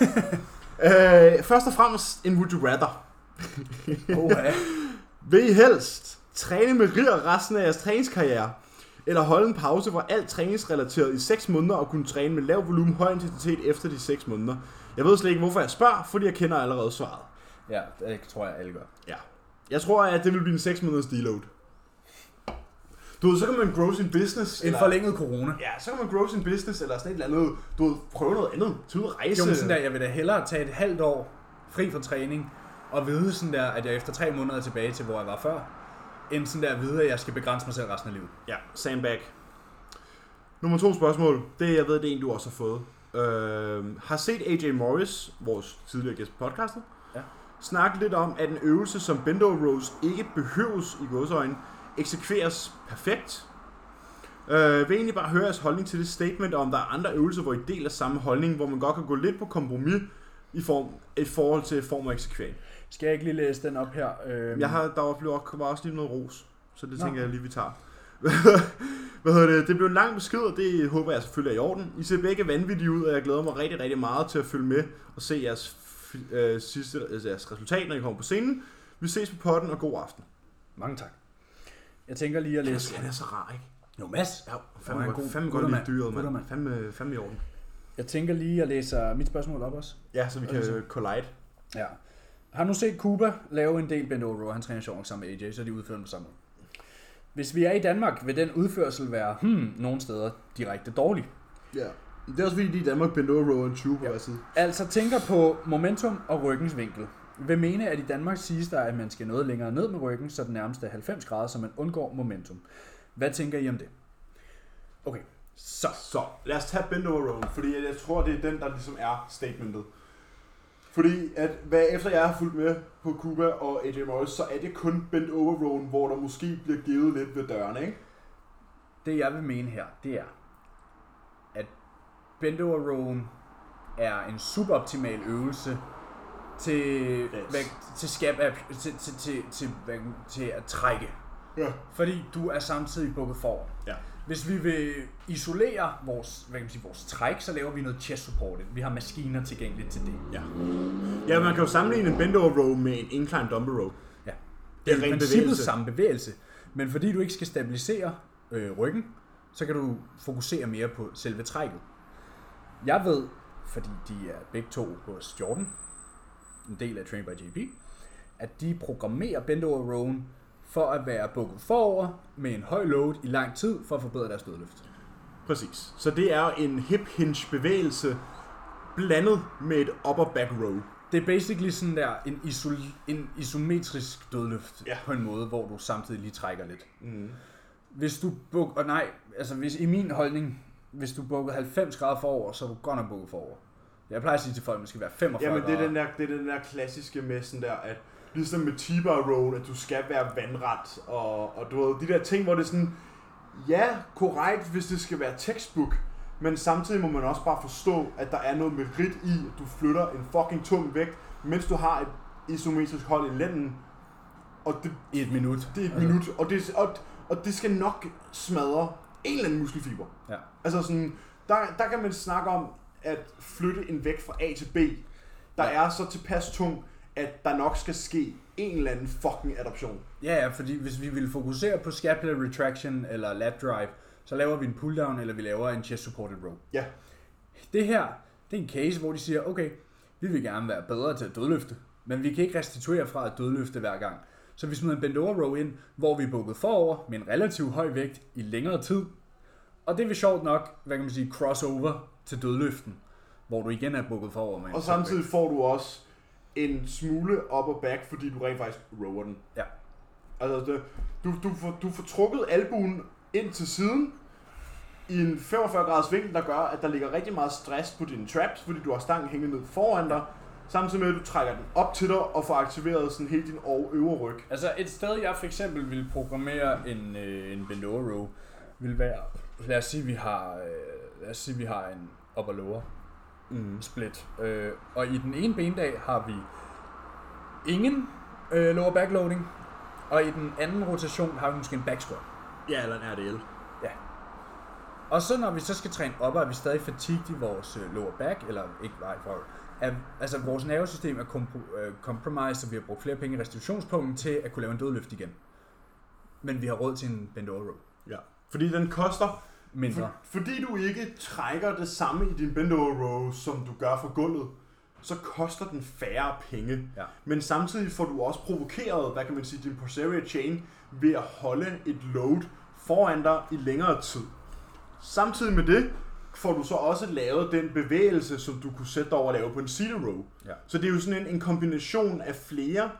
S2: øh, først og fremmest en would you rather.
S3: Oh, ja.
S2: Vil I helst træne med ridder resten af jeres træningskarriere, eller holde en pause fra alt træningsrelateret i 6 måneder og kunne træne med lav volumen høj intensitet efter de 6 måneder? Jeg ved slet ikke, hvorfor jeg spørger, fordi jeg kender allerede svaret.
S1: Ja, det tror jeg alle gør.
S2: Ja. Jeg tror, at det vil blive en 6 måneders deload. Du ved, så kan man grow sin business.
S1: En forlænget corona.
S2: Ja, så kan man grow sin business eller sådan et eller andet. Du ved, prøve noget andet. Til at rejse.
S1: Jo, men sådan der, jeg vil da hellere tage et halvt år fri fra træning, og vide sådan der, at jeg efter tre måneder er tilbage til, hvor jeg var før, end sådan der at vide, at jeg skal begrænse mig selv resten af livet.
S2: Ja, sandbag. Nummer to spørgsmål. Det jeg ved, det er en, du også har fået. Øh, har set AJ Morris, vores tidligere gæst på podcasten,
S1: Ja.
S2: snakke lidt om, at en øvelse som Bendo Rose ikke behøves i godsøjne, eksekveres perfekt. Øh, vil egentlig bare høre jeres holdning til det statement, og om der er andre øvelser, hvor I deler samme holdning, hvor man godt kan gå lidt på kompromis i, form, i forhold til form og eksekvering.
S3: Skal jeg ikke lige læse den op her? Øhm,
S2: Jeg har, der var blevet også, var også lige noget ros, så det
S3: Nå.
S2: tænker jeg lige, vi tager. Hvad hedder det? Det blev en lang besked, og det håber jeg selvfølgelig er i orden. I ser begge vanvittige ud, og jeg glæder mig rigtig, rigtig meget til at følge med og se jeres, fi- øh, sidste, altså jeres resultat, når I kommer på scenen. Vi ses på potten, og god aften.
S1: Mange tak. Jeg tænker lige at læse...
S2: Han er så rar, ikke?
S1: Jo, Mads.
S2: Ja,
S1: er
S2: fandme,
S1: en
S2: godt-
S1: god-
S2: fandme
S1: god
S2: godt lide
S1: mand.
S2: dyret,
S1: God
S2: mand.
S1: mand.
S2: Fandme, fandme i orden.
S1: Jeg tænker lige at læse øh, mit spørgsmål op også.
S2: Ja, så vi kan øh, collide.
S1: Ja. Har nu set Cooper lave en del bend over row, han træner sjov sammen med AJ, så de udfører den samme. måde. Hvis vi er i Danmark, vil den udførsel være, hmm, nogle steder direkte dårlig.
S2: Ja. Det er også fordi, de i Danmark bendte over row en 20 på hver side.
S1: Altså tænker på momentum og ryggens vinkel. Vil mene, at i Danmark siges der, at man skal noget længere ned med ryggen, så den nærmest er 90 grader, så man undgår momentum. Hvad tænker I om det? Okay, så.
S2: Så, lad os tage bend over row, fordi jeg tror, det er den, der ligesom er statementet. Fordi at, hvad efter jeg har fulgt med på Cuba og AJ Morris, så er det kun bend over row, hvor der måske bliver givet lidt ved dørene, ikke?
S1: Det jeg vil mene her, det er, at bend over rowen er en suboptimal øvelse til,
S2: Yes.
S1: hvad, til, skab af, til, til, til, til, hvad, til at trække.
S2: Ja.
S1: Fordi du er samtidig bukket forover.
S2: Ja.
S1: Hvis vi vil isolere vores, hvad kan man sige, vores træk, så laver vi noget chest support. Vi har maskiner tilgængeligt til det.
S2: Ja. Ja, man kan jo sammenligne en bend over row med en incline dumbbell row.
S1: Ja.
S2: Det
S1: Det
S2: er
S1: er i
S2: ren
S1: princippet
S2: bevægelse.
S1: samme bevægelse, men fordi du ikke skal stabilisere øh, ryggen, så kan du fokusere mere på selve trækket. Jeg ved, fordi de er begge to hos Jordan, en del af Train by JP, at de programmerer bend over rowen for at være bukket forover med en høj load i lang tid for at forbedre deres dødløft.
S2: Præcis. Så det er en hip hinge bevægelse blandet med et upper back row.
S1: Det er basically sådan der en, isol, en isometrisk dødløft ja.
S2: Ja. Mhm.
S1: på en måde, hvor du samtidig lige trækker lidt. Mm. Hvis du buk, og nej, altså hvis, i min holdning, hvis du bukker 90 grader forover, så er du godt nok bukket forover. Jeg plejer at sige til folk, at man skal være 45
S2: Jamen, det er,
S1: grader.
S2: den der, det er den der klassiske med sådan der, at ligesom med T-bar roll, at du skal være vandret, og, og du ved, de der ting, hvor det er sådan, ja, korrekt, hvis det skal være textbook, men samtidig må man også bare forstå, at der er noget merit i, at du flytter en fucking tung vægt, mens du har et isometrisk hold i lænden, og det,
S1: I et minut. Altså.
S2: det er et minut, og det, og, og det skal nok smadre en eller anden muskelfiber.
S1: Ja.
S2: Altså sådan, der, der kan man snakke om at flytte en vægt fra A til B, der
S1: Ja.
S2: ja. er så tilpas tung, at der nok skal ske en eller anden fucking adoption.
S1: ja, ja, fordi hvis vi ville fokusere på scapular retraction eller lat drive, så laver vi en pulldown, eller vi laver en chest supported row.
S2: Ja,
S1: Det her, det er en case, hvor de siger, okay, vi vil gerne være bedre til at dødløfte, men vi kan ikke restituere fra at dødløfte hver gang. Så vi smider en bend over row ind, hvor vi er bukket forover med en relativt høj vægt i længere tid. Og det vil sjovt nok, hvad kan man sige, crossover til dødløften, hvor du igen er bukket forover med en
S2: og
S1: tung
S2: samtidig
S1: vægt.
S2: får du også en smule op og back, fordi du rent faktisk rower den.
S1: Ja.
S2: Altså, det, du, du, får, du får trukket albuen ind til siden i en 45 graders vinkel, der gør, at der ligger rigtig meget stress på dine traps, fordi du har stangen hængende ned foran dig, samtidig med, at du trækker den op til dig og får aktiveret sådan hele din over- øvre ryg.
S1: Altså et sted, jeg for eksempel ville programmere en, øh, en bend over row, vil være, lad os sige, vi har, øh, lad os sige, vi har en upper lower
S2: Mm.
S1: split. Øh, og i den ene bendag har vi ingen øh, lower backloading, og i den anden rotation har vi måske en back squat.
S2: Ja, eller en RDL.
S1: Ja. Og så når vi så skal træne op, er vi stadig fatigued i vores øh, lower back, eller ikke nej, for, er, altså vores nervesystem er kompro, øh, compromised, så vi har brugt flere penge i restitutionspunkten til at kunne lave en dødløft igen. Men vi har råd til en bend over row.
S2: Ja. Fordi den koster,
S1: Mindre.
S2: for, fordi du ikke trækker det samme i din bend over row, som du gør fra gulvet, så koster den færre penge.
S1: Ja.
S2: Men samtidig får du også provokeret, hvad kan man sige, din posterior chain ved at holde et load foran dig i længere tid. Samtidig med det får du så også lavet den bevægelse, som du kunne sætte dig over at lave på en seated row.
S1: Ja.
S2: Så det er jo sådan en, en kombination af flere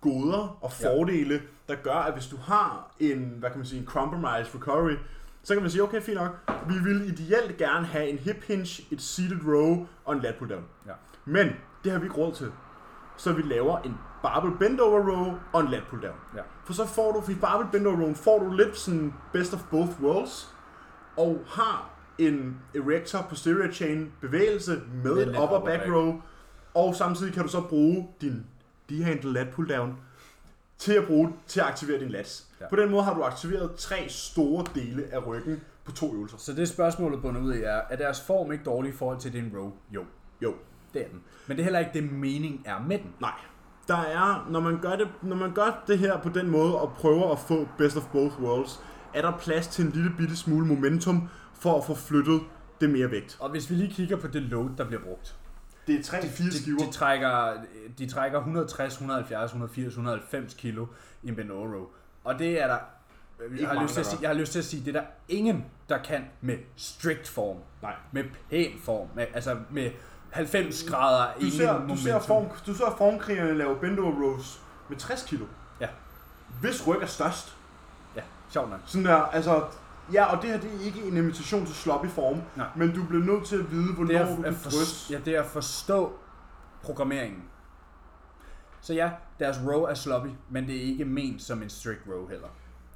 S2: goder og
S1: Ja.
S2: fordele, der gør, at hvis du har en, hvad kan man sige, en compromise recovery, så kan man sige, okay, fint nok, vi vil ideelt gerne have en hip hinge, et seated row og en lat pull down.
S1: Ja.
S2: Men det har vi ikke råd til. Så vi laver en barbell bend over row og en lat pull down.
S1: Ja.
S2: For så får du, for i barbell bend over row, får du lidt sådan best of both worlds, og har en erector posterior chain bevægelse med
S1: Med
S2: et
S1: lidt
S2: upper
S1: upper
S2: back
S1: back.
S2: row, og samtidig kan du så bruge din D-handle lat pull down til at bruge til at aktivere din lats.
S1: Ja.
S2: Ja. På den måde har du aktiveret tre store dele af ryggen på to øvelser.
S1: Så det spørgsmålet bundet ud i er, er deres form ikke dårlig i forhold til din row? Jo,
S2: Jo,
S1: det er den. Men det er heller ikke det, mening er med den.
S2: nej. Der er, når man, gør det, når man gør det her på den måde og prøver at få best of both worlds, er der plads til en lille bitte smule momentum for at få flyttet det mere vægt.
S1: Og hvis vi lige kigger på det load, der bliver brugt.
S2: Det er tre til fire
S1: De,
S2: skiver.
S1: de, trækker, de trækker 160, 170, 180, 190 kilo i en Benoro. Og det er der... Jeg har,
S2: mange,
S1: lyst til at
S2: der
S1: sige,
S2: gør.
S1: jeg har lyst til at sige, det er der ingen, der kan med strict form.
S2: Nej.
S1: Med pæn form. Med, altså med 90 grader
S2: Du
S1: ingen
S2: ser, du
S1: momentum.
S2: ser, form, du ser formkrigerne lave bendo rows med 60 kilo.
S1: Ja,
S2: Hvis ryg er størst,
S1: ja, sjovt nok.
S2: Sådan der, altså... Ja, og det her, det er ikke en invitation til sloppy form,
S1: Nej.
S2: men du bliver nødt til at vide, hvornår
S1: Det er,
S2: du
S1: at,
S2: kan
S1: for,
S2: drysse.
S1: ja, det er at forstå programmeringen. Så ja, deres row er sloppy, men det er ikke ment som en strict row heller.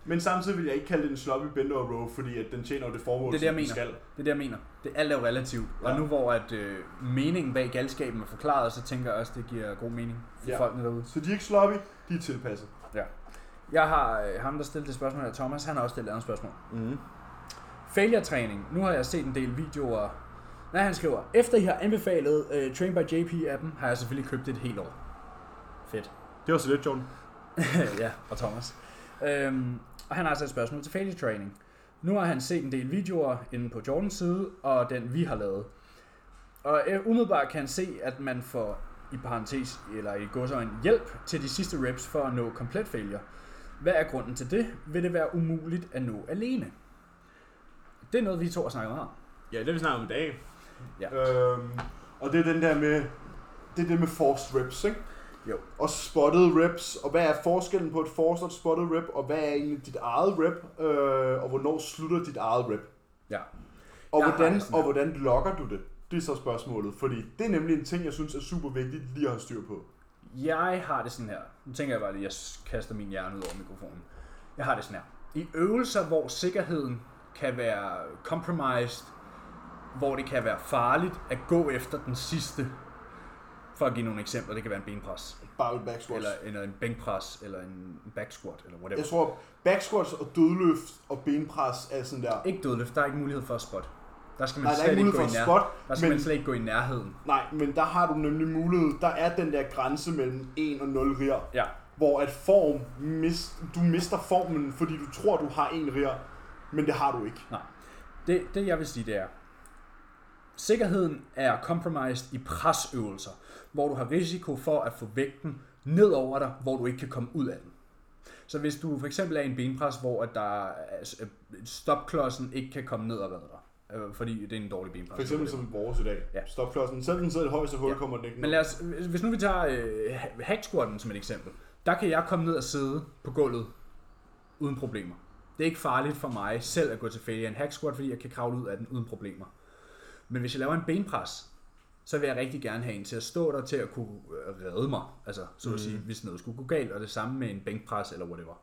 S2: Men samtidig vil jeg ikke kalde det en sloppy bend over row, fordi at den tjener jo det formål,
S1: Det er det, jeg
S2: som den
S1: mener.
S2: skal.
S1: Det er det, jeg mener. Det alt er jo relativt. Og
S2: Ja.
S1: nu hvor at øh, meningen bag galskaben er forklaret, så tænker jeg også, det giver god mening for ja.
S2: Ja.
S1: folkene derude.
S2: Så de er ikke sloppy, de er tilpasset.
S1: Ja. Jeg har øh, ham, der stillede det spørgsmål her, Thomas, han har også stillet et andet spørgsmål.
S2: Mm.
S1: Failure-træning. Nu har jeg set en del videoer. Nej, han skriver, efter I har anbefalet øh, Train by JP-appen, har jeg selvfølgelig købt det et helt år. Fedt.
S2: Det var så lidt, John.
S1: ja, og Thomas. Øhm, og han har altså et spørgsmål til failure training. Nu har han set en del videoer inde på Jordans side, og den vi har lavet. Og øh, umiddelbart kan han se, at man får i parentes, eller i godsøjen, hjælp til de sidste reps for at nå komplet failure. Hvad er grunden til det? Vil det være umuligt at nå alene? Det er noget, vi to har snakket meget om.
S2: Ja, det har vi snakket om i dag.
S1: Ja.
S2: Øhm, og det er den der med... Det er det med forced reps, ikke?
S1: Jo.
S2: Og spotted reps, og hvad er forskellen på et forced og et spotted rep, og hvad er egentlig dit eget rep, øh, og hvornår slutter dit eget rep?
S1: Ja.
S2: Og
S1: Jeg har
S2: hvordan,
S1: det sådan
S2: og
S1: her.
S2: hvordan logger du det? Det er så spørgsmålet, fordi det er nemlig en ting, jeg synes er super vigtigt lige at have styr på.
S1: Jeg har det sådan her. Nu tænker jeg bare lige, at jeg kaster min hjerne ud over mikrofonen. Jeg har det sådan her. I øvelser, hvor sikkerheden kan være compromised, hvor det kan være farligt at gå efter den sidste, for at give nogle eksempler, det kan være en benpres,
S2: Barbell back squats.
S1: eller, eller en bænkpres, eller en back squat, eller whatever.
S2: Jeg tror, back squats og dødløft og benpres er sådan der.
S1: Ikke dødløft, der er ikke mulighed for at spot. Der skal man
S2: Nej, der er
S1: slet
S2: ikke
S1: ikke
S2: mulighed
S1: gå i
S2: for at
S1: nærheden.
S2: spot,
S1: Der skal
S2: men,
S1: man slet ikke gå i nærheden.
S2: nej, men der har du nemlig mulighed. Der er den der grænse mellem 1 og 0 rier,
S1: Ja,
S2: hvor at form mist, du mister formen, fordi du tror, du har en rier, men det har du ikke.
S1: Nej. Det, det jeg vil sige, det er, sikkerheden er compromised i presøvelser, hvor du har risiko for at få vægten ned over dig, hvor du ikke kan komme ud af den. Så hvis du for eksempel er i en benpres, hvor at der er- øh, stopklodsen ikke kan komme ned og redde dig, øh, fordi det er en dårlig benpres.
S2: For eksempel som vores i dag.
S1: Ja.
S2: Stopklodsen. Selv den sidder i det højeste hul,
S1: Ja.
S2: kommer den ikke
S1: Men
S2: ned.
S1: lad os, hvis nu vi tager øh, ha- hack squatten som et eksempel, der kan jeg komme ned og sidde på gulvet uden problemer. Det er ikke farligt for mig selv at gå til failure i en hack squat, fordi jeg kan kravle ud af den uden problemer. Men hvis jeg laver en benpres, så vil jeg rigtig gerne have en til at stå der til at kunne øh, redde mig. Altså, så at sige, hvis noget skulle gå galt, og det samme med en bænkpres eller whatever.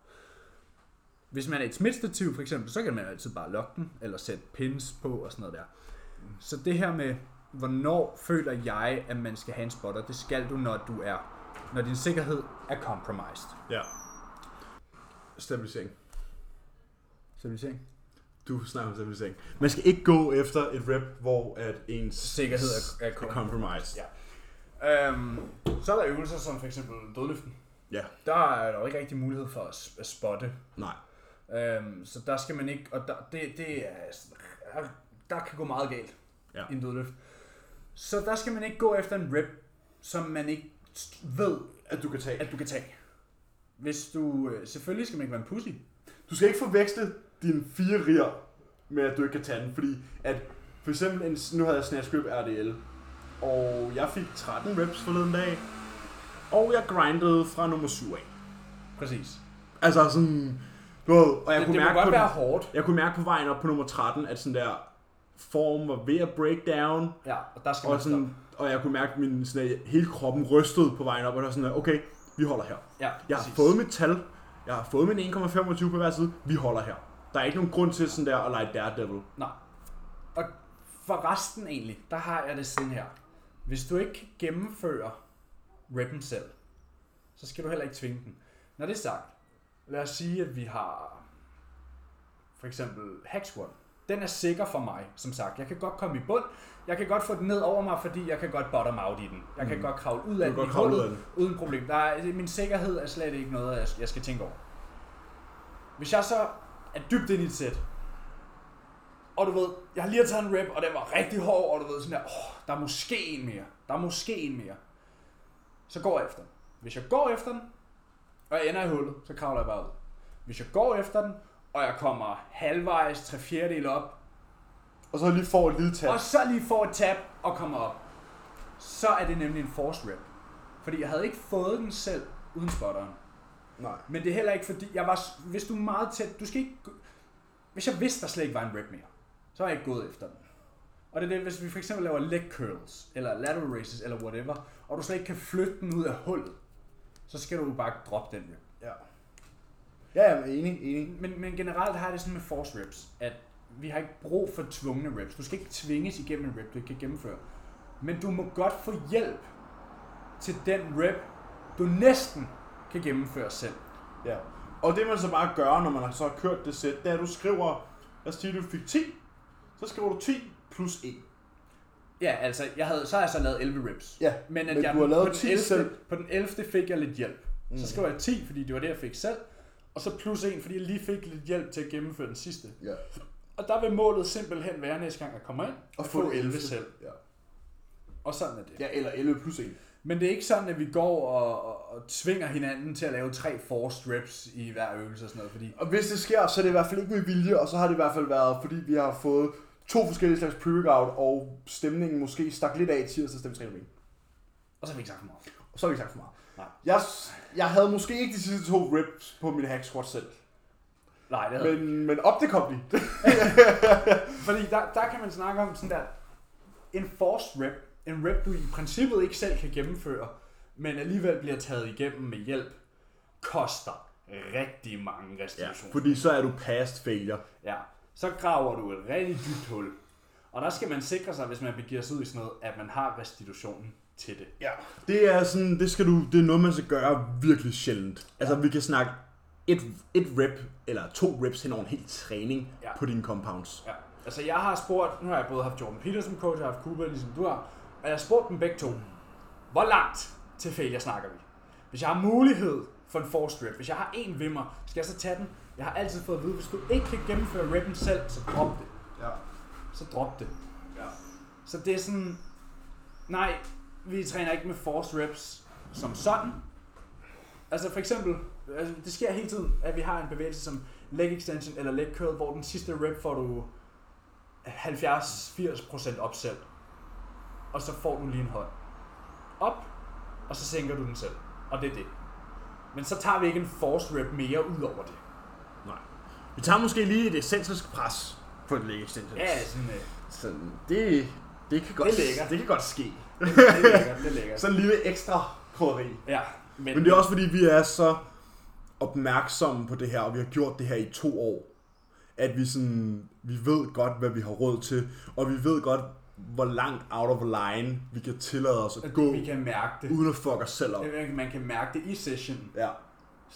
S1: Hvis man er et smitstativ for eksempel, så kan man altid bare lokke den, eller sætte pins på og sådan noget der. Så det her med, hvornår føler jeg, at man skal have en spotter, det skal du, når du er, når din sikkerhed er compromised.
S2: Ja. Stabilisering.
S1: Stabilisering?
S2: Du snakker om stabilisering. Man skal ikke gå efter et rep, hvor at ens
S1: Sikkerhed er- er
S2: er compromised.
S1: Ja. Øhm, så er der øvelser som for eksempel dødløften.
S2: ja.
S1: Der er der jo ikke rigtig mulighed for at, s- at spotte.
S2: Nej.
S1: Øhm, så der skal man ikke, og der, det, det er, sådan- der- der kan gå meget galt
S2: Ja.
S1: i en dødløft. Så der skal man ikke gå efter en rep, som man ikke ved,
S2: At du kan tage.
S1: at du kan tage. Hvis du, øh, selvfølgelig skal man ikke være en pussy.
S2: Du skal ikke forveksle dine fire rier med, at du ikke kan tage den, fordi at for eksempel, en, nu havde jeg snatch grip RDL, og jeg fik 13 reps forleden dag, og jeg grindede fra nummer 7 af.
S1: Præcis.
S2: Altså sådan, du ved, og
S1: Det,
S2: jeg
S1: det
S2: kunne
S1: må
S2: mærke på
S1: godt være
S2: den,
S1: hårdt.
S2: jeg kunne mærke på vejen op på nummer 13, at sådan der form var ved at break down,
S1: Ja, og der skal
S2: og,
S1: man stoppe.
S2: sådan, og jeg kunne mærke, at min, sådan, at hele kroppen rystede på vejen op, og det var sådan, at okay, vi holder her.
S1: Ja,
S2: Jeg har fået mit tal, jeg har fået min 1,25 på hver side, vi holder her. Der er ikke nogen grund til sådan der at lege Daredevil.
S1: Nej. Og for resten egentlig, der har jeg det sådan her. Hvis du ikke gennemfører reppen selv, så skal du heller ikke tvinge den. Når det er sagt, lad os sige, at vi har for eksempel hack squat. Den er sikker for mig, som sagt. Jeg kan godt komme i bund. Jeg kan godt få den ned over mig, fordi jeg kan godt bottom out i den. Jeg kan mm. godt kravle ud af
S2: kan
S1: den
S2: godt
S1: i
S2: kravle ud
S1: hullet
S2: af den.
S1: uden problem. Der er, min sikkerhed er slet ikke noget, jeg- jeg skal tænke over. Hvis jeg så er dybt ind i et sæt, og du ved, jeg har lige taget en rep, og den var rigtig hård, og du ved sådan der, oh, der er måske en mere, der er måske en mere. Så går jeg efter den. Hvis jeg går efter den, og jeg ender i hullet, så kravler jeg bare ud. Hvis jeg går efter den, og jeg kommer halvvejs, tre fjerdedel op,
S2: Og så lige får et lille tab.
S1: og så lige får et tab og kommer op, så er det nemlig en force rep. Fordi jeg havde ikke fået den selv uden spotteren.
S2: Nej.
S1: Men det er heller ikke fordi, jeg var, s- hvis du er meget tæt, du skal ikke, gå- hvis jeg vidste, der slet ikke var en rep mere, så har jeg ikke gået efter den. Og det er det, hvis vi for eksempel laver leg curls, eller lateral raises, eller whatever, og du slet ikke kan flytte den ud af hullet, så skal du bare droppe den rep.
S2: Ja. Ja, jeg er enig, enig.
S1: Men, men generelt har jeg det sådan med force reps, at vi har ikke brug for tvungne reps. Du skal ikke tvinges igennem en rep, du ikke kan gennemføre. Men du må godt få hjælp til den rep, du næsten kan gennemføre selv.
S2: Ja. Og det man så bare gør, når man har så kørt det sæt, det er, at du skriver, lad os sige, du fik 10, så skriver du 10 plus 1.
S1: Ja, altså, jeg havde, så har jeg så lavet 11 reps.
S2: Ja,
S1: men at
S2: men
S1: jeg
S2: du har lavet
S1: på,
S2: 10
S1: den 11,
S2: selv.
S1: på den 11. fik jeg lidt hjælp. Mm. Så skrev jeg 10, fordi det var det, jeg fik selv. Og så plus 1, fordi jeg lige fik lidt hjælp til at gennemføre den sidste.
S2: Ja.
S1: Og der vil målet simpelthen være næste gang, jeg kommer ind,
S2: Og
S1: at
S2: få 11.
S1: selv.
S2: Ja.
S1: Og sådan er det.
S2: ja, eller 11 plus 1.
S1: Men det er ikke sådan, at vi går og, og, og tvinger hinanden til at lave tre forced reps i hver øvelse og sådan noget, fordi...
S2: Og hvis det sker, så er det i hvert fald ikke med vilje, og så har det i hvert fald været, fordi vi har fået to forskellige slags pre-workout, og stemningen måske stak lidt af i tirsdags, da vi trænede ben.
S1: Og så har vi ikke sagt for meget.
S2: Og så har vi ikke sagt for meget.
S1: Nej.
S2: Jeg, s- jeg havde måske ikke de sidste to reps på min hack squat selv,
S1: Nej, det havde Men...
S2: men, men op det kom de.
S1: Fordi der, der kan man snakke om sådan der... En forced rep, en rep, du i princippet ikke selv kan gennemføre, men alligevel bliver taget igennem med hjælp, koster rigtig mange restitutioner.
S2: så er du past failure.
S1: Ja, så graver du et rigtig dybt hul. Og der skal man sikre sig, hvis man begiver sig ud i sådan noget, at man har restitutionen til det.
S2: Ja, det er sådan, det skal du, det er noget, man skal gøre virkelig sjældent. Altså, vi kan snakke et, et rep, eller to reps hen over en hel træning
S1: Ja.
S2: på dine compounds.
S1: Ja. Altså, jeg har spurgt, nu har jeg både haft Jordan Peter som coach, og jeg har haft Cooper, ligesom du har, og jeg har spurgt dem begge to, hvor langt til failure snakker vi? Hvis jeg har mulighed for en force rep, hvis jeg har en vimmer, skal jeg så tage den? Jeg har altid fået at vide, hvis du ikke kan gennemføre reppen selv, så drop det.
S2: Ja.
S1: Så drop det.
S2: ja.
S1: Så det er sådan, nej, vi træner ikke med force reps som sådan. Altså for eksempel, altså det sker hele tiden, at vi har en bevægelse som leg extension eller leg curl, hvor den sidste rep får du 70-80% op selv. Og så får du lige en hånd op, og så sænker du den selv. Og det er det. Men så tager vi ikke en force rep mere ud over det.
S2: Nej. Vi tager måske lige et excentrisk pres på et leg extension.
S1: Ja, sådan, øh,
S2: Sådan, det, det, kan godt,
S1: Det Altså, er lækkert.
S2: det kan godt ske.
S1: det er lækkert, det er lækkert.
S2: Sådan en lille ekstra krydderi.
S1: Ja,
S2: Men det er også fordi, vi er så opmærksomme på det her, og vi har gjort det her i to år. At vi, sådan, vi ved godt, hvad vi har råd til, og vi ved godt, hvor langt out of line vi kan tillade os at gå,
S1: vi kan mærke det.
S2: uden at fuck os selv op.
S1: Øh, Man kan mærke det i session.
S2: Ja.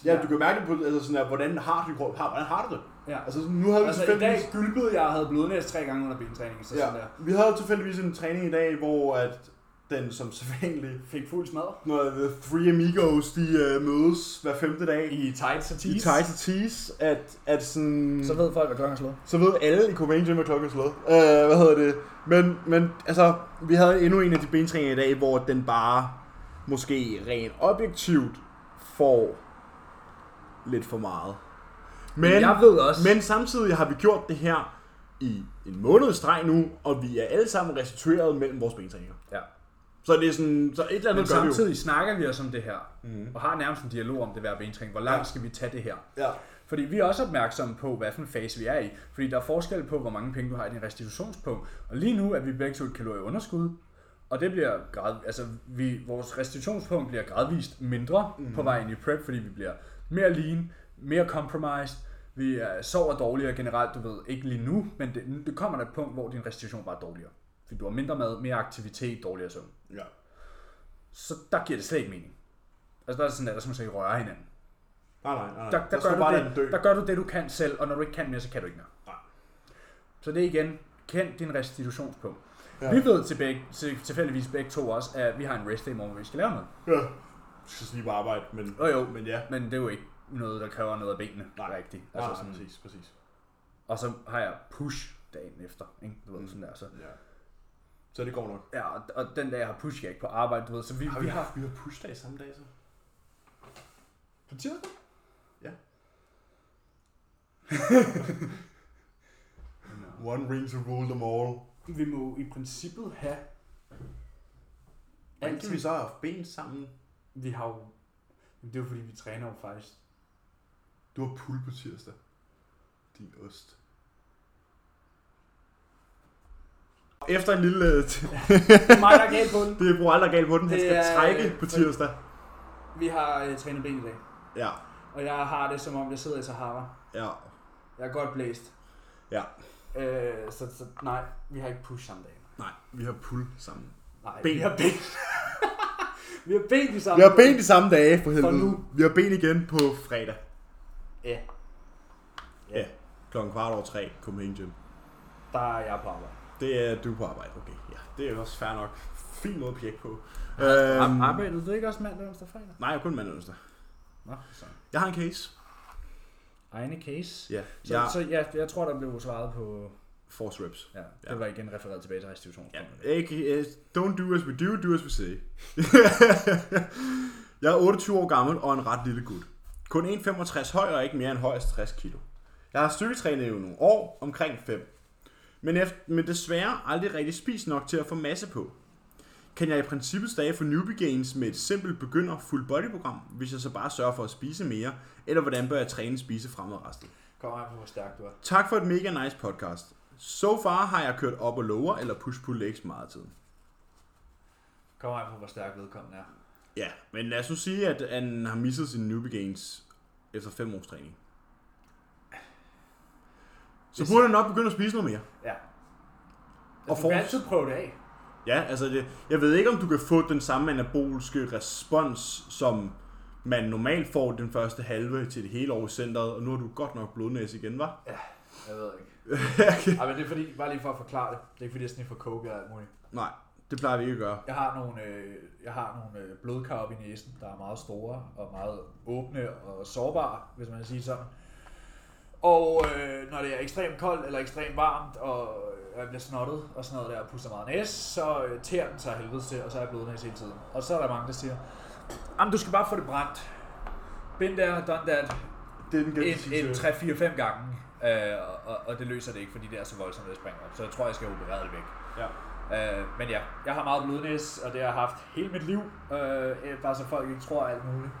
S2: Ja, du kan mærke det på, altså sådan her, hvordan har du, hvordan har du det?
S1: Ja.
S2: Altså, nu havde vi
S1: Altså i
S2: tilfældigvis-
S1: dag gylpede jeg og havde blodnæs tre gange under bentræningen, så ja. sådan der.
S2: Vi havde tilfældigvis en træning i dag, hvor at den som sædvanlig,
S1: Fik fuld smadre.
S2: når The Three Amigos, de uh, mødes hver femte dag
S1: I tights og
S2: i
S1: tees.
S2: Tight to Tease, at, at sådan,
S1: Så
S2: så, ved,
S1: ved folk, hvad klokken er slået.
S2: så ved alle i Copenhagen Gym, at klokken er slået. Uh, hvad hedder det? Men, men altså, vi havde endnu en af de bentræninger i dag, hvor den bare måske rent objektivt får lidt for meget. Men,
S1: ved også...
S2: men samtidig har vi gjort det her i en måned streg nu, og vi er alle sammen restitueret mellem vores bentræninger.
S1: ja.
S2: Så det er sådan, så et eller
S1: men
S2: andet gør vi Mhm.
S1: samtidig snakker vi også om det her. Mm. Og har nærmest en dialog om det hver bentræning. Hvor langt skal vi tage det her?
S2: jo. Ja.
S1: Fordi vi er også opmærksomme på, hvad for en fase vi er i. Fordi der er forskel på, hvor mange penge du har i din restitutionspunkt. Og lige nu er vi begge to et kalorieunderskud. Og det bliver grad, altså vi, vores restitutionspunkt bliver gradvist mindre
S2: Mhm.
S1: mm. på vej ind i prep, fordi vi bliver mere lean, mere compromised, vi er, sover dårligere generelt, du ved, ikke lige nu, men det, det kommer der et punkt, hvor din restitution bare er dårligere. Fordi du har mindre mad, mere aktivitet, dårligere søvn.
S2: ja.
S1: Så der giver det slet ikke mening. Altså der er det sådan, at der skal man slet ikke røre hinanden.
S2: Nej, nej, nej. nej.
S1: Der, der,
S2: skal
S1: gør
S2: du
S1: du
S2: bare lade den dø.
S1: det, der gør du det, du kan selv, og når du ikke kan mere, så kan du ikke mere.
S2: Nej.
S1: Så det er igen, kend din restitutionspunkt.
S2: Ja.
S1: Ja. Vi ved til begge, til, tilfældigvis begge to også, at vi har en rest day i morgen, hvor vi skal lave noget.
S2: Ja. Du skal lige på arbejde, men,
S1: Jo, jo.
S2: men ja.
S1: Men det er jo ikke noget, der kræver noget af benene
S2: Nej.
S1: rigtigt.
S2: Altså,
S1: Altså
S2: nej,
S1: sådan,
S2: præcis, præcis.
S1: og så har jeg push dagen efter. Ikke? Du ved,
S2: Mm.
S1: mm. sådan der, så.
S2: Ja. Så det går nok.
S1: Ja, og, og den dag, jeg har push, skal jeg ikke på arbejde, du ved. Så vi,
S2: Har
S1: vi
S2: vi,
S1: har...
S2: haft, vi har pushdag samme dag, så?
S3: På tirsdag?
S2: One ring to rule them all.
S3: Vi må i princippet have...
S2: Hvordan kan vi så have haft ben sammen?
S3: Vi har jo... Jamen, det er jo fordi, vi træner jo faktisk.
S2: Du har pool på tirsdag. Din ost. Efter en lille... øh,
S3: Det er mig, der er galt på den.
S2: det bruger aldrig galt på den. Han
S3: Det
S2: skal
S3: er-
S2: trække på tirsdag.
S3: Vi har øh, trænet ben i dag.
S2: Ja,
S3: Og jeg har det, som om jeg sidder i Sahara.
S2: ja.
S3: Jeg er godt blæst.
S2: Ja.
S3: Øh, så, så, nej, vi har ikke push samme dag.
S2: Nej, vi har pool sammen.
S3: Nej,
S2: Ben.
S3: vi har ben. vi har ben i samme
S2: Vi har ben
S3: dag.
S2: de samme dage, for helvede.
S3: nu.
S2: Vi har ben igen på fredag.
S3: Ja,
S2: Ja, klokken kvart over tre, Copenhagen Gym.
S3: der er jeg på arbejde.
S2: Det er du på arbejde, okay. Ja, det er også fair nok. Fin måde at pjekke på.
S1: Øhm,
S2: Øhm,
S1: Arbejdede du ikke også mandag, onsdag, fredag?
S2: nej, jeg er kun mandag og onsdag.
S1: Nå, så.
S2: Jeg har en case.
S1: Egne case.
S2: Ja,
S1: Så,
S2: jeg
S1: ja. så jeg, jeg tror, der blev svaret på...
S2: force reps.
S1: Ja,
S2: Ja.
S1: det var igen refereret tilbage til restitutionspunktet.
S2: Ja, ikke, øh, don't do as we do, do as we say. jeg er 28 år gammel og en ret lille gut. Kun 1,65 høj og ikke mere end højst 60 kilo. Jeg har styrketrænet i nogle år, omkring 5. Men, efter, men desværre aldrig rigtig spist nok til at få masse på. Kan jeg i princippet stadig få newbie gains med et simpelt begynder full body program, hvis jeg så bare sørger for at spise mere, eller hvordan bør jeg træne spise fremadrettet?
S3: Kom her på, hvor stærk du er.
S2: Tak for et mega nice podcast. So far har jeg kørt op og lower eller push-pull legs meget af tiden.
S3: Kom her på, hvor stærk vedkommende er.
S2: Ja, men lad os nu sige, at han har misset sine newbie gains efter 5 års træning. Så burde han nok begynde at spise noget mere.
S3: Ja.
S2: Og
S3: Og Altså, du kan
S2: force.
S3: altid prøve det af.
S2: Ja, altså det, jeg ved ikke, om du kan få den samme anabolske respons, som man normalt får den første halve til det hele år i centret, og nu har du godt nok blodnæs igen, var?
S3: Jeg ved ikke. Ej, men det er fordi, bare lige for at forklare det. Det er ikke fordi, jeg sniffer coke eller alt muligt.
S2: Nej, det plejer vi ikke at gøre.
S3: Jeg har nogle, øh, jeg har nogle øh, blodkar op i næsen, der er meget store og meget åbne og sårbare, hvis man kan sige sådan. Og øh, når det er ekstremt koldt eller ekstremt varmt, og øh, jeg bliver snottet og sådan noget der, og puster meget næse, så øh, tærer den sig af helvede til, og så er jeg blodnæs hele tiden. Og så er der mange, der siger, jamen du skal bare få det brændt. Been there, done that,
S2: Det er den
S3: en, en 3-4-5 gange, øh, og- og, og det løser det ikke, fordi det er så voldsomt at springe op. Så jeg tror, jeg skal operere det væk.
S2: Ja.
S3: Øh, men ja, jeg har meget blodnæs, og det har jeg haft hele mit liv. Øh, øh, bare så folk ikke tror alt muligt.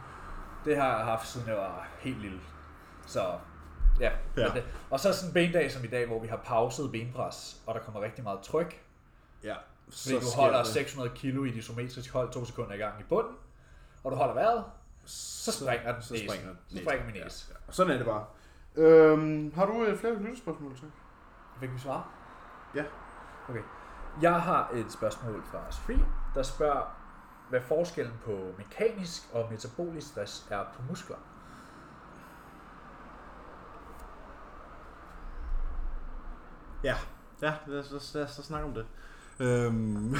S3: Det har jeg haft, siden jeg var helt lille. Så ja.
S2: Ja.
S3: ja. Det. Og så sådan en bendag som i dag, hvor vi har pauset benpres, og der kommer rigtig meget tryk.
S2: ja.
S3: Fordi
S2: sker
S3: du holder
S2: det.
S3: 600 kilo i de isometriske hold to sekunder i gang i bunden, og du holder vejret, så springer den
S2: så
S3: næsen.
S2: springer den
S3: så
S2: næsen.
S3: springer min næse.
S2: Sådan er det bare. Øhm, har du øh, flere lytterspørgsmål til?
S3: Fik vi svar?
S2: Ja.
S3: Okay.
S1: Jeg har et spørgsmål fra Sofie, der spørger, hvad forskellen på mekanisk og metabolisk stress er på muskler.
S2: Ja, ja lad, os, lad, os, lad os så snakke om det. Øhm.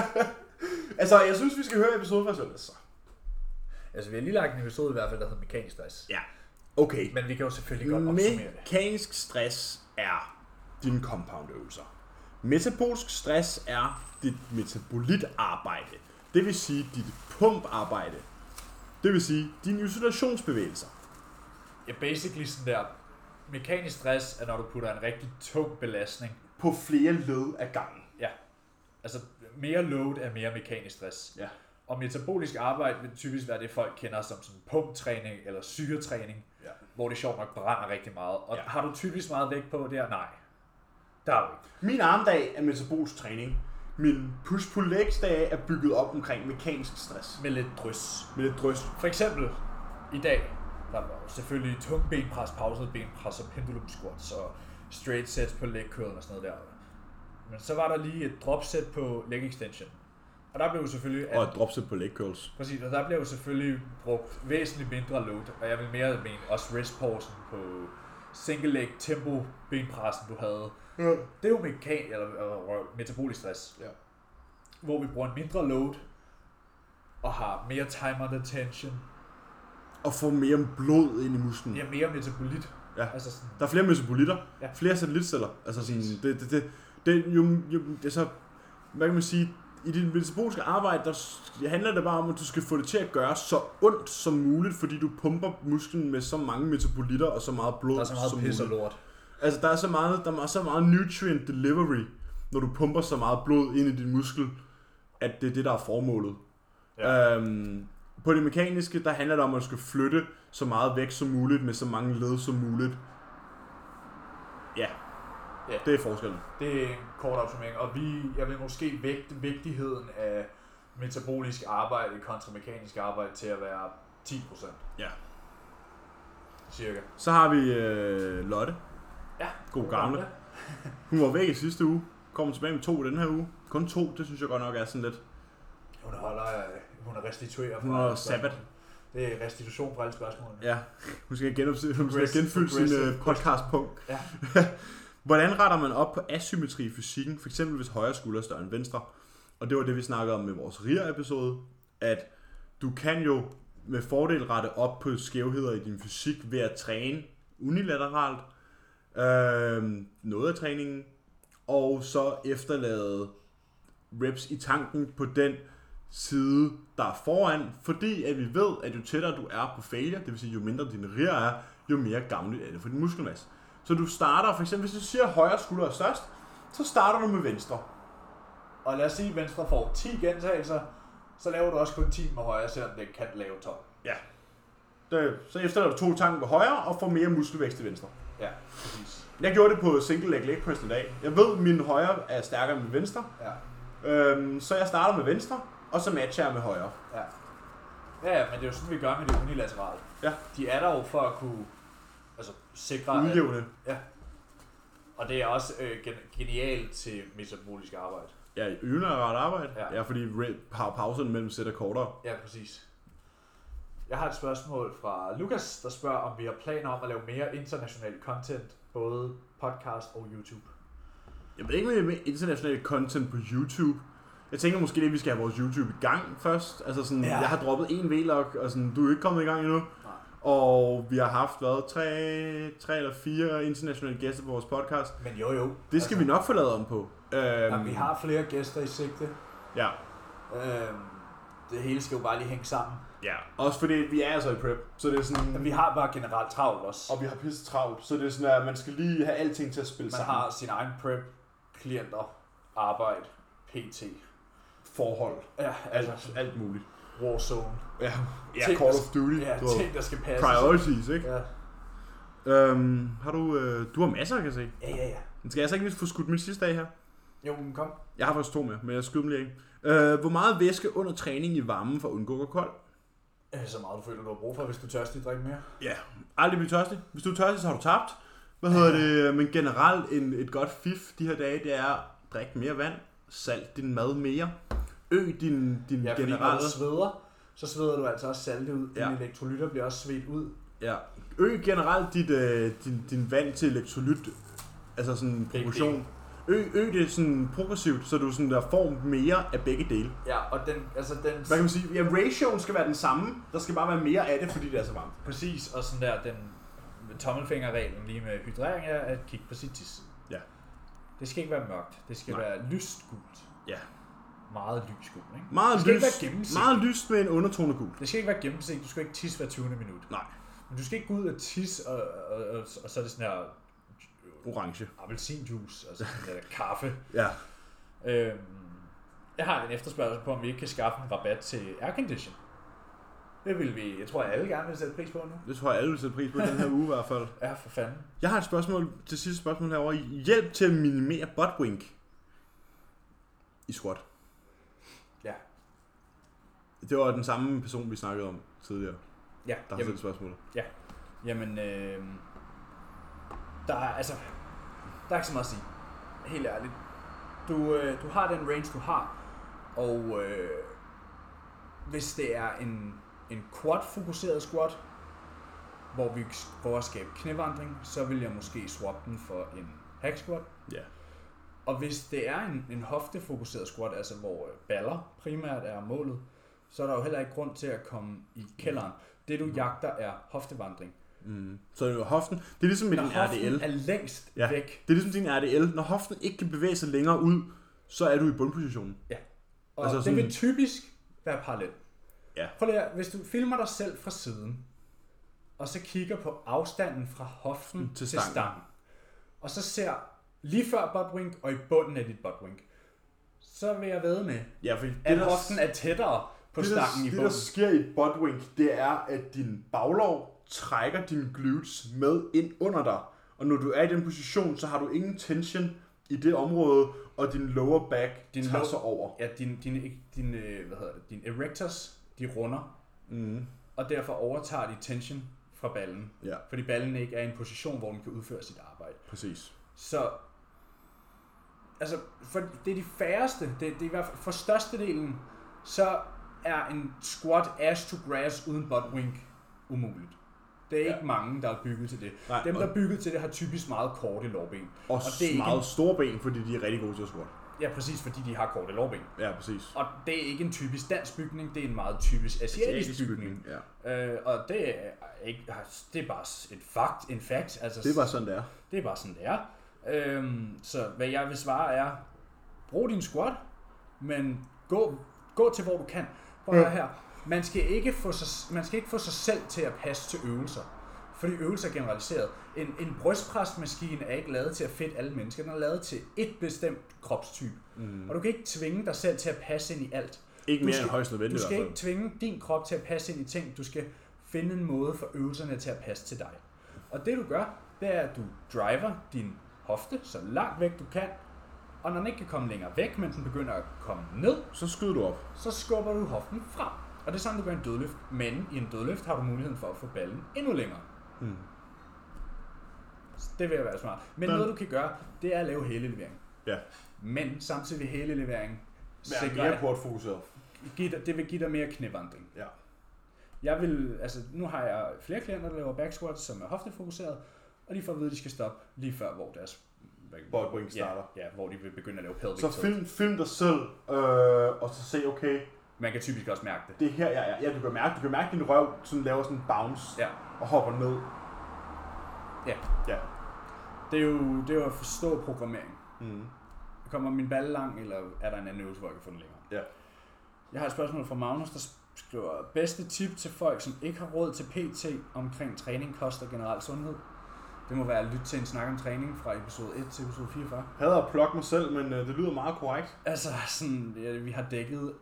S2: altså, jeg synes, vi skal høre episode fra søndag. så.
S1: Altså, vi har lige lagt en episode i hvert fald, der hedder mekanisk stress.
S2: Ja, okay.
S1: Men vi kan jo selvfølgelig godt opsummere det.
S2: Mekanisk stress er dine compoundøvelser. Metabolsk stress er dit metabolitarbejde. Det vil sige dit pumparbejde. Det vil sige dine isolationsbevægelser.
S1: Ja, basically sådan der. Mekanisk stress er, når du putter en rigtig tung belastning.
S2: På flere led ad gangen.
S1: Ja. Altså, mere load er mere mekanisk stress.
S2: Ja.
S1: Og metabolisk arbejde vil typisk være det, folk kender som sådan pumptræning eller syretræning,
S2: Ja.
S1: hvor det sjovt nok brænder rigtig meget. Og
S2: Ja.
S1: ja. har du typisk meget vægt på der? Nej. Der er du ikke.
S2: Min armdag er metabolsk træning. Min push-pull-legs-dag er bygget op omkring mekanisk stress.
S1: Med lidt drys.
S2: Med lidt drøst.
S1: For eksempel i dag, der var jo selvfølgelig tung benpres, pauset benpres og pendulum squats og straight sets på leg curl og sådan noget der. Men så var der lige et drop set på leg extension. Og der blev jo selvfølgelig...
S2: Og et dropset på leg curls.
S1: Præcis, og der bliver jo selvfølgelig brugt væsentligt mindre load, og jeg vil mere mene også restpausen på single leg tempo benpressen, du havde.
S2: Ja.
S1: Det er jo mekan eller, eller røv, metabolisk stress.
S2: Ja.
S1: Hvor vi bruger en mindre load, og har mere time under tension,
S2: Og få mere blod ind i musklen.
S1: ja, mere metabolit.
S2: Ja.
S1: Altså sådan,
S2: Der er flere metabolitter,
S1: Ja.
S2: ja. flere satellitceller. Altså sådan,
S1: Præcis.
S2: det, det, det, det, jo, jo, det er så, hvad kan man sige, i dit metaboliske arbejde, der s- handler det bare om, at du skal få det til at gøre så ondt som muligt, fordi du pumper musklen med så mange metabolitter og så meget blod
S1: der er så meget
S2: som
S1: pis og
S2: muligt.
S1: lort.
S2: Altså, der er, så meget, der er så meget nutrient delivery, når du pumper så meget blod ind i din muskel, at det er det, der er formålet. Ja. Øhm, på det mekaniske, der handler det om, at du skal flytte så meget væk som muligt, med så mange led som muligt. Ja.
S1: Ja.
S2: Det er forskellen.
S1: Det er en kort opsummering, og vi, jeg vil måske vægte vigtigheden af metabolisk arbejde kontra mekanisk arbejde til at være 10%.
S2: Ja.
S1: Cirka.
S2: Så har vi øh, Lotte.
S1: Ja,
S2: God gamle. Hun var væk i sidste uge. Kommer tilbage med to i den her uge. Kun to, det synes jeg godt nok er sådan lidt.
S1: Hun holder, øh, hun er restitueret
S2: Hun er sabbat.
S1: Det er restitution fra alle spørgsmålene.
S2: Ja. Hun skal, genopse, hun skal
S1: Progressive-
S2: genfylde sin
S1: progressive
S2: øh, podcastpunkt.
S1: Ja.
S2: Hvordan retter man op på asymmetri i fysikken, f.eks. hvis højre skulder er større end venstre? Og det var det, vi snakkede om med vores RIA-episode, at du kan jo med fordel rette op på skævheder i din fysik ved at træne unilateralt øh, noget af træningen, og så efterlade reps i tanken på den side, der er foran, fordi at vi ved, at jo tættere du er på failure, det vil sige jo mindre din rear er, jo mere gavnligt er det for din muskelmasse. Så du starter, for eksempel hvis du siger, at højre skulder er størst, så starter du med venstre.
S1: Og lad os sige, at venstre får 10 gentagelser, så laver du også kun 10 med højre, selvom det kan lave 12.
S2: Ja. Det, så efterlader du to tanker på højre og får mere muskelvækst til venstre.
S1: Ja, præcis.
S2: Jeg gjorde det på single leg leg press i dag. Jeg ved, at min højre er stærkere end min venstre,
S1: Ja,
S2: øhm, så jeg starter med venstre, og så matcher jeg med højre.
S1: ja. Ja, ja, men det er jo sådan, vi gør med det unilaterale.
S2: Ja.
S1: De er der jo for at kunne altså, sikre, at-
S2: Udjævne.
S1: Ja. Og det er også øh, gen- genialt til metabolisk arbejde.
S2: Ja, yvende er ret arbejde.
S1: Ja.
S2: Ja, ja fordi re- pa- pauserne mellem sæt er kortere.
S1: Ja, præcis. Jeg har et spørgsmål fra Lukas, der spørger, om vi har planer om at lave mere international content, både podcast og YouTube.
S2: Jeg ved ikke, om det er med internationalt content på YouTube. Jeg tænker måske lidt, at vi skal have vores YouTube i gang først. Altså sådan,
S1: Ja.
S2: ja. jeg har droppet en vlog, og sådan, du er ikke kommet i gang endnu.
S1: Nej.
S2: Og vi har haft, hvad, tre, tre eller fire internationale gæster på vores podcast.
S1: Men jo, jo.
S2: Det skal altså, vi nok få lavet om på. Øhm,
S1: Jamen, vi har flere gæster i sigte.
S2: Ja,
S1: Øhm, det hele skal jo bare lige hænge sammen.
S2: ja. Også fordi vi er altså i prep, så det er sådan...
S1: Men vi har bare generelt travlt også.
S2: Og vi har pisse travlt, så det er sådan, at man skal lige have alting til at spille
S1: Man
S2: sammen.
S1: har sin egen prep, klienter, arbejde, pt.
S2: forhold,
S1: Ja, altså
S2: alt, alt muligt.
S1: Warzone.
S2: Ja, ja
S1: Ting,
S2: Call
S1: der-
S2: of Duty.
S1: Ja,
S2: du har-
S1: ting, der skal passe.
S2: priorities, ikke?
S1: Ja,
S2: Øhm, har du, øh, du har masser, kan jeg se.
S1: ja, ja. ja.
S2: Den skal jeg altså ikke lige få skudt min sidste af her.
S1: Jo, men kom.
S2: Jeg har faktisk to mere, men jeg skyder dem lige af. Øh, hvor meget væske under træning i varmen for at undgå at gå kold?
S1: Øh, Så meget du føler, du har brug for, hvis du tørst lige drikke mere.
S2: Ja, aldrig blive tørstig. Hvis du er tørstig, så har du tabt. Hvad hedder det? Men generelt en, et godt fif de her dage, det er drik mere vand, salt din mad mere, øg din, din
S1: Ja,
S2: ja,
S1: fordi når
S2: generelle...
S1: du sveder, så sveder du altså også salte ud. Ja.
S2: Ja.
S1: Dine elektrolytter bliver også svedt ud.
S2: Ja. Øg generelt dit, øh, din, din vand til elektrolyt, altså sådan proportion. Øg, øg det sådan progressivt, så du sådan der får mere af begge dele.
S1: Ja, og den, altså den...
S2: Hvad kan man sige? Ja, ratioen skal være den samme. Der skal bare være mere af det, fordi det er så varmt.
S1: Præcis, og sådan der, den tommelfingerreglen lige med hydrering er at kigge på sit tis.
S2: Ja.
S1: Det skal ikke være mørkt. Det skal Nej.
S2: Nej.
S1: være lyst gult.
S2: Ja.
S1: Meget lys gult, ikke?
S2: Meget
S1: det skal ikke være
S2: lyst,
S1: gennemsigtigt.
S2: meget lyst med en undertone gul.
S1: Det skal ikke være gennemsigtigt. Du skal ikke tisse hver 20. minut.
S2: Nej,
S1: Men du skal ikke gå ud og tisse, og, og, og, og så er det sådan her
S2: orange.
S1: appelsinjuice, altså sådan der kaffe.
S2: Ja.
S1: Øhm, jeg har en efterspørgsel på, om vi ikke kan skaffe en rabat til aircondition. Det vil vi, jeg tror, alle gerne vil sætte pris på nu.
S2: Det tror jeg, alle vil sætte pris på den her uge i hvert fald.
S1: Ja, for fanden.
S2: Jeg har et spørgsmål til sidste spørgsmål herovre. Hjælp til at minimere butt wink i squat.
S1: Ja.
S2: Det var den samme person, vi snakkede om tidligere,
S1: Ja,
S2: der har
S1: jamen,
S2: stillet spørgsmålet.
S1: jamen øh, der er altså, der er ikke så meget at sige. Helt ærligt. Du, øh, du har den range, du har. Og øh, hvis det er en, en quad-fokuseret squat, hvor vi prøver at skabe knævandring, så vil jeg måske swappe den for en hack squat.
S2: Ja.
S1: Og hvis det er en, en hoftefokuseret squat, altså hvor øh, baller primært er målet, så er der jo heller ikke grund til at komme i kælderen. Det du jagter er hoftevandring.
S2: Mm. Så det er jo hoften. Det er ligesom med
S1: Når
S2: din
S1: hoften
S2: RDL.
S1: er længst
S2: Ja.
S1: ja. væk,
S2: Det er ligesom din RDL. Når hoften ikke kan bevæge sig længere ud, så er du i bundpositionen.
S1: og altså
S2: Altså
S1: det
S2: sådan-
S1: vil typisk være parallelt.
S2: Ja.
S1: Prøv lige, at- hvis du filmer dig selv fra siden, og så kigger på afstanden fra hoften
S2: Mm, Til
S1: til, til
S2: stangen.
S1: stangen, og så ser lige før buttwink og i bunden af dit buttwink, så vil jeg ved med,
S2: Ja, fordi
S1: at hoften er tættere på
S2: det,
S1: stangen i
S2: der, det, der
S1: bunden.
S2: sker i et butt wink, det er, at din baglov trækker din glutes med ind under dig. Og når du er i den position, så har du ingen tension i det område, og din lower back din
S1: Din
S2: tager
S1: low-
S2: sig over.
S1: Ja, din, din, din, øh, hvad hedder det, din erectors, de runder,
S2: Mm.
S1: og derfor overtager de tension fra ballen.
S2: Ja,
S1: Fordi ballen ikke er i en position, hvor den kan udføre sit arbejde.
S2: præcis.
S1: Så altså, for det er de færreste, det, det er i hvert fald for størstedelen, så er en squat ass to grass uden butt wink umuligt. Det er
S2: Ja.
S1: ja. ikke mange, der er bygget til det.
S2: Nej,
S1: Dem,
S2: og-
S1: der er bygget til det, har typisk meget korte lårben.
S2: Og, og
S1: det er
S2: det
S1: ikke
S2: meget store ben, fordi de er rigtig gode til at squat.
S1: Ja, præcis, fordi de har korte lårben.
S2: Ja, præcis.
S1: Og det er ikke en typisk dansk bygning, det er en meget typisk asiatisk bygning.
S2: Ja.
S1: Øh, og det er, ikke, det er bare et fakt, en fact. Altså,
S2: Det er bare sådan, det er.
S1: Det er bare sådan, det er. Øhm, så hvad jeg vil svare er, brug din squat, men gå, gå til, hvor du kan. Prøv at høre her. Man skal, ikke få sig, man skal ikke få sig selv til at passe til øvelser. Fordi øvelser er generaliseret. En, en brystpresmaskine er ikke lavet til at fedte alle mennesker. Den er lavet til et bestemt kropstype. Mm. Og du kan ikke tvinge dig selv til at passe ind i alt.
S2: Ikke
S1: Du
S2: mere
S1: skal-
S2: end højst
S1: Du
S2: nødvendigt i
S1: skal ikke
S2: hvert fald.
S1: tvinge din krop til at passe ind i ting. Du skal finde en måde for øvelserne til at passe til dig. Og det du gør, det er, at du driver din hofte så langt væk du kan. Og når den ikke kan komme længere væk, men den begynder at komme ned,
S2: Så skyder du op.
S1: så skubber du hoften frem. Og det er sådan, du gør en dødløft. Men i en dødløft har du muligheden for at få ballen endnu længere.
S2: Mm.
S1: Så Det vil jeg være smart. Men
S2: Men-
S1: noget du kan gøre, det er at lave hælelevering.
S2: Ja.
S1: Men samtidig vil hælelevering sikre,
S2: Sikre
S1: at
S2: portfokuseret.
S1: give dig- det vil give dig mere knævandring.
S2: Ja.
S1: Jeg vil, altså nu har jeg flere klienter, der laver back squats, som er hoftefokuseret, og de får at vide, at de skal stoppe lige før, hvor deres
S2: Butt wing starter.
S1: Ja, ja, hvor de vil begynde at lave pelvic
S2: Så
S1: tilt.
S2: film, film dig selv, øh, og så se, okay,
S1: Man kan typisk også mærke det.
S2: det er her, jeg er. Ja, du kan mærke, du kan mærke din røv sådan laver sådan en bounce
S1: Ja,
S2: og hopper ned.
S1: Ja.
S2: Ja.
S1: det er jo, det er jo at forstå programmering.
S2: Mm.
S1: Kommer min balle lang, eller er der en anden øvelse, hvor jeg kan få den længere?
S2: Ja.
S1: Jeg har et spørgsmål fra Magnus, der skriver, bedste tip til folk, som ikke har råd til PT omkring træning, kost og generel sundhed? Det må være at lytte til en snak om træning fra episode 1 til episode 44.
S2: Hader at plukke mig selv, men øh, det lyder meget korrekt.
S1: Altså, sådan, ja, vi har dækket de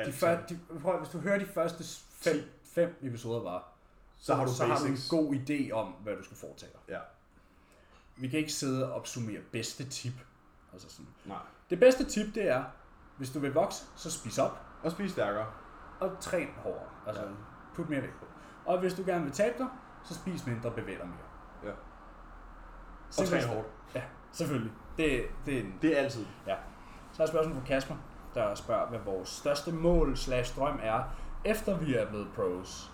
S2: Altså,
S1: før, de, prøv, at- hvis du hører de første fem,
S2: Ti.
S1: fem episoder bare,
S2: så har du
S1: så har du en
S2: basics.
S1: god idé om, hvad du skal foretage dig.
S2: Ja.
S1: Vi kan ikke sidde og opsummere bedste tip. Altså sådan.
S2: Nej.
S1: Det bedste tip, det er, hvis du vil vokse, så spis op
S2: Og spise stærkere.
S1: og træn hårdere. Altså,
S2: Ja.
S1: ja. put mere vægt på. Og hvis du gerne vil tabe dig, så spis mindre og bevæg dig mere.
S2: Ja. Og
S1: Simpelthen.
S2: træn hårdt.
S1: Ja, selvfølgelig. Det, det er en
S2: Det er altid.
S1: Ja. Så er et spørgsmål fra Kasper, der spørger, hvad vores største mål slash drøm er, efter vi er blevet pros.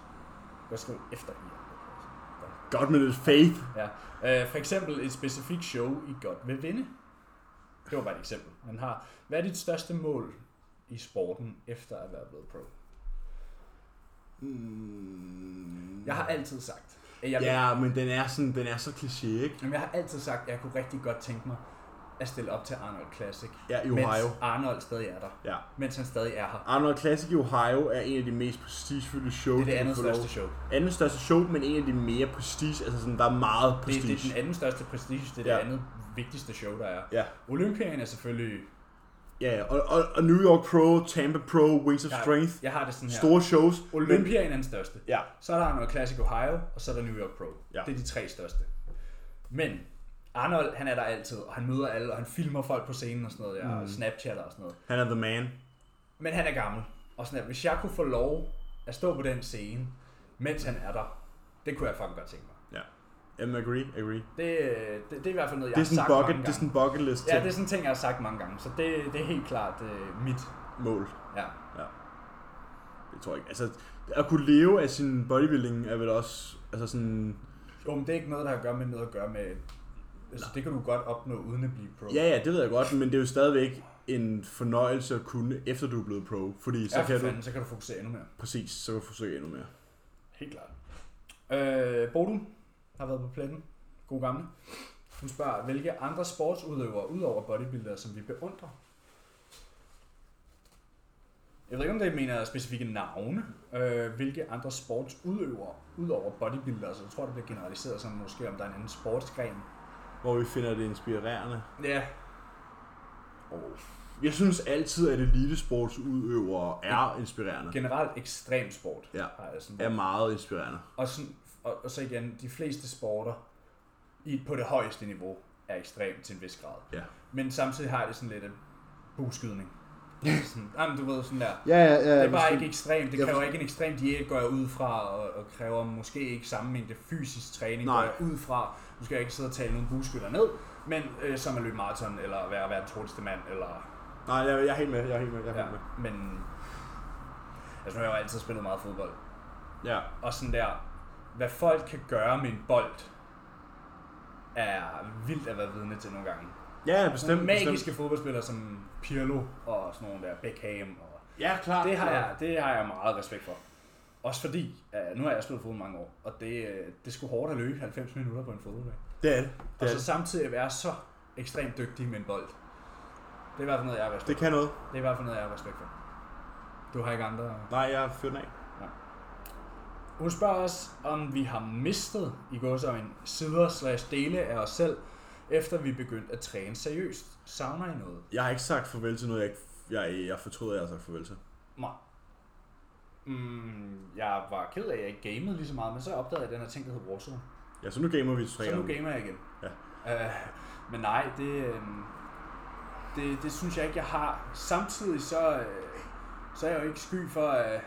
S1: Hvad skal efter vi er blevet pros?
S2: Godt med lidt faith.
S1: Ja. Øh, for eksempel et specifikt show, I godt vil vinde. Det var bare et eksempel. Man har, hvad er dit største mål i sporten, efter at være blevet pro?
S2: Mm.
S1: Jeg har altid sagt, at jeg,
S2: Ja, men den er, sådan, den er så kliché, ikke?
S1: Jamen, jeg har altid sagt, at jeg kunne rigtig godt tænke mig at stille op til Arnold Classic.
S2: Ja, i Ohio.
S1: Mens Arnold stadig er der.
S2: Ja.
S1: Mens han stadig er her.
S2: Arnold Classic i Ohio er en af de mest prestigefyldte
S1: Det er
S2: shows.
S1: det
S2: du kan
S1: andet
S2: få lov-
S1: største show.
S2: Andet største show, men en af de mere prestige. Altså sådan, der er meget
S1: Det,
S2: prestige.
S1: det er den anden største prestige, det er
S2: Ja.
S1: det andet vigtigste show, der er.
S2: Ja.
S1: Olympian er selvfølgelig...
S2: Ja, og, og, og New York Pro, Tampa Pro, Wings of
S1: Jeg,
S2: Strength,
S1: jeg har det sådan her.
S2: store shows.
S1: Olympian er den største.
S2: Ja,
S1: Så er der Arnold Classic Ohio, og så er der New York Pro.
S2: Ja.
S1: Det er de tre største. Men Arnold, han er der altid, og han møder alle, og han filmer folk på scenen og sådan noget,
S2: Mm.
S1: ja, og snapchatter og sådan noget.
S2: han er the man.
S1: Men han er gammel. Og sådan, at hvis jeg kunne få lov at stå på den scene, mens han er der, det kunne jeg fucking godt tænke mig.
S2: Ja. Jamen, agree, agree.
S1: Det, det, det er i hvert fald noget, jeg
S2: Det er
S1: har
S2: sådan
S1: sagt
S2: bucket,
S1: mange
S2: det er
S1: gange.
S2: sådan bucket list
S1: Ja,
S2: ting.
S1: det er sådan en ting, jeg har sagt mange gange, så det, det er helt klart øh, mit
S2: mål.
S1: Ja.
S2: Det tror jeg ikke. Altså, at kunne leve af sin bodybuilding er vel også... Altså sådan...
S1: Jo, men det er ikke noget, der har at gøre med noget at gøre med... Altså, det kan du godt opnå uden at blive pro.
S2: Ja, ja, det ved jeg godt, men det er jo stadigvæk en fornøjelse at kunne, efter du er blevet pro. Fordi så
S1: ja,
S2: kan
S1: for
S2: du...
S1: fanden, så kan du fokusere endnu mere.
S2: Præcis, så kan du forsøge endnu mere.
S1: Helt klart. Øh, Bodu har været på pletten. God gammel. Hun spørger, hvilke andre sportsudøvere udover bodybuildere, som vi beundrer? Jeg ved ikke, om det mener specifikke navne. Øh, hvilke andre sportsudøvere udover bodybuildere? Så jeg tror, det bliver generaliseret som måske, om der er en anden sportsgren.
S2: Hvor vi finder det inspirerende.
S1: Ja,
S2: Og jeg synes altid, at elitesportsudøvere er inspirerende.
S1: generelt ekstrem sport.
S2: Ja.
S1: Har jeg sådan
S2: Er meget inspirerende.
S1: Og, sådan, og, og så igen, de fleste sporter i, på det højeste niveau er ekstremt til en vis grad.
S2: Ja.
S1: Men samtidig har det sådan lidt en buskydning. Altså sådan, jamen, du ved sådan der.
S2: Ja, ja, ja.
S1: Det er bare ikke ekstremt. Det kræver
S2: Jeg forstår-
S1: ikke en ekstrem diæt, går jeg ud fra, og, og kræver måske ikke samme mængde fysisk træning,
S2: Nej.
S1: går jeg ud fra. Nu skal jeg ikke sidde og tale nogle buskytter ned, men øh, som at løbe maraton, eller være verdens hurtigste mand, eller
S2: Nej, jeg, jeg er helt med. Jeg er helt med. Jeg er
S1: ja,
S2: helt med.
S1: men... Altså, nu har jeg jo altid spillet meget fodbold.
S2: Ja.
S1: Og sådan der, hvad folk kan gøre med en bold, er vildt at være vidne til nogle gange.
S2: Ja,
S1: Bestemt,
S2: bestemt.
S1: Magiske
S2: bestemt.
S1: fodboldspillere som Pirlo og sådan nogle der, Beckham. Og
S2: Ja, klart.
S1: det, har
S2: klart.
S1: jeg, det har jeg meget respekt for. Også fordi, uh, nu har jeg spillet fodbold mange år, og det, øh, det skulle hårdt at løbe 90 minutter på en fodboldbane.
S2: Det er det.
S1: Og
S2: Det, er
S1: så
S2: det.
S1: samtidig at være så ekstremt dygtig med en bold. Det er i hvert fald noget, jeg har respekt
S2: det kan noget.
S1: for. Det er i hvert fald noget, jeg har respekt for. Du har ikke andre...
S2: Nej, jeg fyrer den af.
S1: Hun spørger os, om vi har mistet i gåsøjne sider slash dele af os selv, efter vi begyndte at træne seriøst. Savner I noget?
S2: Jeg har ikke sagt farvel til noget, jeg, ikke, jeg, jeg fortryder, jeg har sagt farvel til.
S1: Nej. Mm, jeg var ked af, at jeg ikke gamede lige så meget, men så opdagede jeg den her ting, der hedder Warzone.
S2: Ja, så nu gamer vi tre
S1: Så nu
S2: gange.
S1: gamer jeg igen.
S2: Ja.
S1: Øh, men nej, det, øh, det, det synes jeg ikke, jeg har. Samtidig så, øh, så er jeg jo ikke sky for, øh,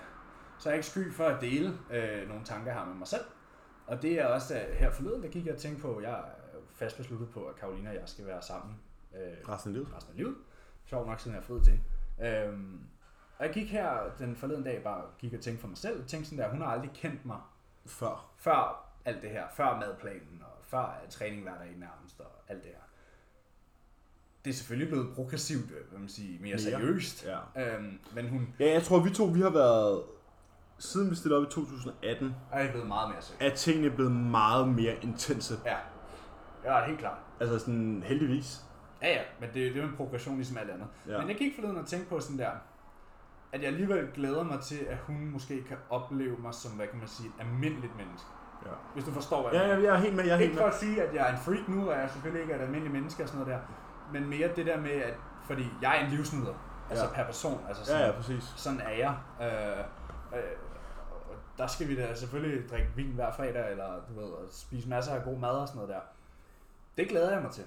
S1: så er jeg ikke sky for at dele øh, nogle tanker, jeg har med mig selv. Og det er også øh, her forleden, der gik jeg og tænkte på, jeg er jo fast besluttet på, at Karolina og jeg skal være sammen øh,
S2: Resten af livet.
S1: resten af livet. Sjovt nok, siden jeg er fri til. Øhm, og jeg gik her den forleden dag, bare gik og tænkte for mig selv, tænkte sådan der, hun har aldrig kendt mig
S2: Før.
S1: før alt det her, før madplanen, og før øh, træning hver dag nærmest, og alt det her. Det er selvfølgelig blevet progressivt, øh, hvad man siger, mere
S2: Mere.
S1: seriøst.
S2: Ja.
S1: Øhm, men hun
S2: Ja, jeg tror, vi to vi har været... Siden vi stillede op i 2018,
S1: er blevet meget mere seriøs.
S2: er tingene blevet meget mere intense.
S1: Ja. Ja, helt klart.
S2: Altså sådan heldigvis.
S1: Ja, ja, men det, det er jo en progression ligesom alt andet.
S2: Ja.
S1: Ja. Men jeg gik forleden og tænkte på sådan der, at jeg alligevel glæder mig til, at hun måske kan opleve mig som, hvad kan man sige, et almindeligt menneske.
S2: Ja.
S1: Hvis du forstår, hvad
S2: Ja,
S1: jeg mener.
S2: ja, jeg er helt med, jeg er helt
S1: Ikke for
S2: med.
S1: at sige, at jeg er en freak nu, og jeg selvfølgelig ikke er et almindeligt menneske og sådan noget der, men mere det der med, at fordi jeg er en livsnyder, altså
S2: Ja.
S1: per person, altså
S2: Ja,
S1: sådan,
S2: ja, præcis.
S1: sådan er jeg. Øh, øh, og der skal vi da selvfølgelig drikke vin hver fredag, eller du ved, og spise masser af god mad og sådan noget der. Det glæder jeg mig til.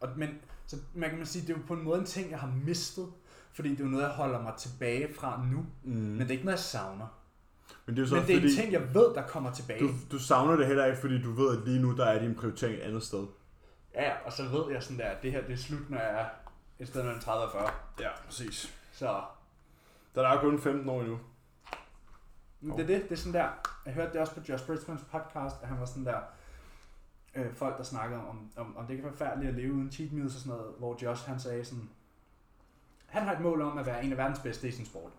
S1: Og, men så man kan man sige, det er jo på en måde en ting, jeg har mistet, fordi det er jo noget, jeg holder mig tilbage fra nu. Mm. Men det er ikke noget, jeg savner.
S2: Men det er jo så
S1: Men det er
S2: fordi,
S1: en ting, jeg ved, der kommer tilbage.
S2: du, du savner det heller ikke, fordi du ved, at lige nu, der er din prioritering et andet sted.
S1: Ja, og så ved jeg sådan der, at det her det er slut, når jeg er et sted mellem 30 og 40.
S2: Ja, præcis.
S1: Så
S2: Der er kun 15 år endnu.
S1: men det er det. Det er sådan der. Jeg hørte det også på Josh Bridgmans podcast, at han var sådan der, øh, folk der snakkede om, om, om det kan være forfærdeligt at leve uden cheat meals og sådan noget, hvor Josh han sagde sådan, han har et mål om at være en af verdens bedste i sin sport.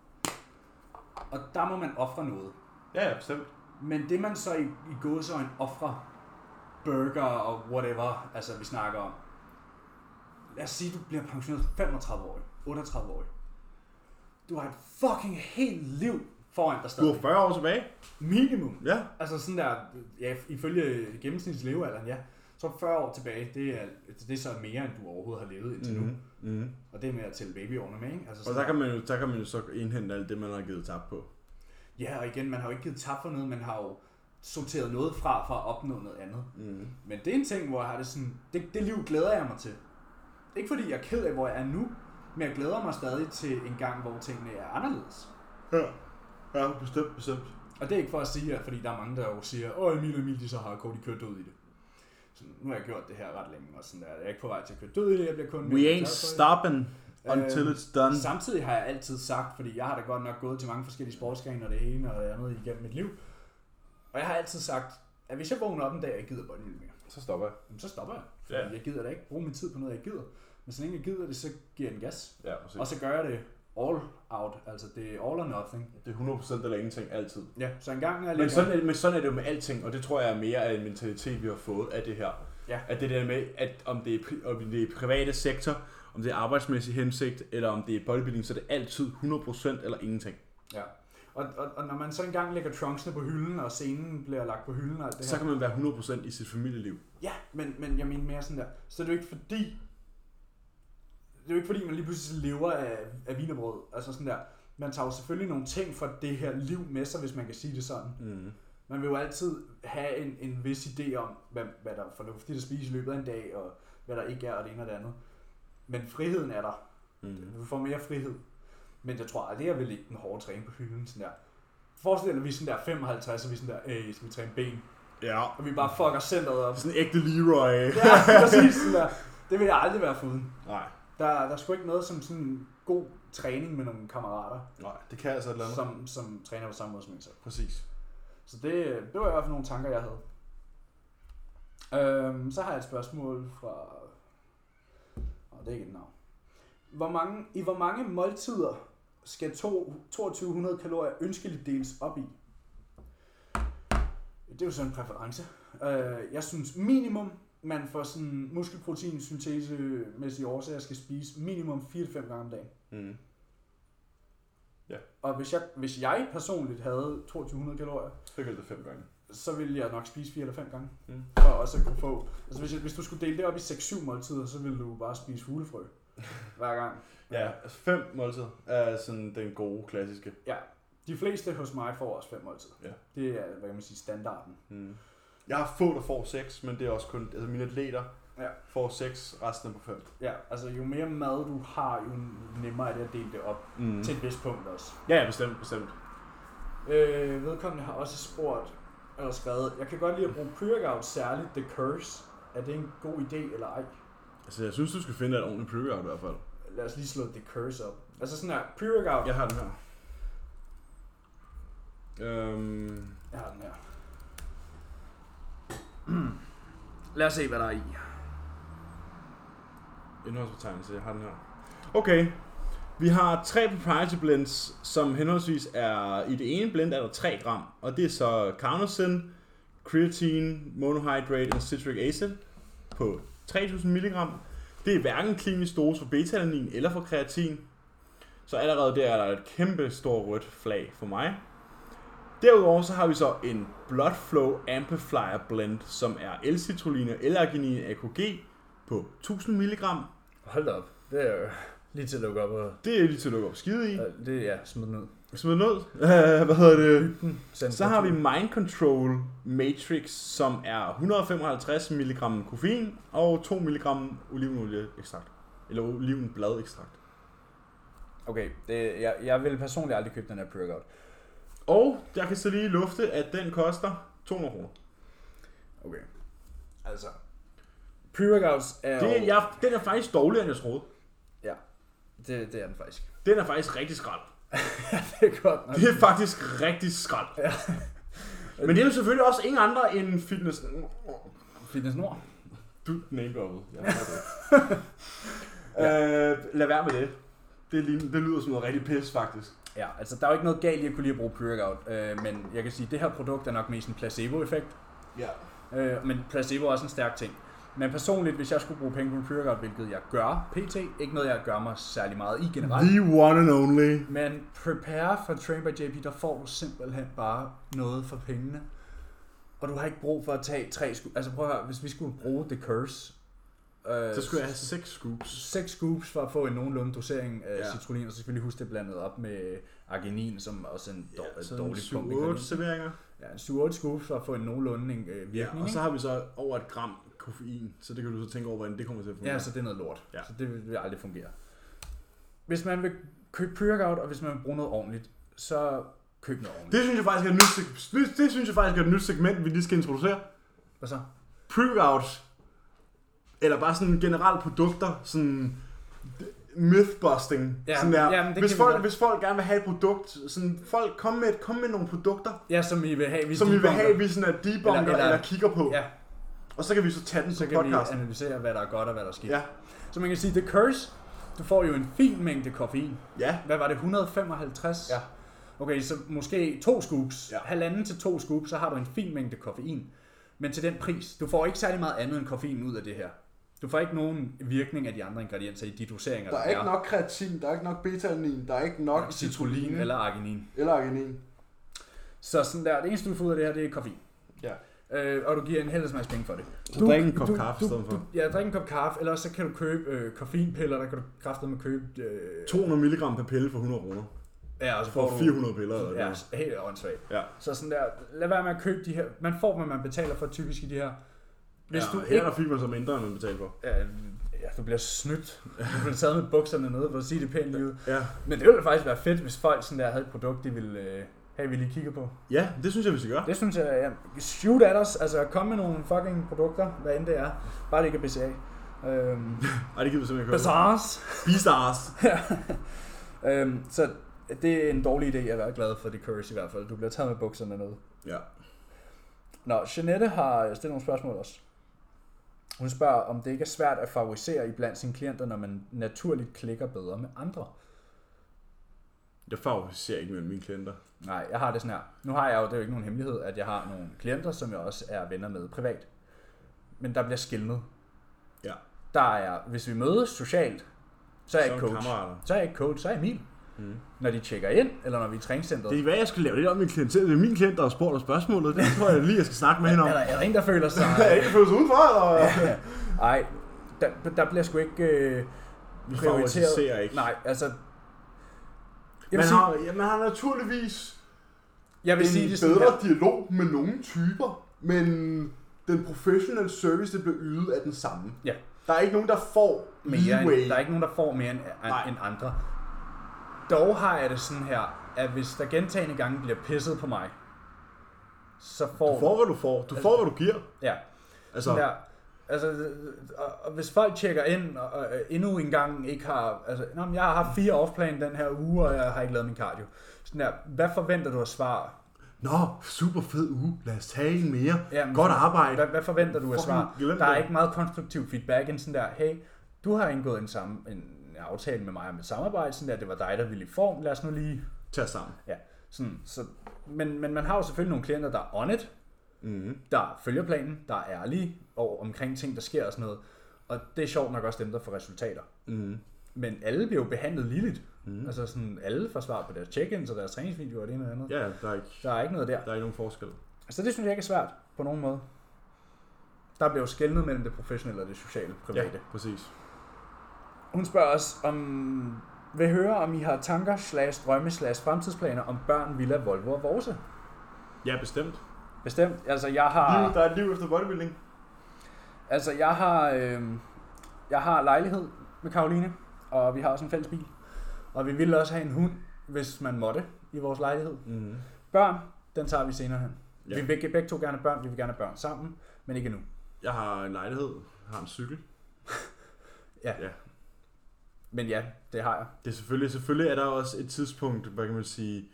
S1: Og der må man ofre noget.
S2: Ja, ja, bestemt.
S1: Men det man så i, i gåsøjne offrer, burger og whatever, altså vi snakker om. Lad os sige, du bliver pensioneret 35 år, 38 år. Du har et fucking helt liv foran dig
S2: Du har
S1: stadig.
S2: 40 år tilbage.
S1: Minimum.
S2: Ja.
S1: Altså sådan der, ja, ifølge gennemsnitslevealderen, ja. Så 40 år tilbage, det er, det er så mere, end du overhovedet har levet indtil mm. nu.
S2: Mm-hmm.
S1: Og det er med at tælle babyårene med, ikke? Altså
S2: Og
S1: sådan
S2: der kan, man jo, der kan man jo så indhente alt det, man har givet tab på.
S1: Ja, og igen, man har jo ikke givet tab for noget, man har jo sorteret noget fra for at opnå noget andet.
S2: Mhm.
S1: Mm. Men det er en ting, hvor jeg har det sådan, det, det liv glæder jeg mig til. Ikke fordi jeg er ked af, hvor jeg er nu, men jeg glæder mig stadig til en gang, hvor tingene er anderledes.
S2: Ja, ja bestemt, bestemt.
S1: Og det er ikke for at sige, at fordi der er mange, der jo siger, åh Emil og Emil, de er så hardcore, de kører død i det. Så nu har jeg gjort det her ret længe, og sådan der. Jeg er ikke på vej til at køre død i det, jeg bliver kun...
S2: We
S1: mere
S2: ain't
S1: glad for det.
S2: stopping. Until
S1: Øhm,
S2: it's done.
S1: Samtidig har jeg altid sagt, fordi jeg har da godt nok gået til mange forskellige sportsgrene og det ene og det andet igennem mit liv. Og jeg har altid sagt, at hvis jeg vågner op en dag, og jeg gider bolden mere,
S4: Så stopper jeg.
S1: jamen, så stopper jeg. Fordi
S4: Ja.
S1: jeg gider da ikke bruge min tid på noget, jeg gider. Men så længe jeg gider det, så giver jeg den gas.
S2: Ja, præcis.
S1: Og så gør jeg det all out, altså det er all or nothing.
S2: Det er 100% eller ingenting altid.
S1: Ja, så en gang er jeg
S2: Men
S1: lidt...
S2: sådan, er, men sådan er det jo med alting, og det tror jeg er mere af en mentalitet, vi har fået af det her.
S1: Ja.
S2: At det der med, at om det er, pri- om det er private sektor, om det er arbejdsmæssig hensigt, eller om det er bodybuilding, så er det altid 100% eller ingenting.
S1: Ja. Og, og, og, når man så engang lægger trunksene på hylden, og scenen bliver lagt på hylden og alt det her,
S2: Så kan man være 100% i sit familieliv.
S1: Ja, men, men jeg mener mere sådan der. Så er det jo ikke fordi... Det er jo ikke fordi, man lige pludselig lever af, af vinerbrød. Altså sådan der. Man tager jo selvfølgelig nogle ting fra det her liv med sig, hvis man kan sige det sådan.
S2: Mm.
S1: Man vil jo altid have en, en vis idé om, hvad, hvad der er fornuftigt at spise i løbet af en dag, og hvad der ikke er, og det ene og det andet. Men friheden er der.
S2: Mm.
S1: Du får mere frihed. Men jeg tror aldrig, jeg vil lægge den hårde træne på hylden. Sådan der. Forestil dig, at vi er sådan der 55, og vi er sådan der, øh, skal vi træne ben?
S2: Ja.
S1: Og vi bare fucker centret op.
S2: Sådan en ægte Leroy.
S1: Ja, præcis. Sådan der. Det vil jeg aldrig være foruden.
S2: Nej,
S1: Der, der er sgu ikke noget som sådan god træning med nogle kammerater,
S2: nej, det kan altså et eller andet.
S1: som, som træner på samme måde som en selv.
S2: Præcis.
S1: Så det, det var i hvert fald nogle tanker, jeg havde. Øhm, så har jeg et spørgsmål fra... Oh, det er ikke et navn. Hvor mange, I hvor mange måltider skal to, 2200 kalorier ønskeligt deles op i? Det er jo sådan en præference. Øh, jeg synes minimum, man for sådan muskelprotein syntesemæssige årsager skal spise minimum 4-5 gange om dagen.
S2: Mm.
S1: Og hvis jeg, hvis jeg personligt havde 2200 kalorier,
S2: Så kan det fem gange.
S1: så ville jeg nok spise 4 eller 5 gange.
S2: Mm.
S1: Mm. For også at kunne få... Altså hvis, jeg, hvis du skulle dele det op i 6-7 måltider, så ville du bare spise fuglefrø hver gang.
S2: Ja, altså fem måltider er sådan den gode, klassiske.
S1: De fleste hos mig får også 5 måltider.
S2: Ja.
S1: Det er, hvad kan man sige, standarden.
S2: Mm. Jeg har få, der får seks, men det er også kun, altså mine atleter
S1: Ja.
S2: får seks, resten er på fem.
S1: Ja, altså jo mere mad du har, jo nemmere er det at dele det op.
S2: Mm.
S1: Mm. Til et vist punkt også.
S2: Ja, ja, bestemt, bestemt.
S1: Øh, vedkommende har også spurgt, eller skrevet, jeg kan godt lide at bruge pre-workout, særligt The Curse. Er det en god idé eller ej?
S2: Altså, jeg synes, du skal finde et ordentligt pre-workout i hvert fald.
S1: Lad os lige slå The Curse op. Altså sådan her, pre-workout,
S2: Jeg har den her. Øhm,
S1: Jeg har den her. Lad os se, hvad der er i.
S2: indholdsbetegnelse, jeg har den her. Okay, vi har tre proprietary blends, som henholdsvis er, i det ene blend er der 3 gram, og det er så carnosin, creatine, monohydrate og citric acid på 3000 mg. Det er hverken klinisk dose for betalanin eller for kreatin, så allerede der er der et kæmpe stort rødt flag for mig. Derudover så har vi så en Blood Flow Amplifier Blend, som er L-citrulline, L-arginin, AKG på 1000 mg.
S4: Hold da op. Det er jo lige til at lukke op og...
S2: Det er lige til at lukke op skide i.
S4: og Det er ja, smid den ud.
S2: Smid den ud. Øh, Hvad hedder det?
S4: Send
S2: Så har vi Mind Control Matrix, som er 155 mg koffein og 2 mg olivenolie ekstrakt. Eller olivenblad ekstrakt.
S4: Okay, det, jeg, jeg vil personligt aldrig købe den her pre-workout.
S2: Og jeg kan så lige lufte, at den koster 200 kroner.
S4: Okay. Altså, pre-workouts er
S2: Det,
S4: jo-
S2: er- jeg, den er faktisk dårligere, end jeg troede.
S4: Ja, det, det er den faktisk.
S2: Den er faktisk rigtig skrald.
S4: det er godt nok.
S2: Det er faktisk rigtig skrald.
S4: Ja.
S2: Men det er jo selvfølgelig også ingen andre end fitness...
S4: Fitness Nord.
S2: Du name droppet. Jeg hader det. øh, lad være med det. Det, ligner, det lyder som noget rigtig pis, faktisk.
S4: Ja, altså der er jo ikke noget galt i at kunne lide at bruge pre-workout, øh, men jeg kan sige, at det her produkt er nok mest en placebo-effekt,
S2: Ja.
S4: øh, men placebo er også en stærk ting. Men personligt, hvis jeg skulle bruge penge på en pre-workout, hvilket jeg gør pt, ikke noget jeg gør mig særlig meget i generelt,
S2: The one and only.
S4: men prepare for Train by JP, der får du simpelthen bare noget for pengene. Og du har ikke brug for at tage tre scoop. Altså prøv at høre, hvis vi skulle bruge The Curse, øh,
S2: Så skulle jeg have seks scoops.
S4: 6 scoops for at få en nogenlunde dosering af
S2: Ja.
S4: ja. citrullin, og så skal vi lige huske det blandet op med arginin, som også er en dår, ja,
S2: sådan
S4: dårlig pump. i
S2: 7-8
S4: kalorien.
S2: serveringer.
S4: Ja, 7-8 scoops for at få en nogenlunde en, øh,
S2: Ja,
S4: virkning.
S2: og så
S4: Ja,
S2: har vi så over et gram koffein, så det kan du så tænke over, hvordan det kommer til at fungere.
S4: ja, så det er noget lort.
S2: Ja.
S4: Ja. Så det vil, vil aldrig fungere. Hvis man vil købe pre-workout, og hvis man vil bruge noget ordentligt, så køb noget ordentligt.
S2: Det synes jeg faktisk er et nyt, seg- det, det synes jeg faktisk er et nyt segment, vi lige skal introducere.
S4: Hvad så?
S2: Pre-workout, eller bare sådan generelle produkter, sådan mythbusting.
S1: Ja,
S2: sådan der.
S1: ja, men det
S2: hvis,
S1: kan vi
S2: folk,
S1: godt.
S2: hvis folk gerne vil have et produkt, sådan, folk kom med, kom med nogle produkter,
S1: Ja, som I vil have, hvis
S2: som
S1: de
S2: vi vil
S1: bunker.
S2: have, vi sådan er debunker eller,
S1: Eller- eller-
S2: eller, eller kigger på.
S1: Ja,
S2: Og så kan vi så tage den
S1: så
S2: på
S1: kan vi
S2: podcasten.
S1: analysere, hvad der er godt og hvad der er skidt.
S2: Ja.
S1: Så man kan sige, The Curse, du får jo en fin mængde koffein.
S2: Ja.
S1: Hvad var det, 155?
S2: Ja.
S1: Okay, så måske to scoops, ja.
S2: Ja.
S1: halvanden til to scoops, så har du en fin mængde koffein. Men til den pris, du får ikke særlig meget andet end koffein ud af det her. Du får ikke nogen virkning af de andre ingredienser i de doseringer,
S2: Der er ikke nok kreatin, der er ikke nok beta-alanin, der er ikke nok
S1: citrulline
S2: citrulline
S1: eller arginin.
S2: eller arginin.
S1: Så sådan der, det eneste du får ud af det her, det er koffein.
S2: Ja.
S1: Øh, og du giver en helvedes masse penge for det.
S2: Så drik en kop kaffe i stedet for.
S1: Du, ja, drik en kop kaffe, eller så kan du købe øh, koffeinpiller, der kan du kraftedeme med købe... Øh,
S2: 200 mg per pille for 100 kroner.
S1: ja, og så får
S2: For
S1: du,
S2: 400 piller. Eller
S1: Ja,
S2: ja.
S1: helt åndssvagt.
S2: ja.
S1: Så sådan der, lad være med at købe de her. Man får, hvad man betaler for typisk i de her. Hvis
S2: ja,
S1: du
S2: her
S1: ikke...
S2: der fik man så mindre, end man betalte for.
S1: Ja, ja, du bliver snydt. Du bliver taget med bukserne nede, for at sige det pænt lige ud.
S2: Ja.
S1: Men det ville faktisk være fedt, hvis folk sådan der havde et produkt, de ville øh, have, vi lige kigger på.
S2: ja, det synes jeg, vi skal gøre.
S1: Det synes jeg, ja. Shoot at os. Altså, kom med nogle fucking produkter, hvad end det er. Bare det ikke er BCA. Øhm,
S2: Ej, det gider vi simpelthen ikke.
S1: Bazaars.
S2: Beastars.
S1: øhm, så det er en dårlig idé at være glad for The Curse i hvert fald. Du bliver taget med bukserne nede.
S2: Ja.
S1: Nå, Jeanette har stillet nogle spørgsmål også. Hun spørger, om det ikke er svært at favorisere i blandt sine klienter, når man naturligt klikker bedre med andre.
S2: Jeg favoriserer ikke mellem mine klienter.
S1: Nej, jeg har det sådan her. Nu har jeg jo, det er jo ikke nogen hemmelighed, at jeg har nogle klienter, som jeg også er venner med privat. Men der bliver skilnet.
S2: Ja.
S1: Der er, hvis vi mødes socialt, så er jeg ikke
S2: Så er vi
S1: coach.
S2: kammerater.
S1: Så er jeg ikke coach, så er jeg min. Mm. Når de tjekker ind, eller når vi er i træningscenteret.
S2: Det er, hvad jeg skal lave lidt om min klientel. Det er min klient, der har spurgt dig spørgsmålet. Det tror jeg lige, jeg skal snakke med hende om.
S1: er, der, er der en, der føler sig...
S2: Jeg ikke føles udenfor, eller?
S1: Nej, der, der bliver sgu ikke øh,
S2: Vi favoriserer
S1: prioriteret.
S2: ikke.
S1: Nej, altså... Jeg vil
S2: Man
S1: sige,
S2: har, ja, man har naturligvis
S1: jeg vil
S2: en
S1: sige det sådan
S2: bedre
S1: her.
S2: dialog med nogle typer, men den professionelle service, det bliver ydet af den samme.
S1: Ja,
S2: Der er ikke nogen, der får
S1: mere
S2: leeway.
S1: end, der er ikke nogen, der får mere end,
S2: Nej.
S1: end andre. Dog har jeg det sådan her, at hvis der gentagende gange bliver pisset på mig, så får...
S2: Du får, hvad du får. Du får, hvad du giver.
S1: Ja,
S2: Altså,
S1: så. der. Altså, øh, og, og hvis folk tjekker ind, og, og øh, endnu en gang ikke har... Altså, Nå, men jeg har haft fire offplan den her uge, og jeg har ikke lavet min cardio. Sådan der, hvad forventer du at svare?
S2: nå, super fed uge. Lad os tage en mere.
S1: Ja, men-
S2: Godt arbejde.
S1: Hvad, hvad forventer du af
S2: Fucking
S1: svar?
S2: glem
S1: Der er
S2: det.
S1: ikke meget konstruktiv feedback end sådan der, hey, du har indgået en, samme, en aftale med mig om et samarbejde, sådan der, det var dig, der ville i form, lad os nu lige...
S2: Tag os sammen.
S1: Ja, sådan, så, men, men man har jo selvfølgelig nogle klienter, der er on it,
S2: Mhm,
S1: mm. der følger planen, der er ærlige og omkring ting, der sker og sådan noget. Og det er sjovt nok også dem, der får resultater. Mm.
S2: mhm.
S1: Men alle bliver jo behandlet ligeligt. Mm. Altså sådan, alle får svar på deres check-ins og deres træningsvideoer og det ene og det andet.
S2: Ja, der er ikke,
S1: Der er ikke noget der.
S2: der er ikke nogen forskel.
S1: Så det synes jeg ikke er svært på nogen måde. Der bliver jo skældnet mellem det professionelle og det sociale private. Ja.
S2: præcis.
S1: Hun spørger os, om vil høre, om I har tanker, slash drømme, slash fremtidsplaner om børn, Villa, Volvo og Vorse.
S2: Ja, bestemt.
S1: Bestemt. Altså, jeg
S2: Liv,
S1: har,
S2: der er et liv efter bodybuilding.
S1: altså, jeg har, øh, jeg har lejlighed med Karoline, og vi har også en fælles bil. Og vi ville også have en hund, hvis man måtte, i vores lejlighed.
S2: Mm.
S1: Børn, den tager vi senere hen. Ja.
S2: Ja.
S1: Vi vil begge, begge to gerne have børn, vi vil gerne have børn sammen, men ikke nu.
S2: Jeg har en lejlighed. Jeg har en cykel.
S1: Ja.
S2: ja.
S1: Men ja, det har jeg.
S2: Det er selvfølgelig, selvfølgelig er der også et tidspunkt, hvad kan man sige,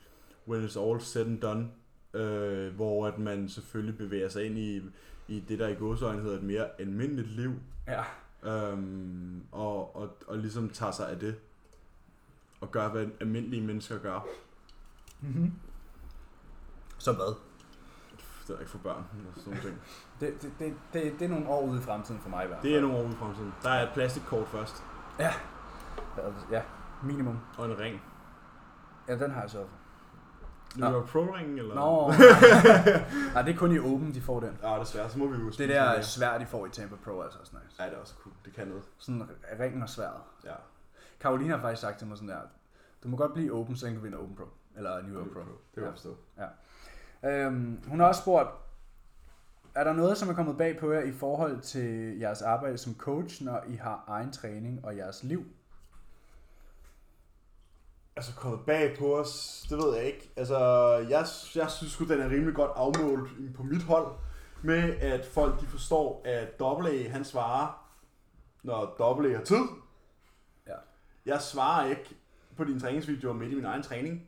S2: when it's all said and done, øh, hvor at man selvfølgelig bevæger sig ind i, i det, der i godsøjne hedder et mere almindeligt liv,
S1: Ja.
S2: øhm, og, og, og ligesom tager sig af det, og gør, hvad almindelige mennesker gør,
S1: Så hvad?
S2: det er ikke for børn og sådan nogle ting.
S1: Det, det, det, det, det er nogle år ude i fremtiden for mig i hvert fald.
S2: Det er nogle år ude i fremtiden. Der er et plastikkort først,
S1: Ja, minimum.
S2: og en ring.
S1: Ja, den har jeg så.
S2: New York Pro-ringen, eller?
S1: Nå. Nej, det er kun i Open, de får den.
S2: Ja, desværre, så må vi jo
S1: Det der svært, de får i Tampa Pro, er altså også nice.
S2: Ja, det er også cool. Det kan noget.
S1: Sådan ringen og sværet.
S2: Ja.
S1: Karoline har faktisk sagt til mig sådan der, du må godt blive Open, så kan du vinde Open Pro. Eller New York Pro.
S2: Det kan jeg forstå.
S1: Øhm, hun har også spurgt, er der noget, som er kommet bag på jer i forhold til jeres arbejde som coach, når I har egen træning og jeres liv?
S2: altså kommet bag på os, det ved jeg ikke. Altså, jeg, jeg synes sgu, den er rimelig godt afmålt på mit hold, med at folk de forstår, at AA, han svarer, når AA har tid.
S1: Ja.
S2: Jeg svarer ikke på dine træningsvideoer midt i min egen træning.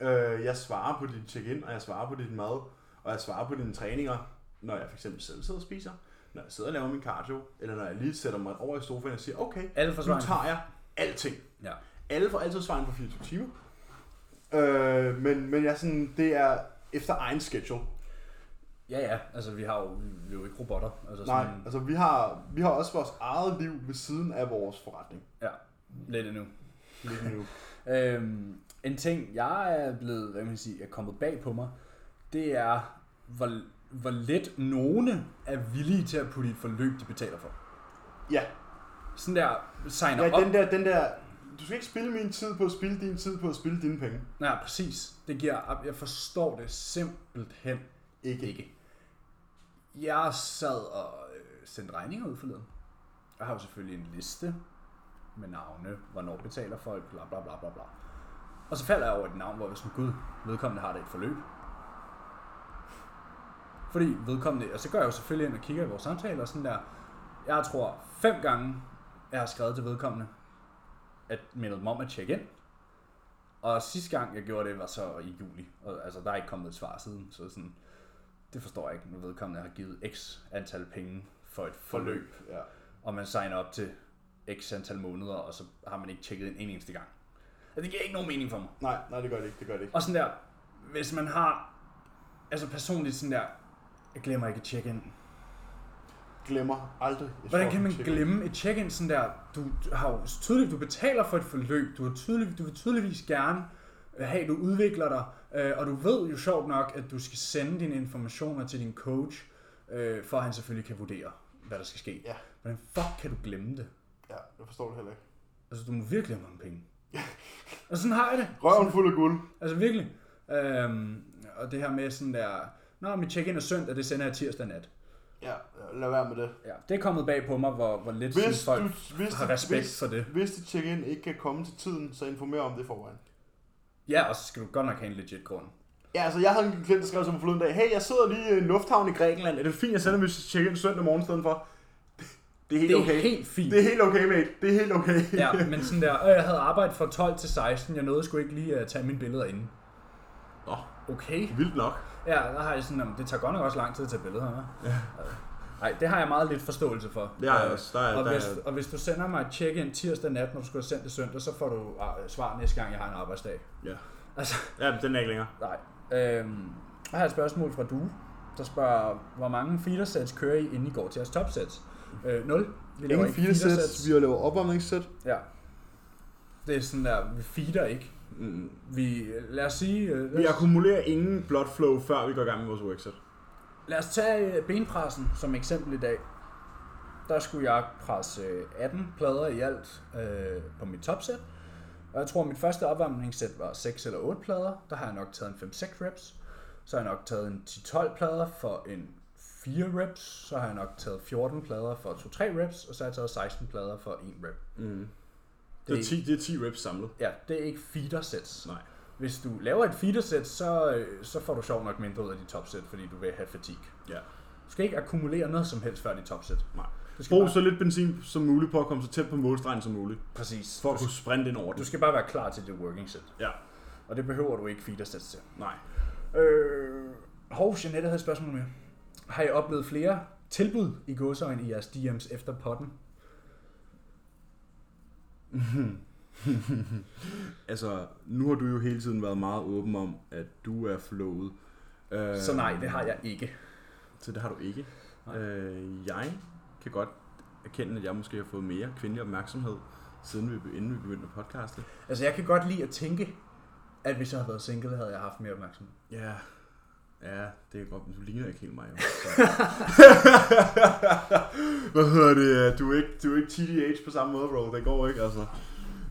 S2: Øh, jeg svarer på dit check-in, og jeg svarer på dit mad, og jeg svarer på dine træninger, når jeg for eksempel selv sidder og spiser, når jeg sidder og laver min cardio, eller når jeg lige sætter mig over i sofaen og siger, okay,
S1: Alle får
S2: nu
S1: svarene.
S2: tager jeg alting.
S1: Ja.
S2: Alle får altid svaren på 24 timer. Øh, men, men jeg er sådan, det er efter egen schedule.
S1: Ja, ja. Altså, vi har jo, vi er jo ikke robotter. Altså,
S2: Nej,
S1: sådan,
S2: altså vi har, vi har også vores eget liv ved siden af vores forretning.
S1: Ja, lidt endnu.
S2: Lige nu.
S1: Øhm, en ting, jeg er blevet, hvad kan man sige, er kommet bag på mig, det er, hvor, hvor let nogle er villige til at putte i et forløb, de betaler for.
S2: Ja,
S1: Sådan der, signer
S2: ja
S1: op.
S2: den, der, den der, du skal ikke spille min tid på at spille din tid på at spille dine penge.
S1: Nej, præcis. Det giver, jeg forstår det simpelthen
S2: Ikke.
S1: ikke. Jeg sad og øh, sendte regninger ud forleden. Jeg har jo selvfølgelig en liste med navne, hvornår betaler folk, bla bla bla bla bla. Og så falder jeg over et navn, hvor jeg som gud, vedkommende har det et forløb. Fordi vedkommende, og så går jeg jo selvfølgelig ind og kigger i vores samtaler og sådan der. Jeg tror fem gange, jeg har skrevet til vedkommende, at mindet dem om at tjekke ind. Og sidste gang, jeg gjorde det, var så i juli. Og, altså, der er ikke kommet et svar siden, så sådan, det forstår jeg ikke, når vedkommende har givet x antal penge for et forløb
S2: Ja.
S1: og man signer op til x antal måneder, og så har man ikke tjekket ind en eneste gang. Og det giver ikke nogen mening for mig.
S2: Nej, nej, det gør det ikke, det gør det ikke.
S1: Og sådan der, hvis man har, altså personligt sådan der, jeg glemmer ikke et check-in.
S2: Glemmer aldrig. et
S1: Hvordan
S2: fucking
S1: kan man
S2: check-in.
S1: glemme et check-in sådan der, du du har jo tydeligt, du betaler for et forløb, du, har tydeligt, du vil tydeligvis gerne øh, have, at du udvikler dig, øh, og du ved jo sjovt nok, at du skal sende dine informationer til din coach, øh, for at han selvfølgelig kan vurdere, hvad der skal ske.
S2: Ja.
S1: Hvordan fuck kan du glemme det?
S2: Ja, jeg forstår det heller ikke.
S1: Altså, du må virkelig have mange penge. og sådan har jeg det.
S2: Røven fuld af guld.
S1: Altså, virkelig. Øhm, og det her med sådan der, Nå, mit check-in er søndag, det sender jeg tirsdag nat.
S2: Ja, lad være med det.
S1: Ja, det er kommet bag på mig, hvor, hvor lidt
S2: Hvis,
S1: sådan, folk
S2: du, hvis,
S1: har respekt
S2: hvis,
S1: for det.
S2: hvis dit check-in ikke kan komme til tiden, så informer om det i forvejen.
S1: Ja, og så skal du godt nok have en legit grund.
S2: Ja, altså jeg havde en klient, der skrev til mig forleden dag, hey, jeg sidder lige i en lufthavn i Grækenland, er det fint, jeg sender mit check-in søndag morgen i stedet for? Det er helt
S1: Det er
S2: okay.
S1: helt fint.
S2: Det er helt okay, mate. Det er helt okay.
S1: Ja, men sådan der, øh, jeg havde arbejdet fra 12 til 16, jeg nåede sgu ikke lige at tage mine billeder inden.
S2: Nå,
S1: Okay.
S2: vildt nok.
S1: Ja, der har jeg sådan, "Nå, men det tager godt nok også lang tid at tage billeder, hva'? Ja. Nej, det har jeg meget lidt forståelse for. Øh,
S2: Det har jeg også. Der er-
S1: og,
S2: der
S1: hvis,
S2: er-
S1: og hvis du sender mig et check-in tirsdag nat, når du skulle have sendt det søndag, så får du øh, svar næste gang, jeg har en arbejdsdag.
S2: Ja.
S1: Altså,
S2: Ja, men den er ikke længere.
S1: nej. Øhm, jeg har et spørgsmål fra du, der spørger, hvor mange feedersets kører I, inden I går til jeres topsets? Øh, 0. Vi laver
S2: Ingen
S1: ikke
S2: fire
S1: feedersets.
S2: sæt, vi har lavet opvarmningssæt.
S1: Ja. Det er sådan der, vi feeder ikke.
S2: Mm.
S1: Vi, lad os sige, øh,
S2: Vi
S1: lad os,
S2: akkumulerer ingen blood flow, før vi går i gang med vores workset.
S1: lad os tage øh, benpressen som eksempel i dag. Der skulle jeg presse øh, 18 plader i alt øh, på mit topsæt. Og jeg tror, mit første opvarmningssæt var 6 eller 8 plader. Der har jeg nok taget en 5-6 reps. Så har jeg nok taget en 10-12 plader for en 4 reps. Så har jeg nok taget 14 plader for 2-3 reps. Og så har jeg taget 16 plader for 1 rep.
S2: Mm.
S1: Det
S2: Det,
S1: er
S2: er 10, det er 10 reps samlet.
S1: Ja, det er ikke feeder sets.
S2: Nej.
S1: Hvis du laver et feedersæt, så, øh, så får du sjov nok mindre ud af dit topsæt, fordi du vil have fatigue.
S2: Ja.
S1: Du skal ikke akkumulere noget som helst før dit topsæt.
S2: Nej.
S1: Du skal
S2: Brug
S1: bare,
S2: så lidt benzin som muligt på at komme så tæt på målstregen som muligt.
S1: præcis.
S2: For at kunne sprinte ind over
S1: Du
S2: det.
S1: skal bare være klar til dit working set,
S2: Ja.
S1: og det behøver du ikke feedersæt til.
S2: Nej.
S1: Øh, hov, Jeanette havde et spørgsmål mere. Har I oplevet flere tilbud i godsøjen i jeres DM's efter potten?
S2: Altså, nu har du jo hele tiden været meget åben om, at du er flowet. Øh,
S1: Så nej, det har jeg ikke.
S2: Så det har du ikke.
S1: Nej.
S2: Øh, jeg kan godt erkende, at jeg måske har fået mere kvindelig opmærksomhed, siden vi, inden vi begyndte at podcaste.
S1: Altså, jeg kan godt lide at tænke, at hvis jeg havde været single, havde jeg haft mere opmærksomhed.
S2: Ja, ja, det er godt, men du ligner ikke helt mig. Jo. Så. Hvad hedder det? Du er, ikke, du er ikke TDH på samme måde, bro. Det går ikke, altså.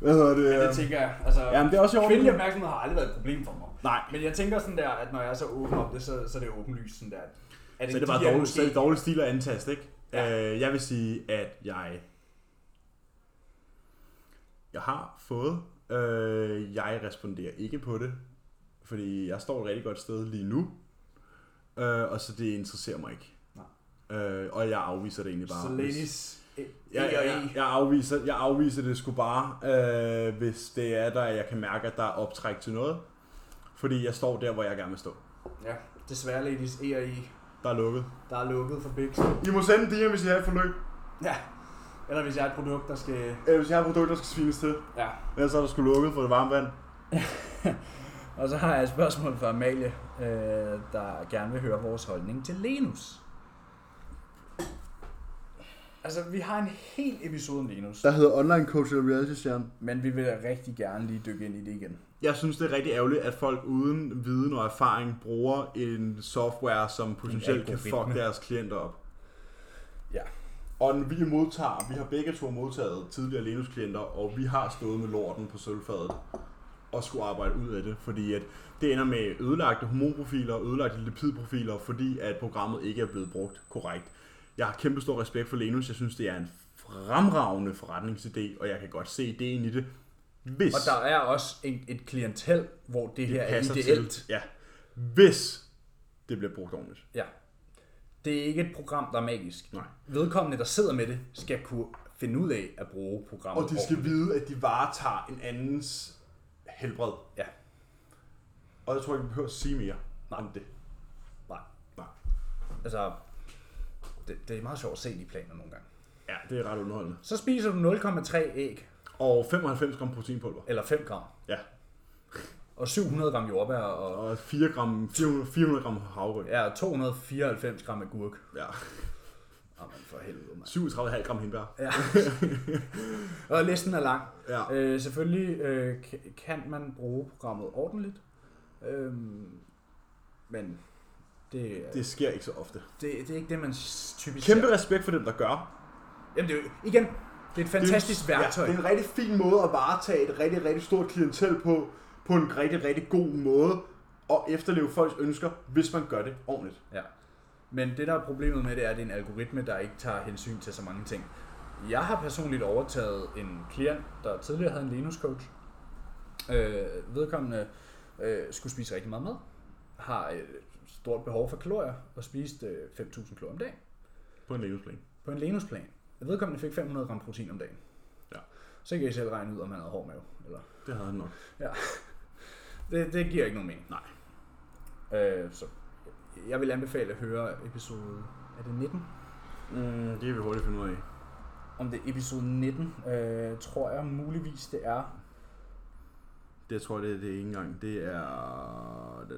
S2: Hvad hedder det?
S1: Ja, det tænker jeg. Altså,
S2: Jamen, det er også i orden.
S1: kvindelig opmærksomhed har aldrig været et problem for mig.
S2: Nej,
S1: Men jeg tænker sådan der, at når jeg er så åben om det, så, så er det åbenlyst sådan der. At
S2: så Altså, er
S1: en
S2: det bare
S1: de
S2: dårlig,
S1: måske-
S2: så er det dårlig stil at antaste, ikke?
S1: Ja.
S2: Ja. Øh, jeg vil sige, at jeg... Jeg har fået. Øh, jeg responderer ikke på det, fordi jeg står et rigtig godt sted lige nu, øh, og så det interesserer mig ikke.
S1: Nej.
S2: Øh, og jeg afviser det egentlig bare.
S1: Så
S2: hvis-
S1: ladies, eh, E
S2: Jeg, jeg, jeg, jeg, afviser, jeg afviser det sgu bare, øh, hvis det er der, jeg kan mærke, at der er optræk til noget. Fordi jeg står der, hvor jeg gerne vil stå.
S1: Ja, desværre ladies, E og I,
S2: Der er lukket.
S1: der er lukket for Bix.
S2: I må sende en DM, hvis I har et forløb.
S1: Ja, eller hvis jeg er et produkt, der skal...
S2: Eller Øh, hvis I har et produkt, der skal svines til.
S1: Ja.
S2: Ellers er der sgu lukket for det varme vand.
S1: Og så har jeg et spørgsmål fra Amalie, øh, der gerne vil høre vores holdning til Lenus. Altså, vi har en hel episode om Lenus,
S2: Der hedder online coach og reality stjerne.
S1: men vi vil rigtig gerne lige dykke ind i det igen.
S2: Jeg synes, det er rigtig ærgerligt, at folk uden viden og erfaring bruger en software, som potentielt kan
S1: algoritme.
S2: fuck deres klienter op.
S1: Ja.
S2: Og den- vi modtager, vi har begge to modtaget tidligere Linux-klienter, og vi har stået med lorten på sølvfadet og skulle arbejde ud af det, fordi at det ender med ødelagte hormonprofiler og ødelagte lipidprofiler, fordi at programmet ikke er blevet brugt korrekt. Jeg har kæmpe stor respekt for Linux. Jeg synes, det er en fremragende forretningsidé, og jeg kan godt se ideen i det. Hvis
S1: Og der er også en, et klientel, hvor det, det her er
S2: passer
S1: ideelt.
S2: til. Ja. Hvis det bliver brugt ordentligt.
S1: Ja. Det er ikke et program, der er magisk.
S2: Nej.
S1: Vedkommende, der sidder med det, skal kunne finde ud af at bruge programmet.
S2: Og de skal vide, at de varetager en andens helbred.
S1: Ja,
S2: Og jeg tror ikke, vi behøver at sige mere
S1: Nej.
S2: om det.
S1: nej.
S2: Nej.
S1: Altså, det, det er meget sjovt at se de planer nogle gange.
S2: Ja, det er ret underholdende.
S1: Så spiser du 0,3 æg,
S2: Og 95 gram proteinpulver.
S1: eller 5 gram,
S2: Ja.
S1: og 700 gram jordbær, og
S2: Og 4 gram, 400, 400 gram havregryn. Ja.
S1: ja, 294 gram agurk.
S2: ja.
S1: Jamen for helvede, mand.
S2: 37,5 gram hindbær.
S1: Ja. og listen er lang.
S2: Ja.
S1: Øh, selvfølgelig øh, ka- kan man bruge programmet ordentligt, øhm, men det, det,
S2: Det sker ikke så ofte.
S1: det, det er ikke det, man s- typisk
S2: Kæmpe
S1: ser.
S2: respekt for dem, der gør.
S1: Jamen det er jo, igen, det er et fantastisk
S2: det er, en-
S1: værktøj.
S2: Ja, det er en rigtig fin måde at varetage et rigtig, rigtig stort klientel på, på en rigtig, rigtig god måde, og efterleve folks ønsker, hvis man gør det ordentligt.
S1: Ja. Men det, der er problemet med det, er, at det er en algoritme, der ikke tager hensyn til så mange ting. Jeg har personligt overtaget en klient, der tidligere havde en Linux-coach. Øh, vedkommende øh, skulle spise rigtig meget mad. Har et stort behov for kalorier og spiste øh, 5.000 kalorier om dagen
S2: På en levensplan.
S1: på en Linux-plan. Vedkommende fik 500 gram protein om dagen.
S2: Ja.
S1: Så kan I selv regne ud, om han havde hård mave. Eller...
S2: Det havde han nok.
S1: Ja. Det, det giver ikke nogen mening.
S2: Nej.
S1: Øh, så jeg vil anbefale at høre episode... Er det 19?
S2: Mm, det vil vi hurtigt finde ud af.
S1: om det er episode 19, øh, tror jeg muligvis det er.
S2: Det tror jeg, det, det er ikke engang. Det er...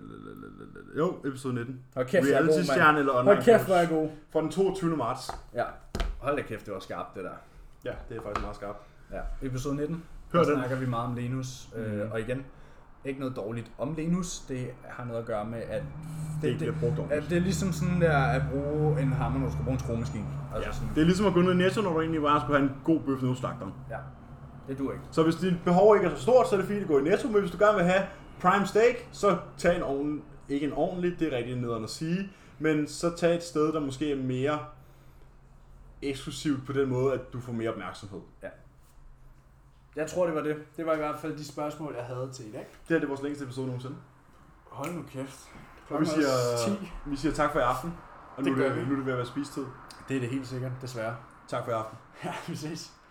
S2: Jo, episode 19.
S1: Hold kæft, jeg er god, mand.
S2: Reality-stjerne eller online
S1: Hold kæft,
S2: coach.
S1: hvor er jeg god.
S2: Fra den 22. marts.
S1: Ja. Hold da kæft, det var skarpt, det der.
S2: Ja, det er faktisk meget skarpt.
S1: Ja. Episode 19,
S2: Hør
S1: der
S2: den.
S1: snakker vi meget om Lenus. Øh, og igen, ikke noget dårligt om Lenus. Det har noget at gøre med, at
S2: Det ikke bliver brugt
S1: at
S2: ordentligt.
S1: det er ligesom sådan der at bruge en hammer, når du skal bruge en skruemaskine. Altså
S2: Ja.
S1: sådan,
S2: Det er ligesom at gå ned i Netto, når du egentlig bare skulle have en god bøf nede hos slagteren.
S1: ja. Det duer ikke.
S2: Så hvis dit behov ikke er så stort, så er det fint at gå i Netto, men hvis du gerne vil have prime steak, så tag en oven, ikke en ordentlig, det er rigtig nederen at sige, men så tag et sted, der måske er mere eksklusivt på den måde, at du får mere opmærksomhed.
S3: Jeg tror, det var det. Det var i hvert fald de spørgsmål, jeg havde til i dag.
S2: Det her det er vores længste episode nogensinde.
S3: Hold nu kæft.
S2: Og vi
S3: Klokken
S2: siger,
S3: er 10.
S2: vi siger tak for i aften, og
S3: Det
S2: nu, er
S3: gør vi.
S2: det, nu er det ved at være spistid.
S3: Det er det helt sikkert, desværre.
S2: Tak for i aften.
S3: Ja, vi ses.